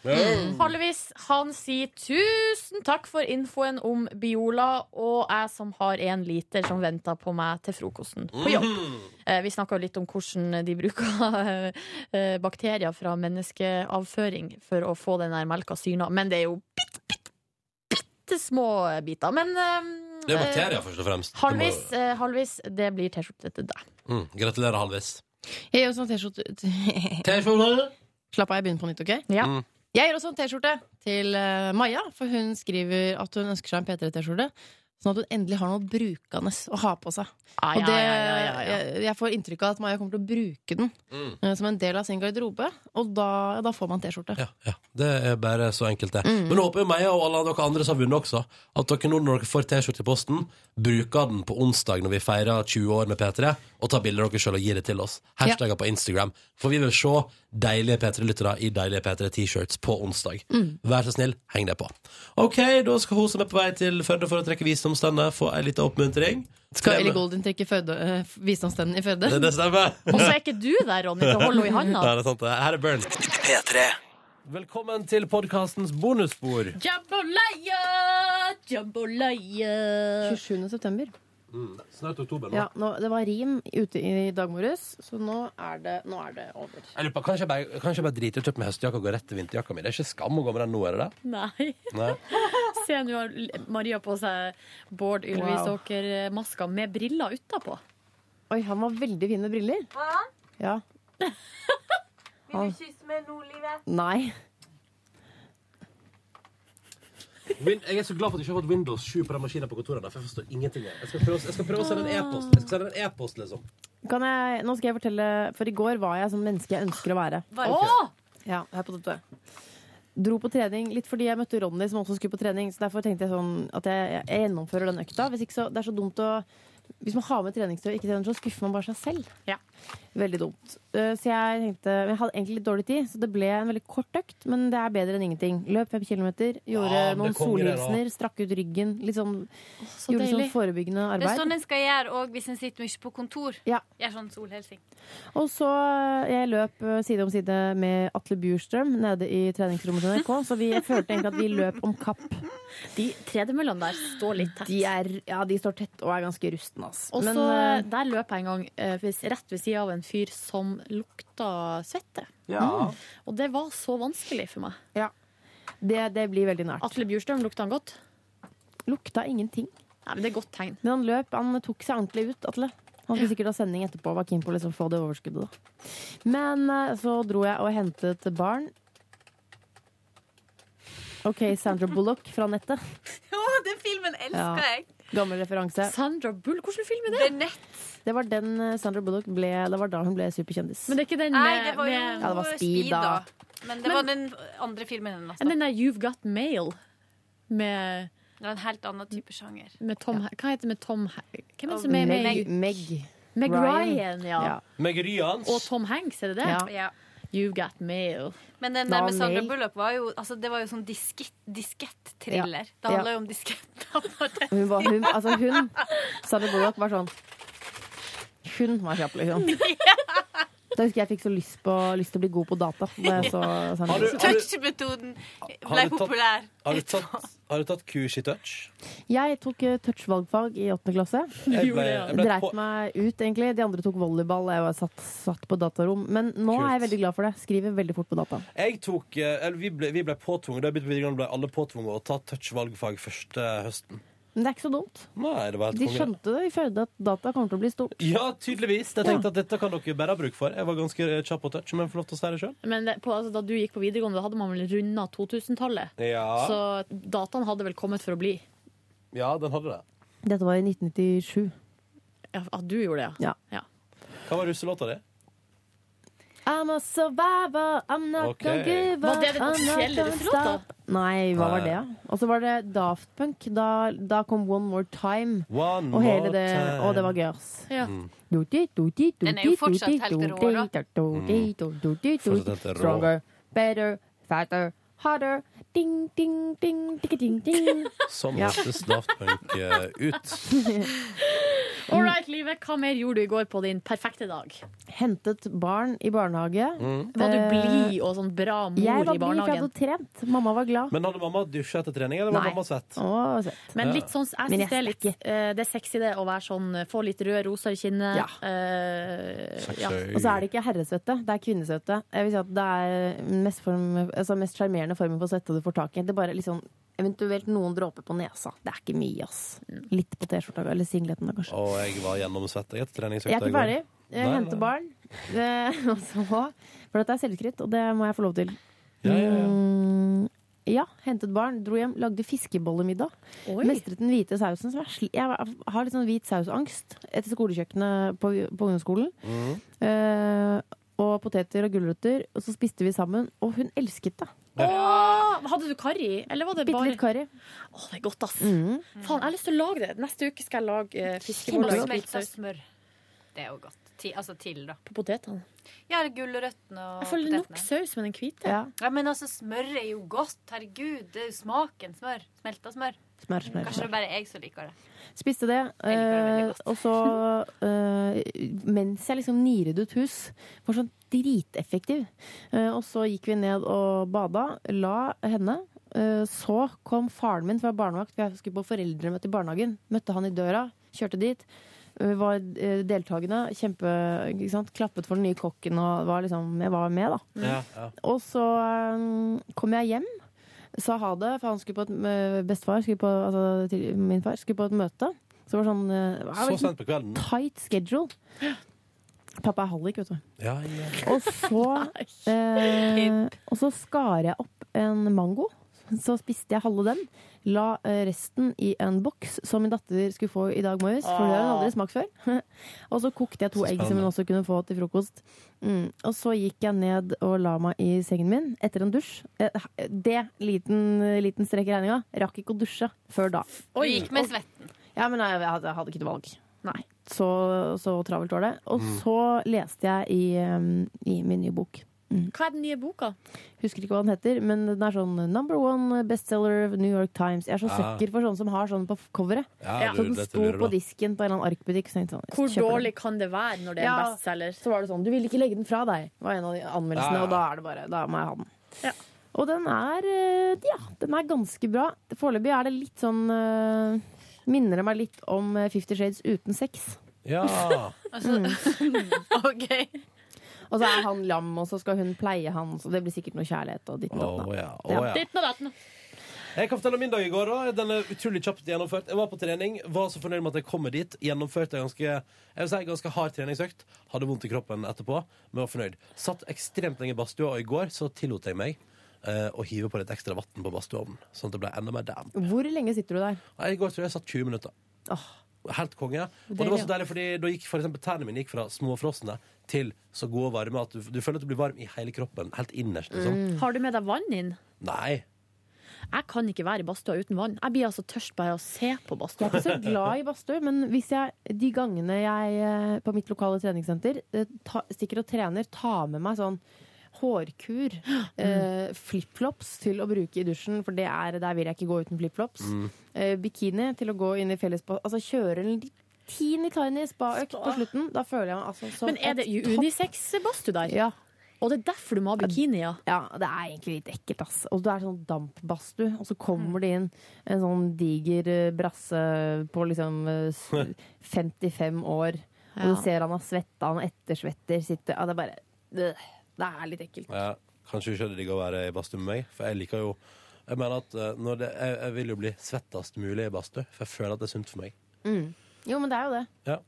Speaker 4: Mm. Hallevis, han sier tusen takk for infoen om
Speaker 2: Mm.
Speaker 4: Biola og jeg som har en liter som venter på meg til frokosten på jobb. Eh, Vi snakka litt om hvordan de bruker eh, bakterier fra menneskeavføring for å få den der melka syrna. Men det er jo bitte, bitte, bitte små biter. Men eh,
Speaker 2: Det er bakterier, først og fremst. Det må-
Speaker 4: Halvvis, eh, halvvis, det blir T-skjorte til deg.
Speaker 2: Mm, gratulerer, halvvis.
Speaker 3: Jeg gir også en T-skjorte.
Speaker 2: T-skjorte?
Speaker 3: Slapp av, jeg begynner på nytt, OK?
Speaker 2: Mm.
Speaker 3: Jeg gir også en T-skjorte til eh, Maja, for hun skriver at hun ønsker seg en P3-T-skjorte. Sånn at hun endelig har noe brukende å ha på seg.
Speaker 4: Ah, ja,
Speaker 3: og det,
Speaker 4: ja, ja, ja, ja.
Speaker 3: Jeg, jeg får inntrykk av at Maja kommer til å bruke den eh, som en del av sin garderobe, og da, ja, da får man T-skjorte.
Speaker 2: Det er bare så enkelt, det.
Speaker 3: Mm.
Speaker 2: Men nå håper jo meg og alle dere andre som har vunnet også, at dere nå når dere får T-skjorte i posten, bruker den på onsdag når vi feirer 20 år med P3, og tar bilder av dere sjøl og gir det til oss. Hashtagger på Instagram. For vi vil se deilige P3-lyttere i deilige P3-T-shirts på onsdag.
Speaker 14: Mm.
Speaker 2: Vær så snill, heng det på. OK, da skal hun som er på vei til Førde for å trekke visdomstenner, få ei lita oppmuntring.
Speaker 3: Skal Ellie Goldin trekke føde, eh, visdomstennen i føde?
Speaker 2: Det- det stemmer.
Speaker 4: Og så er ikke du der, Ronny, til å holde henne i handa.
Speaker 2: Ja, det er sant. det. Her er Burn. P3. Velkommen til podkastens bonusbord.
Speaker 4: Jambolaya, jambolaya.
Speaker 3: 27. september.
Speaker 2: Snart oktober
Speaker 3: Ja, nå, det var rim ute i dag morges, så nå er det, nå er det over.
Speaker 2: Jeg lurer på, Kanskje jeg bare, kanskje jeg bare driter i å kjøpe meg høstjakke og gå rett til vinterjakka mi. Det er ikke skam å gå med den nå, er det det?
Speaker 4: Nei.
Speaker 2: Nei.
Speaker 4: Se, nå har Maria på seg Bård Ylvisåker-maska med briller utapå.
Speaker 3: Oi, han var veldig fin med briller. Ja.
Speaker 15: Vil du kysse meg nå, livet?
Speaker 3: Nei.
Speaker 2: Win- Jeg er så glad for at jeg ikke har fått Windows 7 på den maskinen på kontoret. der, For jeg forstår ingenting. Jeg Jeg skal prøve, jeg skal prøve å sende en e-post. Jeg skal sende en e-post, liksom.
Speaker 3: Kan jeg, nå skal jeg fortelle, for i går var jeg sånn menneske jeg ønsker å være.
Speaker 2: Var du Åh!
Speaker 3: Ja, hør på dette. Dro på trening litt fordi jeg møtte Ronny, som også skulle på trening. Så derfor tenkte jeg sånn at jeg, jeg, jeg gjennomfører den økta. Hvis ikke så, det er så dumt å Hvis man har med treningstøy og ikke trener, så skuffer man bare seg selv. Veldig dumt. Eh, Så jeg tenkte men Jeg hadde egentlig litt dårlig tid, så det ble en veldig kort økt. Men det er bedre enn ingenting. Løp fem kilometer, gjorde
Speaker 15: Ja, men
Speaker 3: noen
Speaker 15: Ah, det kommer det da.
Speaker 3: solhilsener, strakk ut ryggen. Litt sånn,
Speaker 15: så
Speaker 3: gjorde litt
Speaker 15: deilig.
Speaker 3: sånn forebyggende
Speaker 15: Det er
Speaker 3: arbeid.
Speaker 15: sånn en skal gjøre òg hvis en sitter mye på kontor.
Speaker 3: Ja.
Speaker 15: Gjør sånn solhelsing.
Speaker 3: Og så eh, jeg løp eh, side om side med Atle Bjurstrøm nede i treningsrommet til NRK, så vi jeg følte egentlig at vi løp om kapp.
Speaker 4: De tredemøllene der står litt tett.
Speaker 3: De er, ja, de står tett og er ganske rustne, ass.
Speaker 4: Og
Speaker 3: Men,
Speaker 4: så
Speaker 3: eh,
Speaker 4: Der løp jeg en gang eh, hvis- rett ved sida av en fyr som lukta svette.
Speaker 3: Ja.
Speaker 4: Mm. Og det var så vanskelig for meg.
Speaker 3: det, det blir veldig nært.
Speaker 4: Atle Bjurstrøm, lukta han godt?
Speaker 3: Lukta ingenting.
Speaker 4: Nei, men det er godt tegn.
Speaker 3: Men han løp, han tok seg ordentlig ut, Atle. Han skulle sikkert ha sending etterpå og var keen på å liksom få det overskuddet, da. Men eh, så dro jeg og hentet barn. OK, Sandra Bullock fra nettet.
Speaker 15: Å, den filmen elsker
Speaker 3: Ja.
Speaker 15: jeg!
Speaker 3: Gammel referanse.
Speaker 4: Sandra Bull, hvordan film er
Speaker 15: det? The Net.
Speaker 3: Det var den eh, Sandra Bullock ble Det var da hun ble superkjendis.
Speaker 4: Men det er ikke den
Speaker 15: Nei,
Speaker 4: med-
Speaker 15: det var jo
Speaker 4: med-
Speaker 3: Ja, det var Speed, da.
Speaker 15: Men det var den andre filmen hennes.
Speaker 4: Enn
Speaker 15: da.
Speaker 4: den der You've Got Mail med,
Speaker 15: Det var en helt annen type sjanger.
Speaker 4: med Tom H- Hva heter det med Tom H- Hvem er det
Speaker 15: Og
Speaker 4: som er med?
Speaker 15: Meg-
Speaker 3: Meg.
Speaker 4: Meg Ryan,
Speaker 15: Ryan,
Speaker 4: ja.
Speaker 15: ja.
Speaker 2: Meg Ryans.
Speaker 4: Og Tom Hanks, er det det?
Speaker 15: Ja. Ja.
Speaker 4: You've Got Mail.
Speaker 15: Men den der med Sandra Bullock var jo, altså, det var jo sånn diskett- diskett-thriller.
Speaker 3: Ja.
Speaker 15: Det handla
Speaker 3: Ja.
Speaker 15: jo om diskett.
Speaker 3: Hun var hun, altså hun Sandra Bullock var sånn Hun var kjapp, liksom. Da husker jeg jeg fikk så lyst, på, lyst til å bli god på data. Da jeg så Sandra
Speaker 2: Har du-
Speaker 3: Bullock.
Speaker 2: har du-
Speaker 15: Touch-metoden ble
Speaker 2: Har du tatt-
Speaker 15: populær.
Speaker 2: Har du tatt, har du tatt kurs i touch?
Speaker 3: Jeg tok eh, touch-valgfag i åttende klasse.
Speaker 2: Jeg ble- jeg ble
Speaker 3: Dreit
Speaker 2: på-
Speaker 3: meg ut, egentlig. De andre tok volleyball. og Jeg var satt, satt på datarom. Men nå er jeg veldig glad for det. Skriver veldig fort på data.
Speaker 2: Jeg tok, eh, eller vi ble, vi ble påtvunget, da jeg begynte på videregående ble alle påtvunget å ta touch-valgfag første høsten.
Speaker 3: Men det er ikke så dumt.
Speaker 2: Nei, det var helt
Speaker 3: De
Speaker 2: konge.
Speaker 3: skjønte det i Førde at data kommer til å bli stort.
Speaker 2: Ja, tydeligvis. Jeg tenkte at dette kan dere bare ha bruk for. Jeg var ganske eh, kjapp på touch, men får lov til å si det sjøl.
Speaker 4: Men det, på, altså, da du gikk på videregående, da hadde man vel runda 2000-tallet.
Speaker 2: Ja.
Speaker 4: Så dataen hadde vel kommet for å bli.
Speaker 2: ja, den hadde det.
Speaker 3: Dette var i 1997.
Speaker 4: Ja, at du gjorde det,
Speaker 3: ja.
Speaker 2: Hva var russelåta di?
Speaker 3: I'm a survivor, I'm not
Speaker 2: Ok.
Speaker 3: gonna give up
Speaker 4: Var det den
Speaker 3: I'm not
Speaker 4: offisielle
Speaker 3: gonna
Speaker 4: referat, da?
Speaker 3: stop. Nei, hva var det? Og så var det Daft Punk. Da, da kom One More Time.
Speaker 2: One
Speaker 3: og hele
Speaker 2: more
Speaker 3: det,
Speaker 2: time.
Speaker 3: og det var gøy, ass.
Speaker 4: Ja.
Speaker 3: Den
Speaker 15: Den er jo fortsatt helt rå, da.
Speaker 4: Mm.
Speaker 2: Fortsatt helt rå.
Speaker 3: Stronger, better, fatter, harder. Ding, ding, ding, ding, ding, ding.
Speaker 2: Sånn
Speaker 3: Ja.
Speaker 2: hørtes Daft Punk eh, ut.
Speaker 4: All right, livet. Hva mer gjorde du i går på din perfekte dag?
Speaker 3: Hentet barn i barnehage.
Speaker 2: Mm.
Speaker 4: Var du
Speaker 3: Eh,
Speaker 4: blid og sånn bra mor i
Speaker 3: Jeg var blid, for jeg
Speaker 4: barnehagen?
Speaker 3: hadde trent. Mamma var glad.
Speaker 2: Men hadde mamma dusja etter trening, eller var mamma svett?
Speaker 3: Å, søtt.
Speaker 4: Men litt sånn, jeg
Speaker 3: Men
Speaker 4: synes det er litt eh, Det er sexy det å være sånn Få litt rød rosa i kinnet. eh, ja.
Speaker 3: Og så er det ikke herresvette, det er kvinnesvette. Jeg vil si at Det er mest form- altså mest sjarmerende formen for svette du får tak i. Det er bare liksom, eventuelt noen dråper på nesa. Det er ikke mye, ass. Litt på T-skjorta eller singleten, da, kanskje.
Speaker 2: Og jeg var gjennomsvett jeg, etter treningsøkta.
Speaker 3: Jeg
Speaker 2: i
Speaker 3: er ikke
Speaker 2: går.
Speaker 3: ferdig. Jeg
Speaker 2: Nei, nei.
Speaker 3: henter barn. Eh, Og så For dette er selvskryt, og det må jeg få lov til.
Speaker 2: Ja, ja, ja.
Speaker 3: Mm, ja, hentet barn, dro hjem, lagde fiskebollemiddag.
Speaker 4: Oi.
Speaker 3: Mestret den hvite sausen. Så jeg, sli- jeg har litt sånn hvit sausangst etter skolekjøkkenet på, på ungdomsskolen.
Speaker 15: Mm.
Speaker 3: Eh, og poteter og gulrøtter. Og så spiste vi sammen, og hun elsket det.
Speaker 4: Åh, hadde du karri? Eller var det
Speaker 3: Bitte
Speaker 4: bare
Speaker 3: litt karri. Mm.
Speaker 4: Åh, det er godt, ass. Faen, jeg har lyst til å lage det. Neste uke skal jeg lage eh, fiskeboller. i hvit
Speaker 15: Smelta
Speaker 4: saus.
Speaker 15: smør. Det er jo godt. Ti, altså til, da.
Speaker 4: På potetene.
Speaker 15: Ja, eller gulrøttene og
Speaker 4: Jeg får nok
Speaker 15: potetene.
Speaker 4: saus med den hvite.
Speaker 3: Ja.
Speaker 15: Ja, men altså, smør er jo godt. Herregud, det er jo smaken smør. Smelta smør.
Speaker 3: Smør, smør,
Speaker 15: Kanskje
Speaker 3: smør.
Speaker 15: det er bare jeg som liker det.
Speaker 3: Spiste det. eh, og så, eh, mens jeg liksom niret ut hus, var sånn driteffektiv. Eh, og så gikk vi ned og bada, la henne. Eh, så kom faren min fra barnevakt, for jeg skulle på foreldremøte i barnehagen. Møtte han i døra, kjørte dit. eh, Var eh, deltakende, kjempe, ikke sant? klappet for den nye kokken og var liksom, jeg var med, da.
Speaker 2: Ja, ja.
Speaker 3: Og så um, kom jeg hjem, sa ha det, for han skulle på et m- bestefar, skulle på, altså til, min far, skulle på et møte. Så det var sånn eh, det var
Speaker 2: Så
Speaker 3: liksom
Speaker 2: sent på kvelden.
Speaker 3: Tight schedule. Pappa er hallik, vet du.
Speaker 2: Ja, ja.
Speaker 3: Og så, eh, og så skar jeg opp en mango. Så spiste jeg halve den. La eh, resten i en boks som min datter skulle få i dag morges. For det har hun aldri smakt før. og så kokte jeg to egg som hun også kunne få til frokost. Mm. Og så gikk jeg ned og la meg i sengen min etter en dusj. Eh, Det, liten, liten strek i regninga, rakk ikke å dusje før da.
Speaker 15: Du gikk med
Speaker 3: Og-
Speaker 15: svetten.
Speaker 3: ja, men jeg, jeg, hadde, jeg hadde ikke noe valg. Nei. Så, så travelt var det. Og så leste jeg i, um, i min nye bok.
Speaker 4: Hva er den nye boka?
Speaker 3: Husker ikke hva den heter, men den er sånn number one bestseller of New York Times. Jeg er så
Speaker 4: Ah.
Speaker 3: søkker for sånne som har sånn på coveret.
Speaker 4: Ja,
Speaker 3: så
Speaker 4: du-
Speaker 3: den
Speaker 4: dette
Speaker 3: sto
Speaker 4: lurer du
Speaker 3: på
Speaker 4: da.
Speaker 3: disken på en eller annen arkbutikk. så tenkte jeg Sånn,
Speaker 4: Hvor
Speaker 3: kjøper den.
Speaker 4: dårlig kan det være når det er en
Speaker 3: Ja,
Speaker 4: bestselger?
Speaker 3: Så var det sånn, du vil ikke legge den fra deg, var en av de anmeldelsene.
Speaker 4: Ja.
Speaker 3: Og da er det bare, da må jeg ha den. Og den er, eh, ja, den er ganske bra. Foreløpig er det litt sånn eh, Minner det meg litt om eh, Fifty Shades uten sex.
Speaker 2: Ja.
Speaker 3: Og så er han lam, og så skal hun pleie han, så det blir sikkert noe kjærlighet og ditt og datt.
Speaker 2: Å, ja. Å,
Speaker 3: Ja.
Speaker 2: ja. Jeg kan fortelle om min dag i går. da Den er utrolig kjapt gjennomført. Jeg var på trening, var så fornøyd med at jeg kommer dit. Gjennomførte en ganske, jeg vil si, en ganske hard treningsøkt. Hadda vondt i kroppen etterpå, men var fornøyd. Satt ekstremt lenge i badstua, og i går så tillot jeg meg eh, å hive på litt ekstra vann på badstueovnen. Sånn at det ble enda mer dam.
Speaker 3: Hvor lenge sitter du der?
Speaker 2: Nei, I går tror jeg jeg satt 20 minutter. Helt konge. Og det
Speaker 3: Deilig,
Speaker 2: var så
Speaker 3: ja.
Speaker 2: deilig, fordi da gikk for eksempel tennene mine gikk fra småfrosne til så gode og varme at du, du føler at du blir varm i hele kroppen. Helt innerst, liksom.
Speaker 4: Har du med deg vann inn?
Speaker 2: Nei.
Speaker 4: Jeg kan ikke være i badstua uten vann. Jeg blir altså tørst bare av å se på badstua.
Speaker 3: Jeg er ikke så glad i badstue, men hvis jeg, de gangene jeg eh, på mitt lokale treningssenter eh, ta, stikker og trener, tar med meg sånn hårkur,
Speaker 4: Mm.
Speaker 3: eh, flipflops til å bruke i dusjen, for det er, der vil jeg ikke gå uten flipflops.
Speaker 14: Mm.
Speaker 3: Eh, bikini til å gå inn i fellesbad. Altså kjøre en teeny-tiny spaøkt på slutten. Da føler jeg meg altså som
Speaker 4: Men er det
Speaker 3: et
Speaker 4: unisex-badstue der?
Speaker 3: Ja.
Speaker 4: Og det er derfor du må ha bikini, ja?
Speaker 3: Ja, det er egentlig litt ekkelt, ass. Og det er sånn dampbadstue, og så kommer det inn en sånn diger eh, brasse på liksom eh, s- 55 år, og
Speaker 4: Ja.
Speaker 3: du ser han har svetta, han har ettersvetter, sitter Ja, det er bare øh, Det er litt ekkelt.
Speaker 2: Ja, kanskje ikke det digg å være i badstue med meg, for jeg liker jo Jeg mener at eh, når det, jeg, jeg vil jo bli svettest mulig i badstue, for jeg føler at det er sunt for meg.
Speaker 3: Mm. Jo, men det er jo det.
Speaker 2: Ja.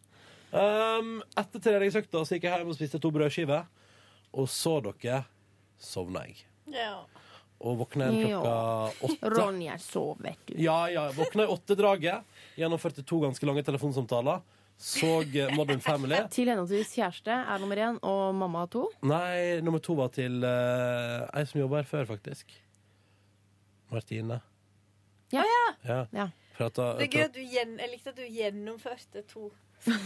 Speaker 2: Um, etter treningsøkta så gikk jeg hjem og spiste to brødskiver, og så dere sovna jeg. Og våkna igjen klokka åtte.
Speaker 3: Ronja sov, vet du.
Speaker 2: Ja, ja. Våkna i åttedraget, gjennomførte to ganske lange telefonsamtaler, så eh, Modern Family.
Speaker 3: Til henholdsvis kjæreste er nummer én, og mamma to.
Speaker 2: Nei, nummer to var til uh, ei som jobba her før, faktisk. Martine.
Speaker 3: Ja.
Speaker 2: Ja.
Speaker 3: Ja.
Speaker 2: Prata,
Speaker 15: Det er gøy at du gjen, jeg likte at du gjennomførte to.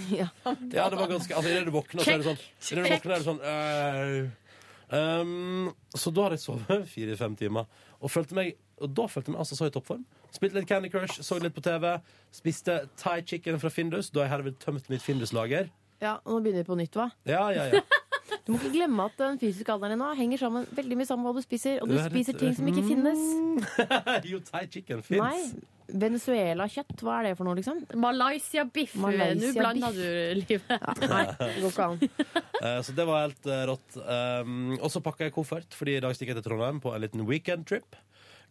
Speaker 2: Ja, det var ganske Altså, idet du våkner, så er det sånn, i det du våkner, er det sånn ehm, øh. um, Så da har jeg sovet fire-fem timer og følte meg og da følte jeg meg altså så i toppform. Spilte litt Candy Crush, så litt på TV. Spiste thai chicken fra Findus, da jeg herved tømte mitt Findus-lager.
Speaker 3: Ja, og Nå begynner vi på nytt, hva?
Speaker 2: Ja, ja, ja.
Speaker 3: Du må ikke glemme at den fysiske alderen din nå henger sammen, veldig mye sammen med hva du spiser. Og du
Speaker 2: Det er
Speaker 3: spiser
Speaker 2: litt-
Speaker 3: ting som ikke finnes.
Speaker 2: jo, thai chicken
Speaker 3: Nei.
Speaker 2: fins.
Speaker 3: Venezuela-kjøtt, hva er det for noe, liksom?
Speaker 4: Malaysia-biff. Nå
Speaker 3: Malaysia-biff.
Speaker 4: blanda du livet.
Speaker 3: Nei, det går ikke an.
Speaker 2: Eh, Så det var helt eh, rått. Um, og så pakka jeg koffert, fordi i dag stikker jeg til Trondheim på en liten weekendtrip.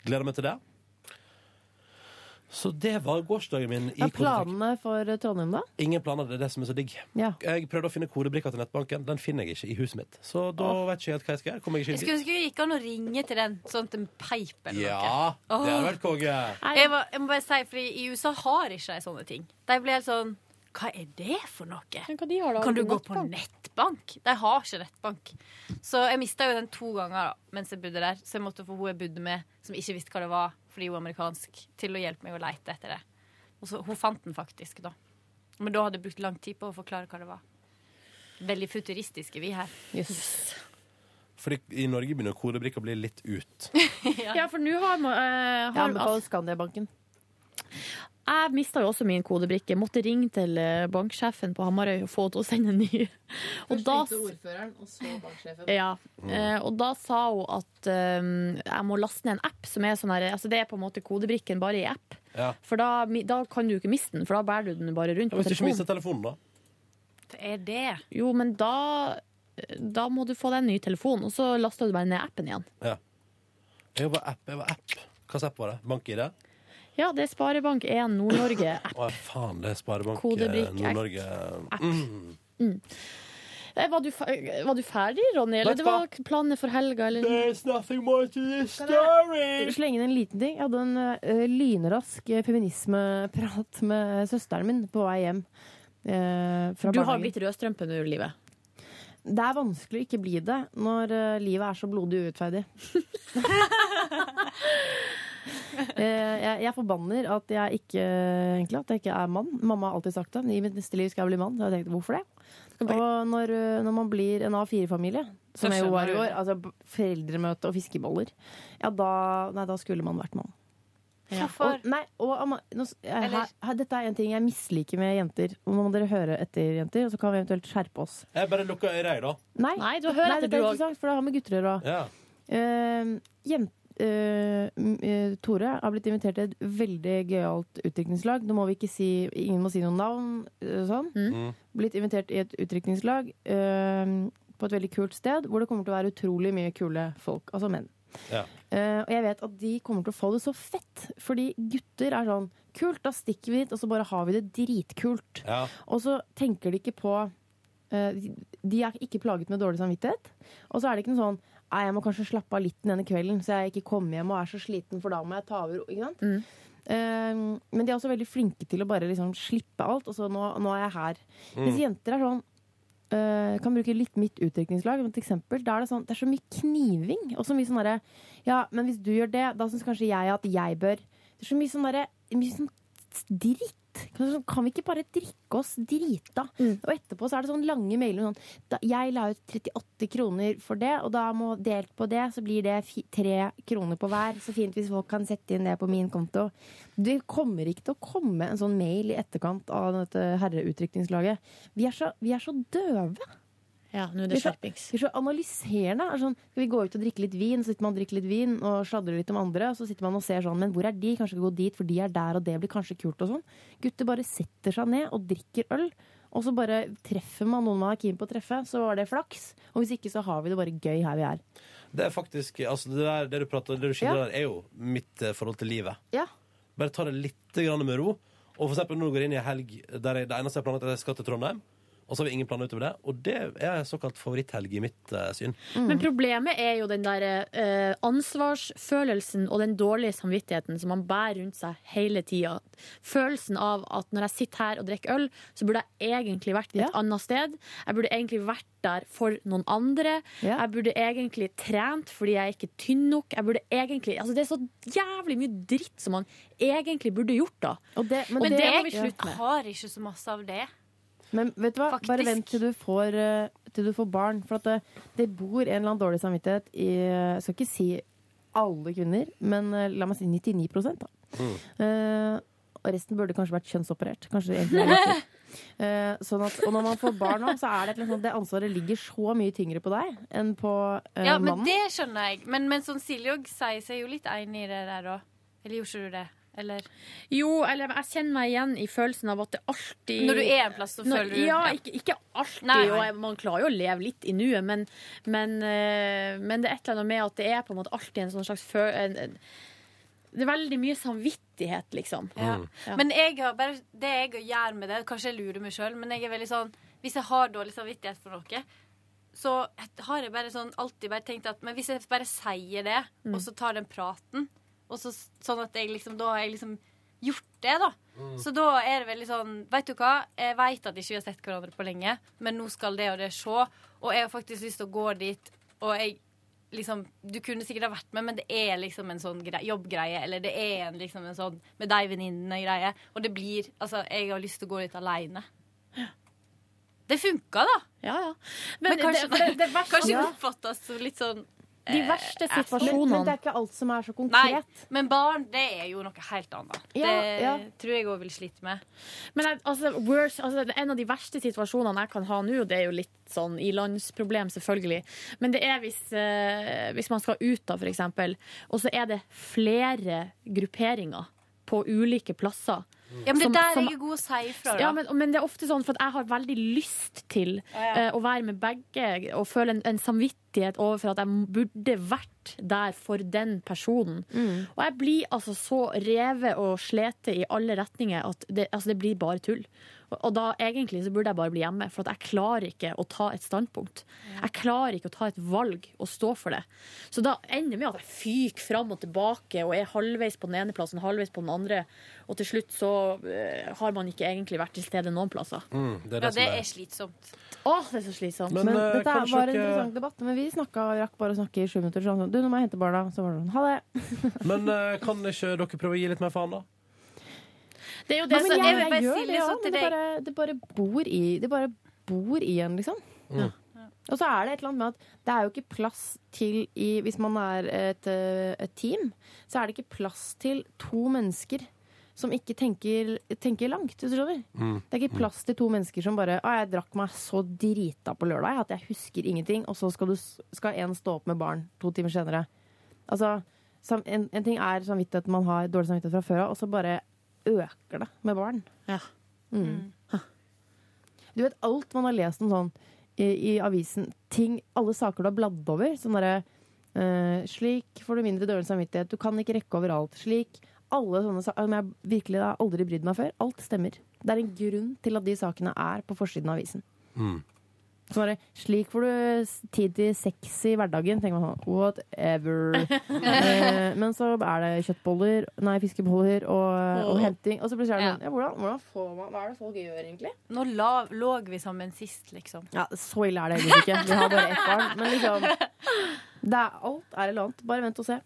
Speaker 2: Gleder meg til det. Så det var gårsdagen min. i
Speaker 3: Hva er
Speaker 2: kortrekk.
Speaker 3: planene for Trondheim, da?
Speaker 2: Ingen planer, det er det som er så digg.
Speaker 3: Ja.
Speaker 2: Jeg prøvde å finne kodebrikka til nettbanken. Den finner jeg ikke i huset mitt. Så da vet ikke jeg helt hva jeg skal gjøre. Kommer jeg
Speaker 15: Jeg
Speaker 2: ikke
Speaker 15: skulle
Speaker 2: inn
Speaker 15: ønske det gikk an å ringe til den, sånn at den peip eller
Speaker 2: dit? Ja,
Speaker 15: noe.
Speaker 2: det hadde vært konge.
Speaker 15: Jeg, var, jeg må bare si, fordi I USA har ikke de sånne ting. De blir helt sånn Hva er det for noe?
Speaker 4: da?
Speaker 15: Kan du gå på nettbank? De har ikke nettbank. Så jeg mista jo den to ganger da, mens jeg bodde der. Så jeg måtte få hun jeg bodde med, som ikke visste hva det var, fordi hun er amerikansk, til å hjelpe meg å leite etter det. Og så, hun fant den faktisk, da. Men da hadde jeg brukt lang tid på å forklare hva det var. Veldig futuristiske vi her.
Speaker 2: Fordi i Norge begynner kodebrikka å bli litt ut.
Speaker 4: ja. for nå har man eh,
Speaker 3: Jeg
Speaker 4: har,
Speaker 3: anbefaler Skandiabanken.
Speaker 4: Jeg mista jo også min kodebrikke. Måtte ringe til eh, banksjefen på Hamarøy og få henne til å sende en ny. Og da,
Speaker 3: ordføreren, og så banksjefen.
Speaker 4: ja, eh, og da sa hun at eh, jeg må laste ned en app som er sånn her altså Det er på en måte kodebrikken bare i app.
Speaker 2: Ja.
Speaker 4: For da, mi- da kan du ikke miste den, for da bærer du den bare rundt
Speaker 2: Ja,
Speaker 4: på
Speaker 2: hvis du ikke mister
Speaker 4: telefonen.
Speaker 2: telefonen, da.
Speaker 15: Er det?
Speaker 4: Jo, men da, da må du få deg en ny telefon, og så laster du bare ned appen igjen.
Speaker 2: Ja. Jeg var app. Jeg var app. Hva slags app var det? BankID?
Speaker 4: Ja, det er Sparebank1 Nord-Norge-app.
Speaker 2: Å, faen, det er Sparebank eh,
Speaker 4: Kodebrikk, app.
Speaker 2: Nord-Norge.
Speaker 4: App.
Speaker 2: Mm.
Speaker 4: Eh, Var, du fe- var du ferdig, Ronny? Eller
Speaker 3: Vet du
Speaker 4: det var planer for helga? Eller?
Speaker 3: Eh,
Speaker 2: There's nothing more to this
Speaker 3: Jeg Slenge inn en liten ting. Jeg hadde en eh, lynrask eh, feminismeprat med søsteren min på vei hjem. eh, fra
Speaker 4: Du har
Speaker 3: barnehagen.
Speaker 4: blitt rødstrømpe nå, livet.
Speaker 3: Det er vanskelig å ikke bli det når eh, livet er så blodig urettferdig. Eh, jeg, jeg forbanner at jeg ikke egentlig, at jeg ikke er mann. Mamma har alltid sagt det. I mitt neste liv skal jeg bli mann. Så jeg tenkte, hvorfor det? Og når, eh, når man blir en A4-familie, som
Speaker 4: Så
Speaker 3: jeg jo var i
Speaker 4: skjønner
Speaker 3: år,
Speaker 4: du.
Speaker 3: altså b- foreldremøte og fiskeboller, ja, da, nei, da skulle man vært mann.
Speaker 15: Hvorfor?
Speaker 3: Og, nei, og, Ama- nå, s- jeg,
Speaker 15: Eller-
Speaker 3: her, her, dette er en ting jeg misliker med jenter. Og Nå må dere høre etter, jenter, og så kan vi eventuelt skjerpe oss.
Speaker 2: Jeg bare lukka øra, jeg, da.
Speaker 3: Nei,
Speaker 4: Nei, du hører etter,
Speaker 3: dette er
Speaker 4: du også.
Speaker 3: interessant, for det har med gutter å gjøre.
Speaker 2: Ja.
Speaker 3: Eh, jen- eh, m- eh, Tore har blitt invitert til et veldig gøyalt utdrikningslag. Nå må vi ikke si Ingen må si noen navn. eh, Sånn.
Speaker 4: Mm.
Speaker 3: Blitt invitert i et utdrikningslag eh, på et veldig kult sted, hvor det kommer til å være utrolig mye kule folk. Altså menn.
Speaker 2: Ja.
Speaker 3: Eh, og jeg vet at de kommer til å få det så fett, fordi gutter er sånn Kult, da stikker vi dit, og så bare har vi det dritkult.
Speaker 2: Ja.
Speaker 3: Og så tenker de ikke på eh, de- De er ikke plaget med dårlig samvittighet. Og så er det ikke noe sånn Nei, jeg må kanskje slappe av litt den ene kvelden, så jeg ikke kommer hjem og er så sliten, for da må jeg ta over. Ikke sant? Eh, men de er også veldig flinke til å bare liksom slippe alt, og så nå, nå er jeg her.
Speaker 11: Mm.
Speaker 3: Mens jenter er sånn eh, kan bruke litt mitt utdrikningslag som et eksempel. Da er det, sånn, det er så mye kniving. Og så mye sånn derre Ja, men hvis du gjør det, da syns kanskje jeg at jeg bør Det er så mye sånn derre Mye sånn dritt. Kan, sånn, kan vi ikke bare drikke oss drita? Og etterpå så er det sånn lange mailer sånn da, Jeg la ut 38 kroner for det, og da må delt på det, så blir det fi, tre kroner på hver. Så fint hvis folk kan sette inn det på min konto. Det kommer ikke til å komme en sånn mail i etterkant av dette herreutdrikningslaget. Vi er så, vi er så døve.
Speaker 4: Ja, nå er
Speaker 3: Vi
Speaker 4: det
Speaker 3: er så,
Speaker 4: skjerping.
Speaker 3: vi er så analyserende. Er sånn, skal vi gå ut og drikke litt vin? Så sitter man og drikker litt vin og sladrer litt om andre. Og så sitter man og ser sånn, men hvor er de? Kanskje ikke gå dit, for de er der, og det blir kanskje kult. og sånn. Gutter bare setter seg ned og drikker øl. Og så bare treffer man noen man er keen på å treffe, så var det flaks. Og hvis ikke, så har vi det bare gøy her vi er.
Speaker 2: Det er faktisk altså Det, der, det du prater Det du skildrer
Speaker 3: Ja.
Speaker 2: der, er jo mitt eh, forhold til livet.
Speaker 3: Ja.
Speaker 2: Bare ta det litt grann med ro. Og for eksempel når du går inn i en helg der jeg, det eneste jeg har planlagt, er at jeg skal til Trondheim. Og så har vi ingen planer utover det. Og det er såkalt favoritthelg i mitt eh, syn.
Speaker 4: Men problemet er jo den der eh, ansvarsfølelsen og den dårlige samvittigheten som man bærer rundt seg hele tida. Følelsen av at når jeg sitter her og drikker øl, så burde jeg egentlig vært et annet sted. Jeg burde egentlig vært der for noen andre. Jeg burde egentlig trent fordi jeg er ikke tynn nok. Jeg burde egentlig, altså Det er så jævlig mye dritt som man egentlig burde gjort da.
Speaker 3: men
Speaker 4: Og
Speaker 3: det-
Speaker 4: det må vi slutte med.
Speaker 15: har ikke så masse av det.
Speaker 3: Men vet du hva? bare vent til du får, eh, til du får barn. For at det, det bor en eller annen dårlig samvittighet i Jeg skal ikke si alle kvinner, men eh, la meg si 99 da.
Speaker 4: Mm.
Speaker 3: Eh, og resten burde kanskje vært kjønnsoperert. Kanskje det egentlig er riktig. Eh, sånn at, og når man får barn nå, så er det, et eller annet sånn at det ansvaret ligger så mye tyngre på deg enn på eh,
Speaker 15: Ja, men
Speaker 3: mannen.
Speaker 15: det skjønner jeg. Men, men sånn Silje òg sier seg jo litt enig i det der òg. Eller gjorde ikke du det? Eller?
Speaker 4: Jo, eller jeg kjenner meg igjen i følelsen av at det alltid
Speaker 15: Når du er en plass, så
Speaker 4: Når-
Speaker 15: føler du-
Speaker 4: Ja,
Speaker 15: ja.
Speaker 4: ikke, ikke alltid.
Speaker 15: Nei, nei.
Speaker 4: Og man klarer jo å leve litt i nuet, men, men, eh, men det er et eller annet med at det er på en måte alltid en sånn slags føl... En, en, det er veldig mye samvittighet, liksom.
Speaker 15: Ja. Mm. Men jeg har bare, det jeg gjør med det Kanskje jeg lurer meg sjøl, men jeg er veldig sånn Hvis jeg har dårlig samvittighet for noe, så har jeg bare sånn alltid bare tenkt at Men hvis jeg bare sier det,
Speaker 4: Mm.
Speaker 15: og så tar den praten, og så, sånn at jeg liksom Da har jeg liksom gjort det, da.
Speaker 4: Mm.
Speaker 15: Så da er det veldig sånn Vet du hva, jeg vet at ikke vi har sett hverandre på lenge, men nå skal det og det se, og jeg har faktisk lyst til å gå dit, og jeg liksom, du kunne sikkert ha vært med, men det er liksom en sånn grei, jobbgreie, eller det er en, liksom en sånn med de venninnene-greie. Og det blir Altså, jeg har lyst til å gå litt aleine. Det funka, da.
Speaker 4: Ja, ja.
Speaker 15: Men,
Speaker 4: Men
Speaker 15: kanskje
Speaker 4: det- for det- det verste-
Speaker 15: kanskje
Speaker 4: Ja.
Speaker 15: oppfattes som litt sånn
Speaker 4: De
Speaker 15: eh,
Speaker 4: verste
Speaker 15: asshole.
Speaker 3: Men, men det er ikke alt som er så
Speaker 15: sånn. Nei,
Speaker 3: konkret.
Speaker 15: men barn, det er jo noe helt annet.
Speaker 4: Ja,
Speaker 15: det
Speaker 4: ja.
Speaker 15: tror jeg òg vil slite med.
Speaker 4: Men jeg- altså, worst, altså, en av de verste situasjonene jeg kan ha nå, det er jo litt sånn ilandsproblem, selvfølgelig. Men det er hvis, eh, hvis man skal ut, da, for eksempel, og så er det flere grupperinger på ulike plasser.
Speaker 15: Ja, men det
Speaker 4: som-
Speaker 15: er der
Speaker 4: som-
Speaker 15: jeg er god å si ifra, da.
Speaker 4: ja, men, men det er ofte sånn, for at jeg har veldig lyst til eh, å være med begge og føle en, en samvittighet overfor at jeg burde vært der for den personen. Og jeg blir altså så revet og slete i alle retninger at det, altså det blir bare tull. Og, og da egentlig så burde jeg bare bli hjemme, for at jeg klarer ikke å ta et standpunkt. Jeg klarer ikke å ta et valg og stå for det. Så da ender det med at jeg fyker fram og tilbake og er halvveis på den ene plassen, halvveis på den andre, og til slutt så eh, har man ikke egentlig vært til stede noen plasser.
Speaker 2: Mm, det er det
Speaker 15: Ja,
Speaker 2: som
Speaker 15: det
Speaker 2: er- eh,
Speaker 15: er slitsomt.
Speaker 4: Åh, det er så slitsomt.
Speaker 3: Men, dette er- var en interessant debatt, men vi snakka, rakk bare å snakke i sju minutter. Så han sa, du, nå må jeg hente barna. Så var det sånn, ha det.
Speaker 2: Men eh, kan ikke dere prøve å gi litt mer faen, da?
Speaker 4: Det er jo
Speaker 3: Nei,
Speaker 4: det
Speaker 3: men
Speaker 4: som
Speaker 3: jeg,
Speaker 4: er
Speaker 3: jeg, gjør det, ja,
Speaker 4: sånn
Speaker 3: men
Speaker 4: til
Speaker 3: det
Speaker 4: deg.
Speaker 3: bare, det bare bor i Det bare bor i en, liksom.
Speaker 2: Mm.
Speaker 3: Og så er det et eller annet med at det er jo ikke plass til i Hvis man er et, eh, et team, så er det ikke plass til to mennesker som ikke tenker, tenker langt, hvis du skjønner.
Speaker 2: Mm.
Speaker 3: Det er ikke plass til to mennesker som bare Å, jeg drakk meg så drita på lørdag at jeg husker ingenting, og så skal, du, s- skal en stå opp med barn to timer senere. Altså, sam, en, en ting er samvittighet man har dårlig samvittighet fra før av, og så bare øker det med barn. Mm. Du vet alt man har lest om sånn i, i avisen. Ting, alle saker du har bladd over. Sånn derre eh, Slik får du mindre dårlig samvittighet. Du kan ikke rekke overalt. Slik. Alle sånne saker som jeg virkelig har aldri brydd meg før. Alt stemmer. Det er en grunn til at de sakene er på forsiden av avisen.
Speaker 2: Mm.
Speaker 3: Sånn derre, slik får du s- tid til sex i hverdagen. tenker man sånn, whatever. Eh, men så er det kjøttboller, nei, fiskeboller og, og henting. Og så blir det sånn, ja, hvordan, hvordan får man, Hva er det folk gjør, egentlig?
Speaker 15: Nå la- lå vi sammen sist, liksom.
Speaker 3: Ja, så ille er det heller ikke. Vi har bare ett barn. Men liksom, det er, alt er eller annet. Bare vent og se.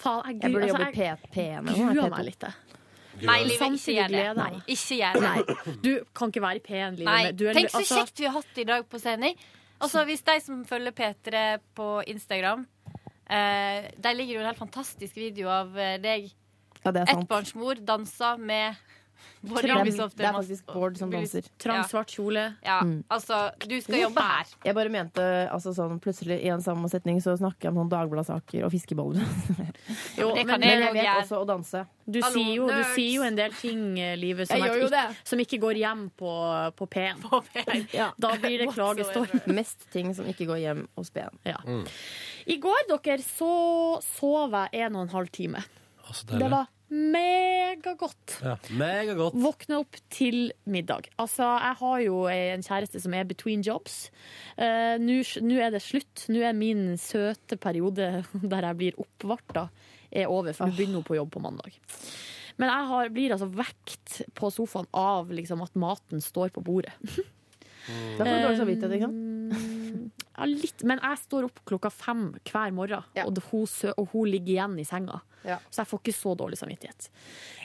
Speaker 4: Faen, jeg,
Speaker 3: Jeg
Speaker 4: gru-
Speaker 3: burde
Speaker 4: altså,
Speaker 3: jobbe i
Speaker 4: jeg-
Speaker 3: P- P1.
Speaker 4: gruer meg litt, jeg.
Speaker 15: Nei, Liv, ikke gjør det.
Speaker 4: Samtidig glede.
Speaker 15: Nei, ikke gjør det.
Speaker 4: Du kan ikke være i P1, Livet.
Speaker 15: Nei,
Speaker 4: men du er-
Speaker 15: Tenk så
Speaker 4: altså-
Speaker 15: kjekt vi har hatt det i dag på sending. Altså, hvis de som følger P3 på Instagram eh, Der ligger jo en helt fantastisk video av eh, deg,
Speaker 3: Ja, det er sant.
Speaker 15: ettbarnsmor, dansa med Bård
Speaker 3: Det er-
Speaker 15: Jørgensen.
Speaker 3: det er faktisk Bård som danser.
Speaker 15: Ja.
Speaker 3: Trang, svart
Speaker 4: kjole.
Speaker 15: Ja,
Speaker 3: Mm.
Speaker 15: altså, du skal jobbe her.
Speaker 3: Jeg bare mente altså, sånn, plutselig i en samme setning så snakker jeg om sånn Dagbladet-saker og fiskeboller.
Speaker 4: Jo,
Speaker 3: men,
Speaker 4: det kan
Speaker 3: men
Speaker 4: jeg
Speaker 3: jeg
Speaker 4: også
Speaker 3: vet
Speaker 4: gjøre.
Speaker 3: også å danse.
Speaker 4: Du, sier jo, du sier jo en del ting, eh, Livet, som,
Speaker 3: Jeg
Speaker 4: at
Speaker 3: gjør jo
Speaker 4: ikke, som ikke går hjem på, på P1. Da blir det klagestorm.
Speaker 3: Mest ting som ikke går hjem hos BN.
Speaker 2: Mm.
Speaker 4: I går, dere, så sov jeg en og en halv time.
Speaker 2: deilig.
Speaker 4: Det var megagodt.
Speaker 2: Ja. Megagodt.
Speaker 4: Våkne opp til middag. Altså, jeg har jo en kjæreste som er between jobs. Eh, Nå nå er det slutt. Nå er min søte periode der jeg blir oppvarta, er over. For nå begynner hun på jobb på mandag. Men jeg har, blir altså vekt på sofaen av liksom, at maten står på bordet.
Speaker 3: Da får du dårlig samvittighet, ikke sant?
Speaker 4: Ja, litt, men jeg står opp klokka fem hver morgen, og, det, hun, sø- og hun ligger igjen i senga. Så jeg får ikke så dårlig samvittighet.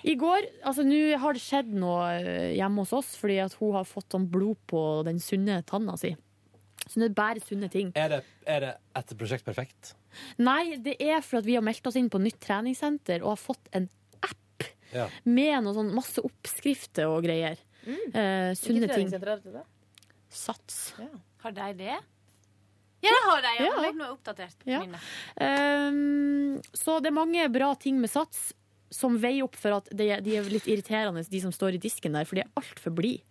Speaker 4: I går, altså Nå har det skjedd noe eh, hjemme hos oss, fordi at hun har fått sånn blod på den sunne tanna si. sunne, bare sunne ting.
Speaker 2: Er det, er det etter Prosjekt Perfekt?
Speaker 4: Nei, det er for at vi har meldt oss inn på nytt treningssenter og har fått en
Speaker 2: Ja.
Speaker 4: med noe sånn masse oppskrifter og greier. Eh, sunne ting.
Speaker 16: treningssenter er det da?
Speaker 4: Sats.
Speaker 15: Har de det? Ja, det har de. Ja.
Speaker 4: Ja.
Speaker 15: Nå er jeg oppdatert.
Speaker 4: Ja.
Speaker 15: Mine.
Speaker 4: Ehm, så det er mange bra ting med Sats som veier opp for at de, de er litt irriterende, de som står i disken der, for de er altfor blide.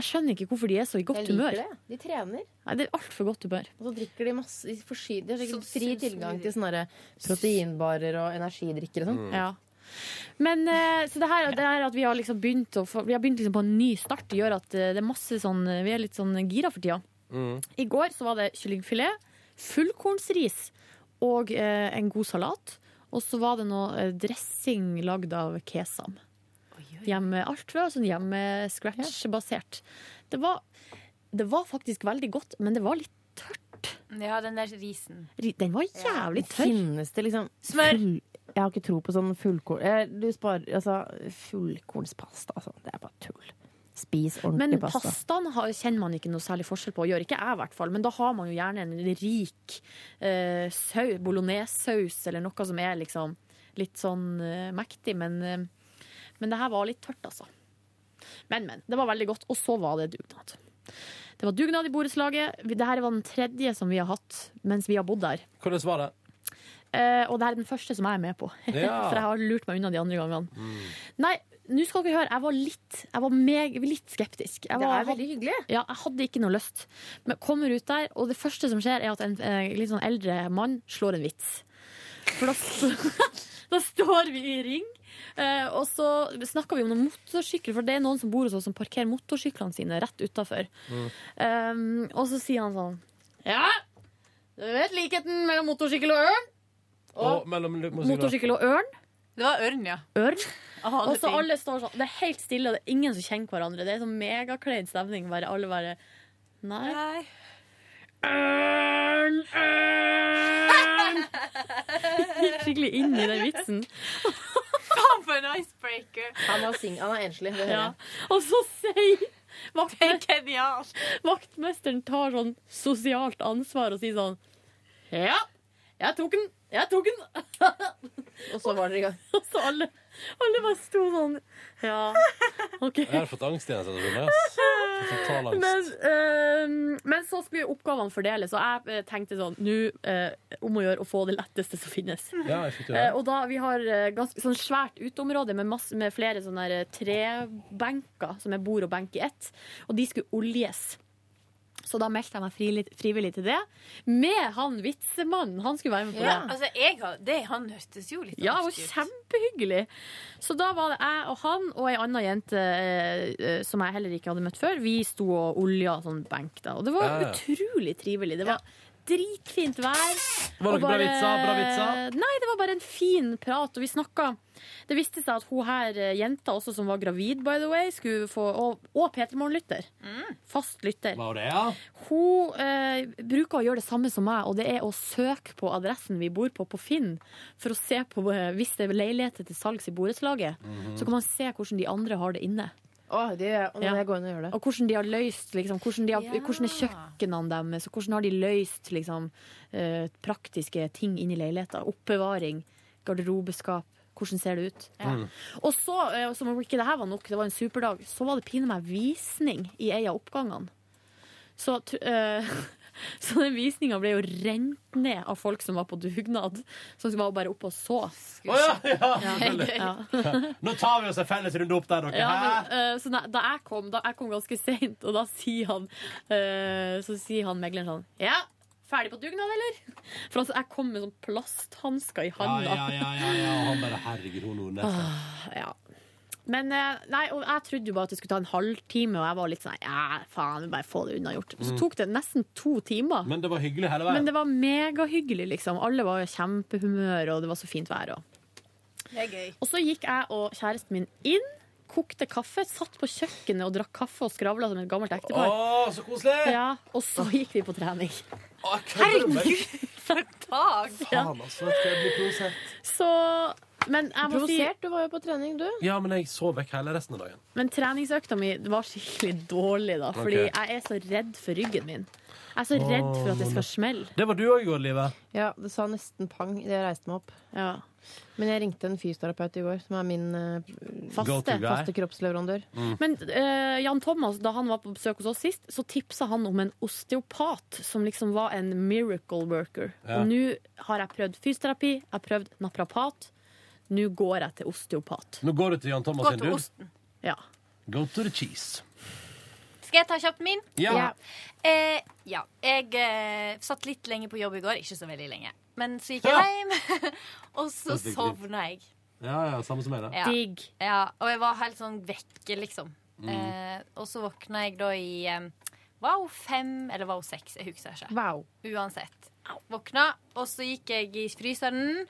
Speaker 4: Jeg skjønner ikke hvorfor de er så i godt
Speaker 3: Jeg liker
Speaker 4: humør.
Speaker 3: det. De trener.
Speaker 4: Nei, det er altfor godt humør.
Speaker 3: Og så drikker de masse De, forsyner, de har sikkert fri tilgang til sånne der proteinbarer og energidrikker og sånn.
Speaker 4: Mm. Ja. Men eh, så det her, det her at vi har liksom begynt, å få, vi har begynt liksom på en ny start, det gjør at eh, det er masse sånn Vi er litt sånn gira for tida. I går så var det kyllingfilet, fullkornsris og eh, en god salat. Og så var det noe eh, dressing lagd av kesam. Hjemme, alt var sånn hjemme-scratch-basert. Det, var- det var faktisk veldig godt, men det var litt
Speaker 15: Ja, den der risen.
Speaker 4: ri- Den var jævlig tørr.
Speaker 3: Finnes det liksom
Speaker 15: Smør!
Speaker 3: Jeg har ikke tro på sånn fullkorn eh, Du sparer altså fullkornspasta, altså. Det er bare tull. Spis ordentlig
Speaker 4: Men
Speaker 3: pasta.
Speaker 4: pastaen har, kjenner man ikke noe særlig forskjell på. Gjør ikke jeg, i hvert fall. Men da har man jo gjerne en rik eh, sau, bolognesaus eller noe som er liksom litt sånn eh, mektig. Men, eh, men det her var litt tørt, altså. Men, men. Det var veldig godt. Og så var det dugnad. Det var dugnad i borettslaget. Vi- Dette var den tredje som vi har hatt mens vi har bodd der.
Speaker 2: Hvordan var det?
Speaker 4: Eh, og det her er den første som jeg er med på.
Speaker 2: Ja.
Speaker 4: For jeg har lurt meg unna de andre gangene. Nei, nå skal dere høre. Jeg var litt, jeg var meg, litt skeptisk. Jeg
Speaker 3: Det
Speaker 4: var,
Speaker 3: er veldig hyggelig.
Speaker 4: Ja, jeg hadde ikke noe lyst. Men kommer ut der, og det første som skjer, er at en eh, litt sånn eldre mann slår en vits. For da, s- da står vi i ring, eh, og så snakker vi om noen motorsykler, for det er noen som bor hos oss som parkerer motorsyklene sine rett utafor.
Speaker 15: Mm.
Speaker 4: Um, og så sier han sånn Ja, du vet likheten mellom motorsykkel og ørn?
Speaker 2: Og mellom
Speaker 4: Motorsykkel og ørn.
Speaker 15: Det var ørn, ja.
Speaker 4: Ørn.
Speaker 15: Aha,
Speaker 4: Og
Speaker 15: det er
Speaker 4: så
Speaker 15: fint.
Speaker 4: alle står sånn. Det er helt stille, og det er ingen som kjenner hverandre. Det er sånn megaklein stemning. Bare, alle bare Nei. Ørn, ørn! Gikk skikkelig inn i den vitsen.
Speaker 15: Faen for en icebreaker!
Speaker 3: Han er, sing han er enslig. Det hører
Speaker 4: Ja.
Speaker 3: jeg.
Speaker 4: Og så sier
Speaker 15: vaktmesteren,
Speaker 4: vaktmesteren tar sånn sosialt ansvar og sier sånn Ja, jeg tok den! Jeg tok den!
Speaker 3: Og så var dere i gang.
Speaker 4: Og så alle, alle bare sto sånn Ja, OK.
Speaker 2: Jeg har fått angst i den situasjonen. ass. Total angst.
Speaker 4: Men, eh, men så skulle jo oppgavene fordeles, og jeg eh, tenkte sånn Nå eh, om å gjøre å få det letteste som finnes.
Speaker 2: Ja, jeg fikk det.
Speaker 4: Eh, og da Vi har eh, ganske sånn svært uteområde med, masse, med flere sånne her, eh, trebenker, som er bord og benk i ett, og de skulle oljes. Så da meldte jeg meg frivillig, frivillig til det, med han vitsemannen. Han skulle være med på
Speaker 15: Ja,
Speaker 4: det.
Speaker 15: altså, jeg har, det han hørtes jo litt
Speaker 4: Ja, det var
Speaker 15: norsk ut.
Speaker 4: kjempehyggelig. Så da var det jeg og han og ei anna jente eh, eh, som jeg heller ikke hadde møtt før, vi sto og olja sånn benk da. Og det var
Speaker 2: Ja, ja.
Speaker 4: utrolig trivelig. Det var dritfint vær.
Speaker 2: Var
Speaker 4: og
Speaker 2: dere bra vitser? Bra vitser?
Speaker 4: Nei, det var bare en fin prat, og vi snakka. Det viste seg at hun her, eh, jenta også som var gravid, by the way, skulle få Og, og P3 Morgen-lytter.
Speaker 15: Mm.
Speaker 4: Fast lytter.
Speaker 2: Var det, ja?
Speaker 4: Hun eh, bruker å gjøre det samme som meg, og det er å søke på adressen vi bor på på Finn, for å se på eh, hvis det er leiligheter til salgs i borettslaget.
Speaker 3: Mhm.
Speaker 4: Så kan man se hvordan de andre har det inne.
Speaker 3: Å, det gjør jeg. Og nå
Speaker 4: Ja.
Speaker 3: må jeg gå inn og gjøre det.
Speaker 4: Og hvordan de har løst liksom, hvordan, de har,
Speaker 3: Ja.
Speaker 4: hvordan er kjøkkenene deres, og hvordan har de løst liksom, eh, praktiske ting inn i leiligheten. Oppbevaring, garderobeskap. Hvordan ser det ut?
Speaker 15: Mm.
Speaker 4: Og så, eh, som om ikke det her var nok, det var en superdag, så var det pinlig meg visning i en av oppgangene. Så, tr- eh, så den visninga ble jo rent ned av folk som var på dugnad. Som var bare oppe og så.
Speaker 2: Å ja, ja, selvfølgelig.
Speaker 4: ja.
Speaker 2: Nå tar vi oss en felles runde opp der, dere.
Speaker 4: Ja, men,
Speaker 2: Hæ?
Speaker 4: eh, så da, da jeg kom, da jeg kom ganske seint, og da sier han eh, Så sier han megleren sånn Ja, ferdig på dugnad, eller? For altså, jeg kom med sånn plasthansker i
Speaker 2: Ja,
Speaker 4: handa.
Speaker 2: ja, ja, ja, ja. Og Han bare Herregud, hun Nordnes.
Speaker 4: Ah, ja. Men eh, nei, og jeg trodde jo bare at det skulle ta en halvtime, og jeg var litt sånn Ja, faen, vi bare få det unnagjort. Så
Speaker 2: Mm.
Speaker 4: tok det nesten to timer.
Speaker 2: Men det var hyggelig hele
Speaker 4: Men
Speaker 2: veien.
Speaker 4: det var megahyggelig, liksom. Alle var i kjempehumør, og det var så fint vær. Og.
Speaker 15: Det er gøy.
Speaker 4: Og så gikk jeg og kjæresten min inn, kokte kaffe, satt på kjøkkenet og drakk kaffe og skravla som et gammelt ektepar.
Speaker 2: Å, så koselig!
Speaker 4: Ja, og så gikk vi på trening.
Speaker 2: Herregud,
Speaker 15: for dag!
Speaker 2: Faen, altså. Jeg blir provosert.
Speaker 4: Så
Speaker 14: Men jeg må si
Speaker 3: Provosert, du var jo på trening, du.
Speaker 2: Ja, men jeg sov vekk hele resten av dagen.
Speaker 14: Men treningsøkta mi var skikkelig dårlig, da. Fordi
Speaker 2: Ok.
Speaker 14: jeg er så redd for ryggen min. Jeg er så redd for at det skal smelle.
Speaker 2: Det var du òg i går, Live.
Speaker 3: Ja, det sa nesten pang idet jeg reiste meg opp. Men jeg ringte en fysioterapeut i går, som er min eh,
Speaker 14: Go to
Speaker 3: faste,
Speaker 14: guy.
Speaker 3: faste kroppsleverandør.
Speaker 14: Men eh, Jan Thomas, da han var på besøk hos oss sist, så tipsa han om en osteopat som liksom var en miracle worker.
Speaker 3: Ja.
Speaker 14: Og nå har jeg prøvd fysioterapi, jeg har prøvd naprapat. Nå går jeg til osteopat.
Speaker 2: Nå går du til Jan Thomas
Speaker 15: Gå
Speaker 2: sin,
Speaker 15: til
Speaker 2: du.
Speaker 15: osten.
Speaker 14: Ja.
Speaker 2: Go to the cheese.
Speaker 15: Skal jeg ta kjapt min?
Speaker 2: Ja. Ja.
Speaker 15: Eh, ja. Jeg eh, satt litt lenge på jobb i går. Ikke så veldig lenge. Men så gikk jeg hjem, og
Speaker 2: Det
Speaker 15: så
Speaker 2: er digg, digg.
Speaker 15: sovna jeg.
Speaker 2: Ja, ja, samme som meg,
Speaker 4: Eh.
Speaker 2: da.
Speaker 15: Ja. Ja, og jeg var helt sånn vekke, liksom.
Speaker 2: Mm.
Speaker 15: Eh, og så våkna jeg da i eh, Var hun fem, eller var hun seks? Jeg husker ikke. Uansett. Våkna, og så gikk jeg i fryseren,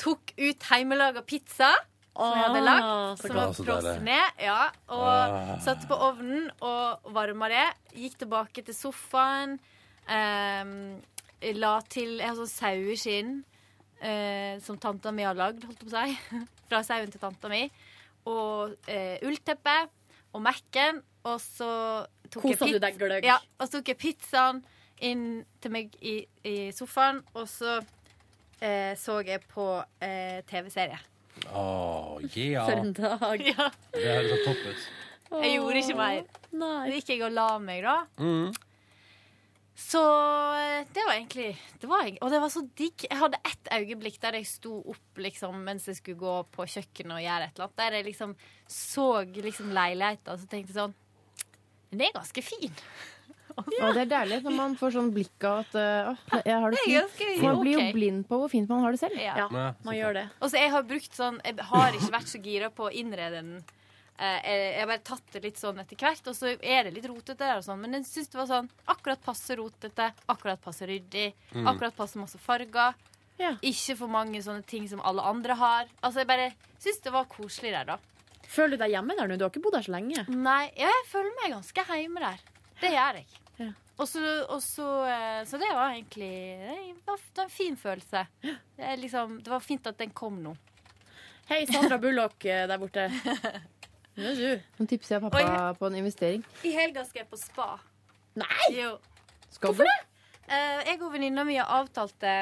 Speaker 15: tok ut hjemmelaga pizza. Som jeg hadde
Speaker 14: Ah,
Speaker 15: lagt,
Speaker 14: så
Speaker 15: som var
Speaker 14: godt. Så deilig.
Speaker 15: frosne. Ja, og
Speaker 14: Ah.
Speaker 15: satte på ovnen og varma det. Gikk tilbake til sofaen. ehm, la til Jeg har sånn saueskinn eh, som tanta mi har lagd, holdt jeg på å si. Fra sauen til tanta mi. Og eh, ullteppe og Mac-en. Og så tok
Speaker 14: Kosa
Speaker 15: jeg
Speaker 14: du deg gløgg?
Speaker 15: Ja, og så tok jeg pizzaen inn til meg i, i sofaen, og så eh, så jeg på eh, TV-serie.
Speaker 2: Å, yeah.
Speaker 15: For en
Speaker 14: dag.
Speaker 15: Ja.
Speaker 2: Det høres så topp ut.
Speaker 15: Jeg gjorde ikke mer. Så gikk jeg og la meg, da.
Speaker 2: Mm.
Speaker 15: Så eh, det var egentlig det var, jeg- Og det var så digg. Jeg hadde ett øyeblikk der jeg sto opp liksom, mens jeg skulle gå på kjøkkenet og gjøre et eller annet. Der jeg liksom så liksom, leiligheten og så tenkte jeg sånn Men det er ganske fin.
Speaker 3: Og det er deilig når man får sånn blikk av at eh, åh, jeg har det
Speaker 15: Det er
Speaker 3: fint.
Speaker 15: ganske
Speaker 3: For man blir jo
Speaker 15: ok.
Speaker 3: blind på hvor fint man har det selv.
Speaker 15: Ja. Ja,
Speaker 14: man gjør det.
Speaker 15: Og så jeg har brukt sånn Jeg har ikke vært så gira på å innrede den. Eh, Jeg jeg har bare tatt det litt sånn etter hvert, og så er det litt rotete. Der og sånn, men jeg syns det var sånn akkurat passe rotete, akkurat passe ryddig,
Speaker 17: Mm.
Speaker 15: akkurat passe masse farger. Ikke for mange sånne ting som alle andre har. Altså Jeg bare syns det var koselig der, da.
Speaker 14: Føler du deg hjemme der nå? Du har ikke bodd her så lenge.
Speaker 15: Nei, ja, jeg føler meg ganske hjemme der. Det gjør jeg. Og så, og så, eh, så det var egentlig Det var det var en fin følelse. Det, er liksom, det var fint at den kom nå.
Speaker 14: Hei, Sandra Bullock eh, der borte.
Speaker 3: Nå tipser jeg pappa
Speaker 15: Oi.
Speaker 3: på en investering.
Speaker 15: I helga skal jeg på spa.
Speaker 14: Nei!
Speaker 15: Jo.
Speaker 3: Skal du?
Speaker 15: Eh, jeg og venninna mi har avtalt det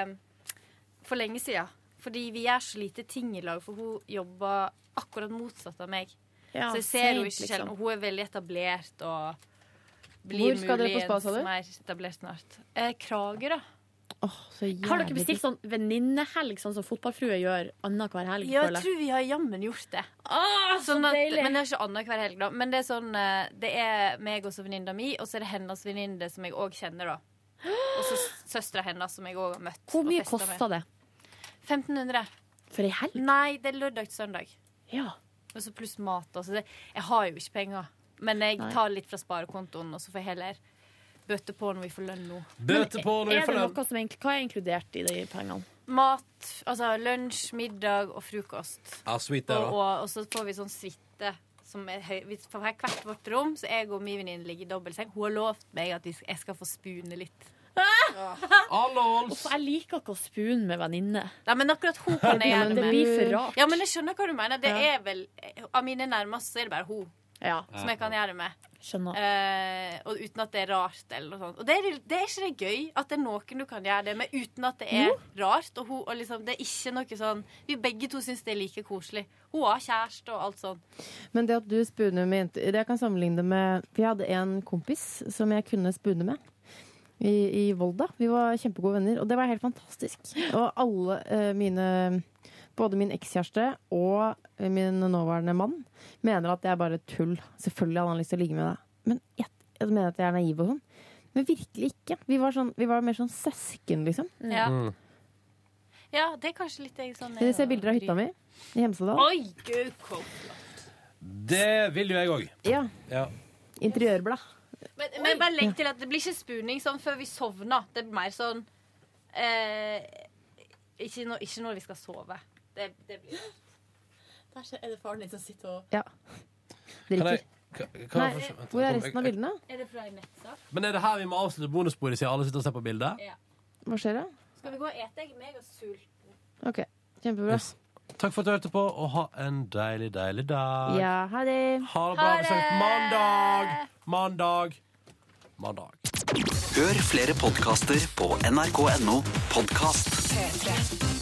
Speaker 15: for lenge siden. Fordi vi gjør så lite ting i lag, for hun jobber akkurat motsatt av meg.
Speaker 3: Ja,
Speaker 15: så jeg ser henne
Speaker 3: seint,
Speaker 15: ikke sjelden.
Speaker 3: Ah, liksom.
Speaker 15: Hun er veldig etablert og
Speaker 3: Hvor skal dere på spa, sa du?
Speaker 15: muligens mer etablert snart. Eh, Kragerø.
Speaker 3: Så jævlig
Speaker 14: Har dere bestilt sånn venninnehelg, sånn som fotballfrue gjør annenhver helg?
Speaker 15: Ja,
Speaker 14: føler
Speaker 15: jeg tror vi har jammen gjort det.
Speaker 3: Ah,
Speaker 14: så
Speaker 15: Sånn at,
Speaker 14: deilig.
Speaker 15: men det er ikke annenhver helg, da. Men det er sånn eh, Det er meg og så venninna mi, og så er det hennes venninne som jeg òg kjenner, da. Og så søstera hennes som jeg òg har møtt.
Speaker 14: Hvor
Speaker 15: og
Speaker 14: mye
Speaker 15: festet
Speaker 14: kosta
Speaker 15: med.
Speaker 14: det?
Speaker 15: 1500.
Speaker 14: For ei helg?
Speaker 15: Nei, det er lørdag til søndag.
Speaker 14: Ja.
Speaker 15: Og så pluss mat. Altså det, jeg har jo ikke penger. Men jeg
Speaker 14: Nei.
Speaker 15: tar litt fra sparekontoen, og så får jeg heller bøte på når vi får lønn nå.
Speaker 2: Bøte på når vi
Speaker 14: er
Speaker 2: får
Speaker 14: det
Speaker 2: lønn.
Speaker 14: noe som egentlig, Hva er inkludert i de pengene?
Speaker 15: Mat, altså lunsj, middag og frokost.
Speaker 2: Ja, sweet det,
Speaker 15: Og, og,
Speaker 2: da.
Speaker 15: og så får vi sånn suite. Som er høy, vi får hvert vårt rom, så jeg og min venninne ligger i dobbeltseng. Hun har lovt meg at vi- jeg skal få spune litt.
Speaker 14: Uff, jeg liker ikke å spune med venninne.
Speaker 15: Nei, men akkurat hun kan jeg gjøre
Speaker 14: Det blir for rart.
Speaker 15: Ja, men jeg skjønner hva du mener. Det
Speaker 14: Ja.
Speaker 15: er vel, Av mine nærmeste så er det bare hun
Speaker 14: Ja.
Speaker 15: som jeg kan gjøre det med.
Speaker 14: Skjønner.
Speaker 15: Eh, og uten at det er rart. Eller noe sånt. Og det er, det er ikke det gøy at det er noen du kan gjøre det med uten at det er rart. Og, hun, og liksom, det er ikke noe sånn Vi begge to syns det er like koselig. Hun har kjæreste og alt sånt.
Speaker 3: Men det at du spooner med jenter det Jeg kan sammenligne det med For jeg hadde en kompis som jeg kunne spoone med. I, I Volda. Vi var kjempegode venner, og det var helt fantastisk. Og alle eh, mine Både min ekskjæreste og min nåværende mann mener at det er bare tull. Selvfølgelig hadde han lyst til å ligge med deg. Men jeg, jeg mener at jeg er naiv og sånn. Men virkelig ikke. Vi var, sånn, vi var mer sånn søsken, liksom.
Speaker 15: Ja. ja, det er kanskje litt jeg sånn er
Speaker 3: Dere ser
Speaker 15: og
Speaker 3: bilder av hytta mi
Speaker 15: bryr-
Speaker 3: i Hemsedal.
Speaker 15: Oi, gud, kom.
Speaker 2: Det vil jo jeg òg.
Speaker 3: Ja.
Speaker 2: Ja.
Speaker 3: Interiørblad.
Speaker 15: Men, men bare legg til at det blir ikke spooning sånn før vi sovner. Det blir mer sånn eh, ikke, når- ikke når vi skal sove. Det, det blir
Speaker 14: Der er det faren din som sitter og
Speaker 3: Ja.
Speaker 2: Kan
Speaker 3: Drikker.
Speaker 2: jeg, kan, kan jeg få se- vent, kom, jeg- jeg-
Speaker 15: Er det fra en nettsak?
Speaker 2: Men er det her vi må avslutte bonussporet siden alle sitter og ser på bildet?
Speaker 15: Ja.
Speaker 3: Hva skjer da?
Speaker 15: Skal vi gå og ete? Jeg er mega sulten.
Speaker 3: Ok, kjempebra.
Speaker 2: Takk for at du hørte på, og ha en deilig, deilig dag.
Speaker 14: Ja, ha det.
Speaker 2: Ha det bra. Vi ses mandag! Mandag. Mandag.
Speaker 1: Hør flere podkaster på nrk.no podkast.
Speaker 5: P3.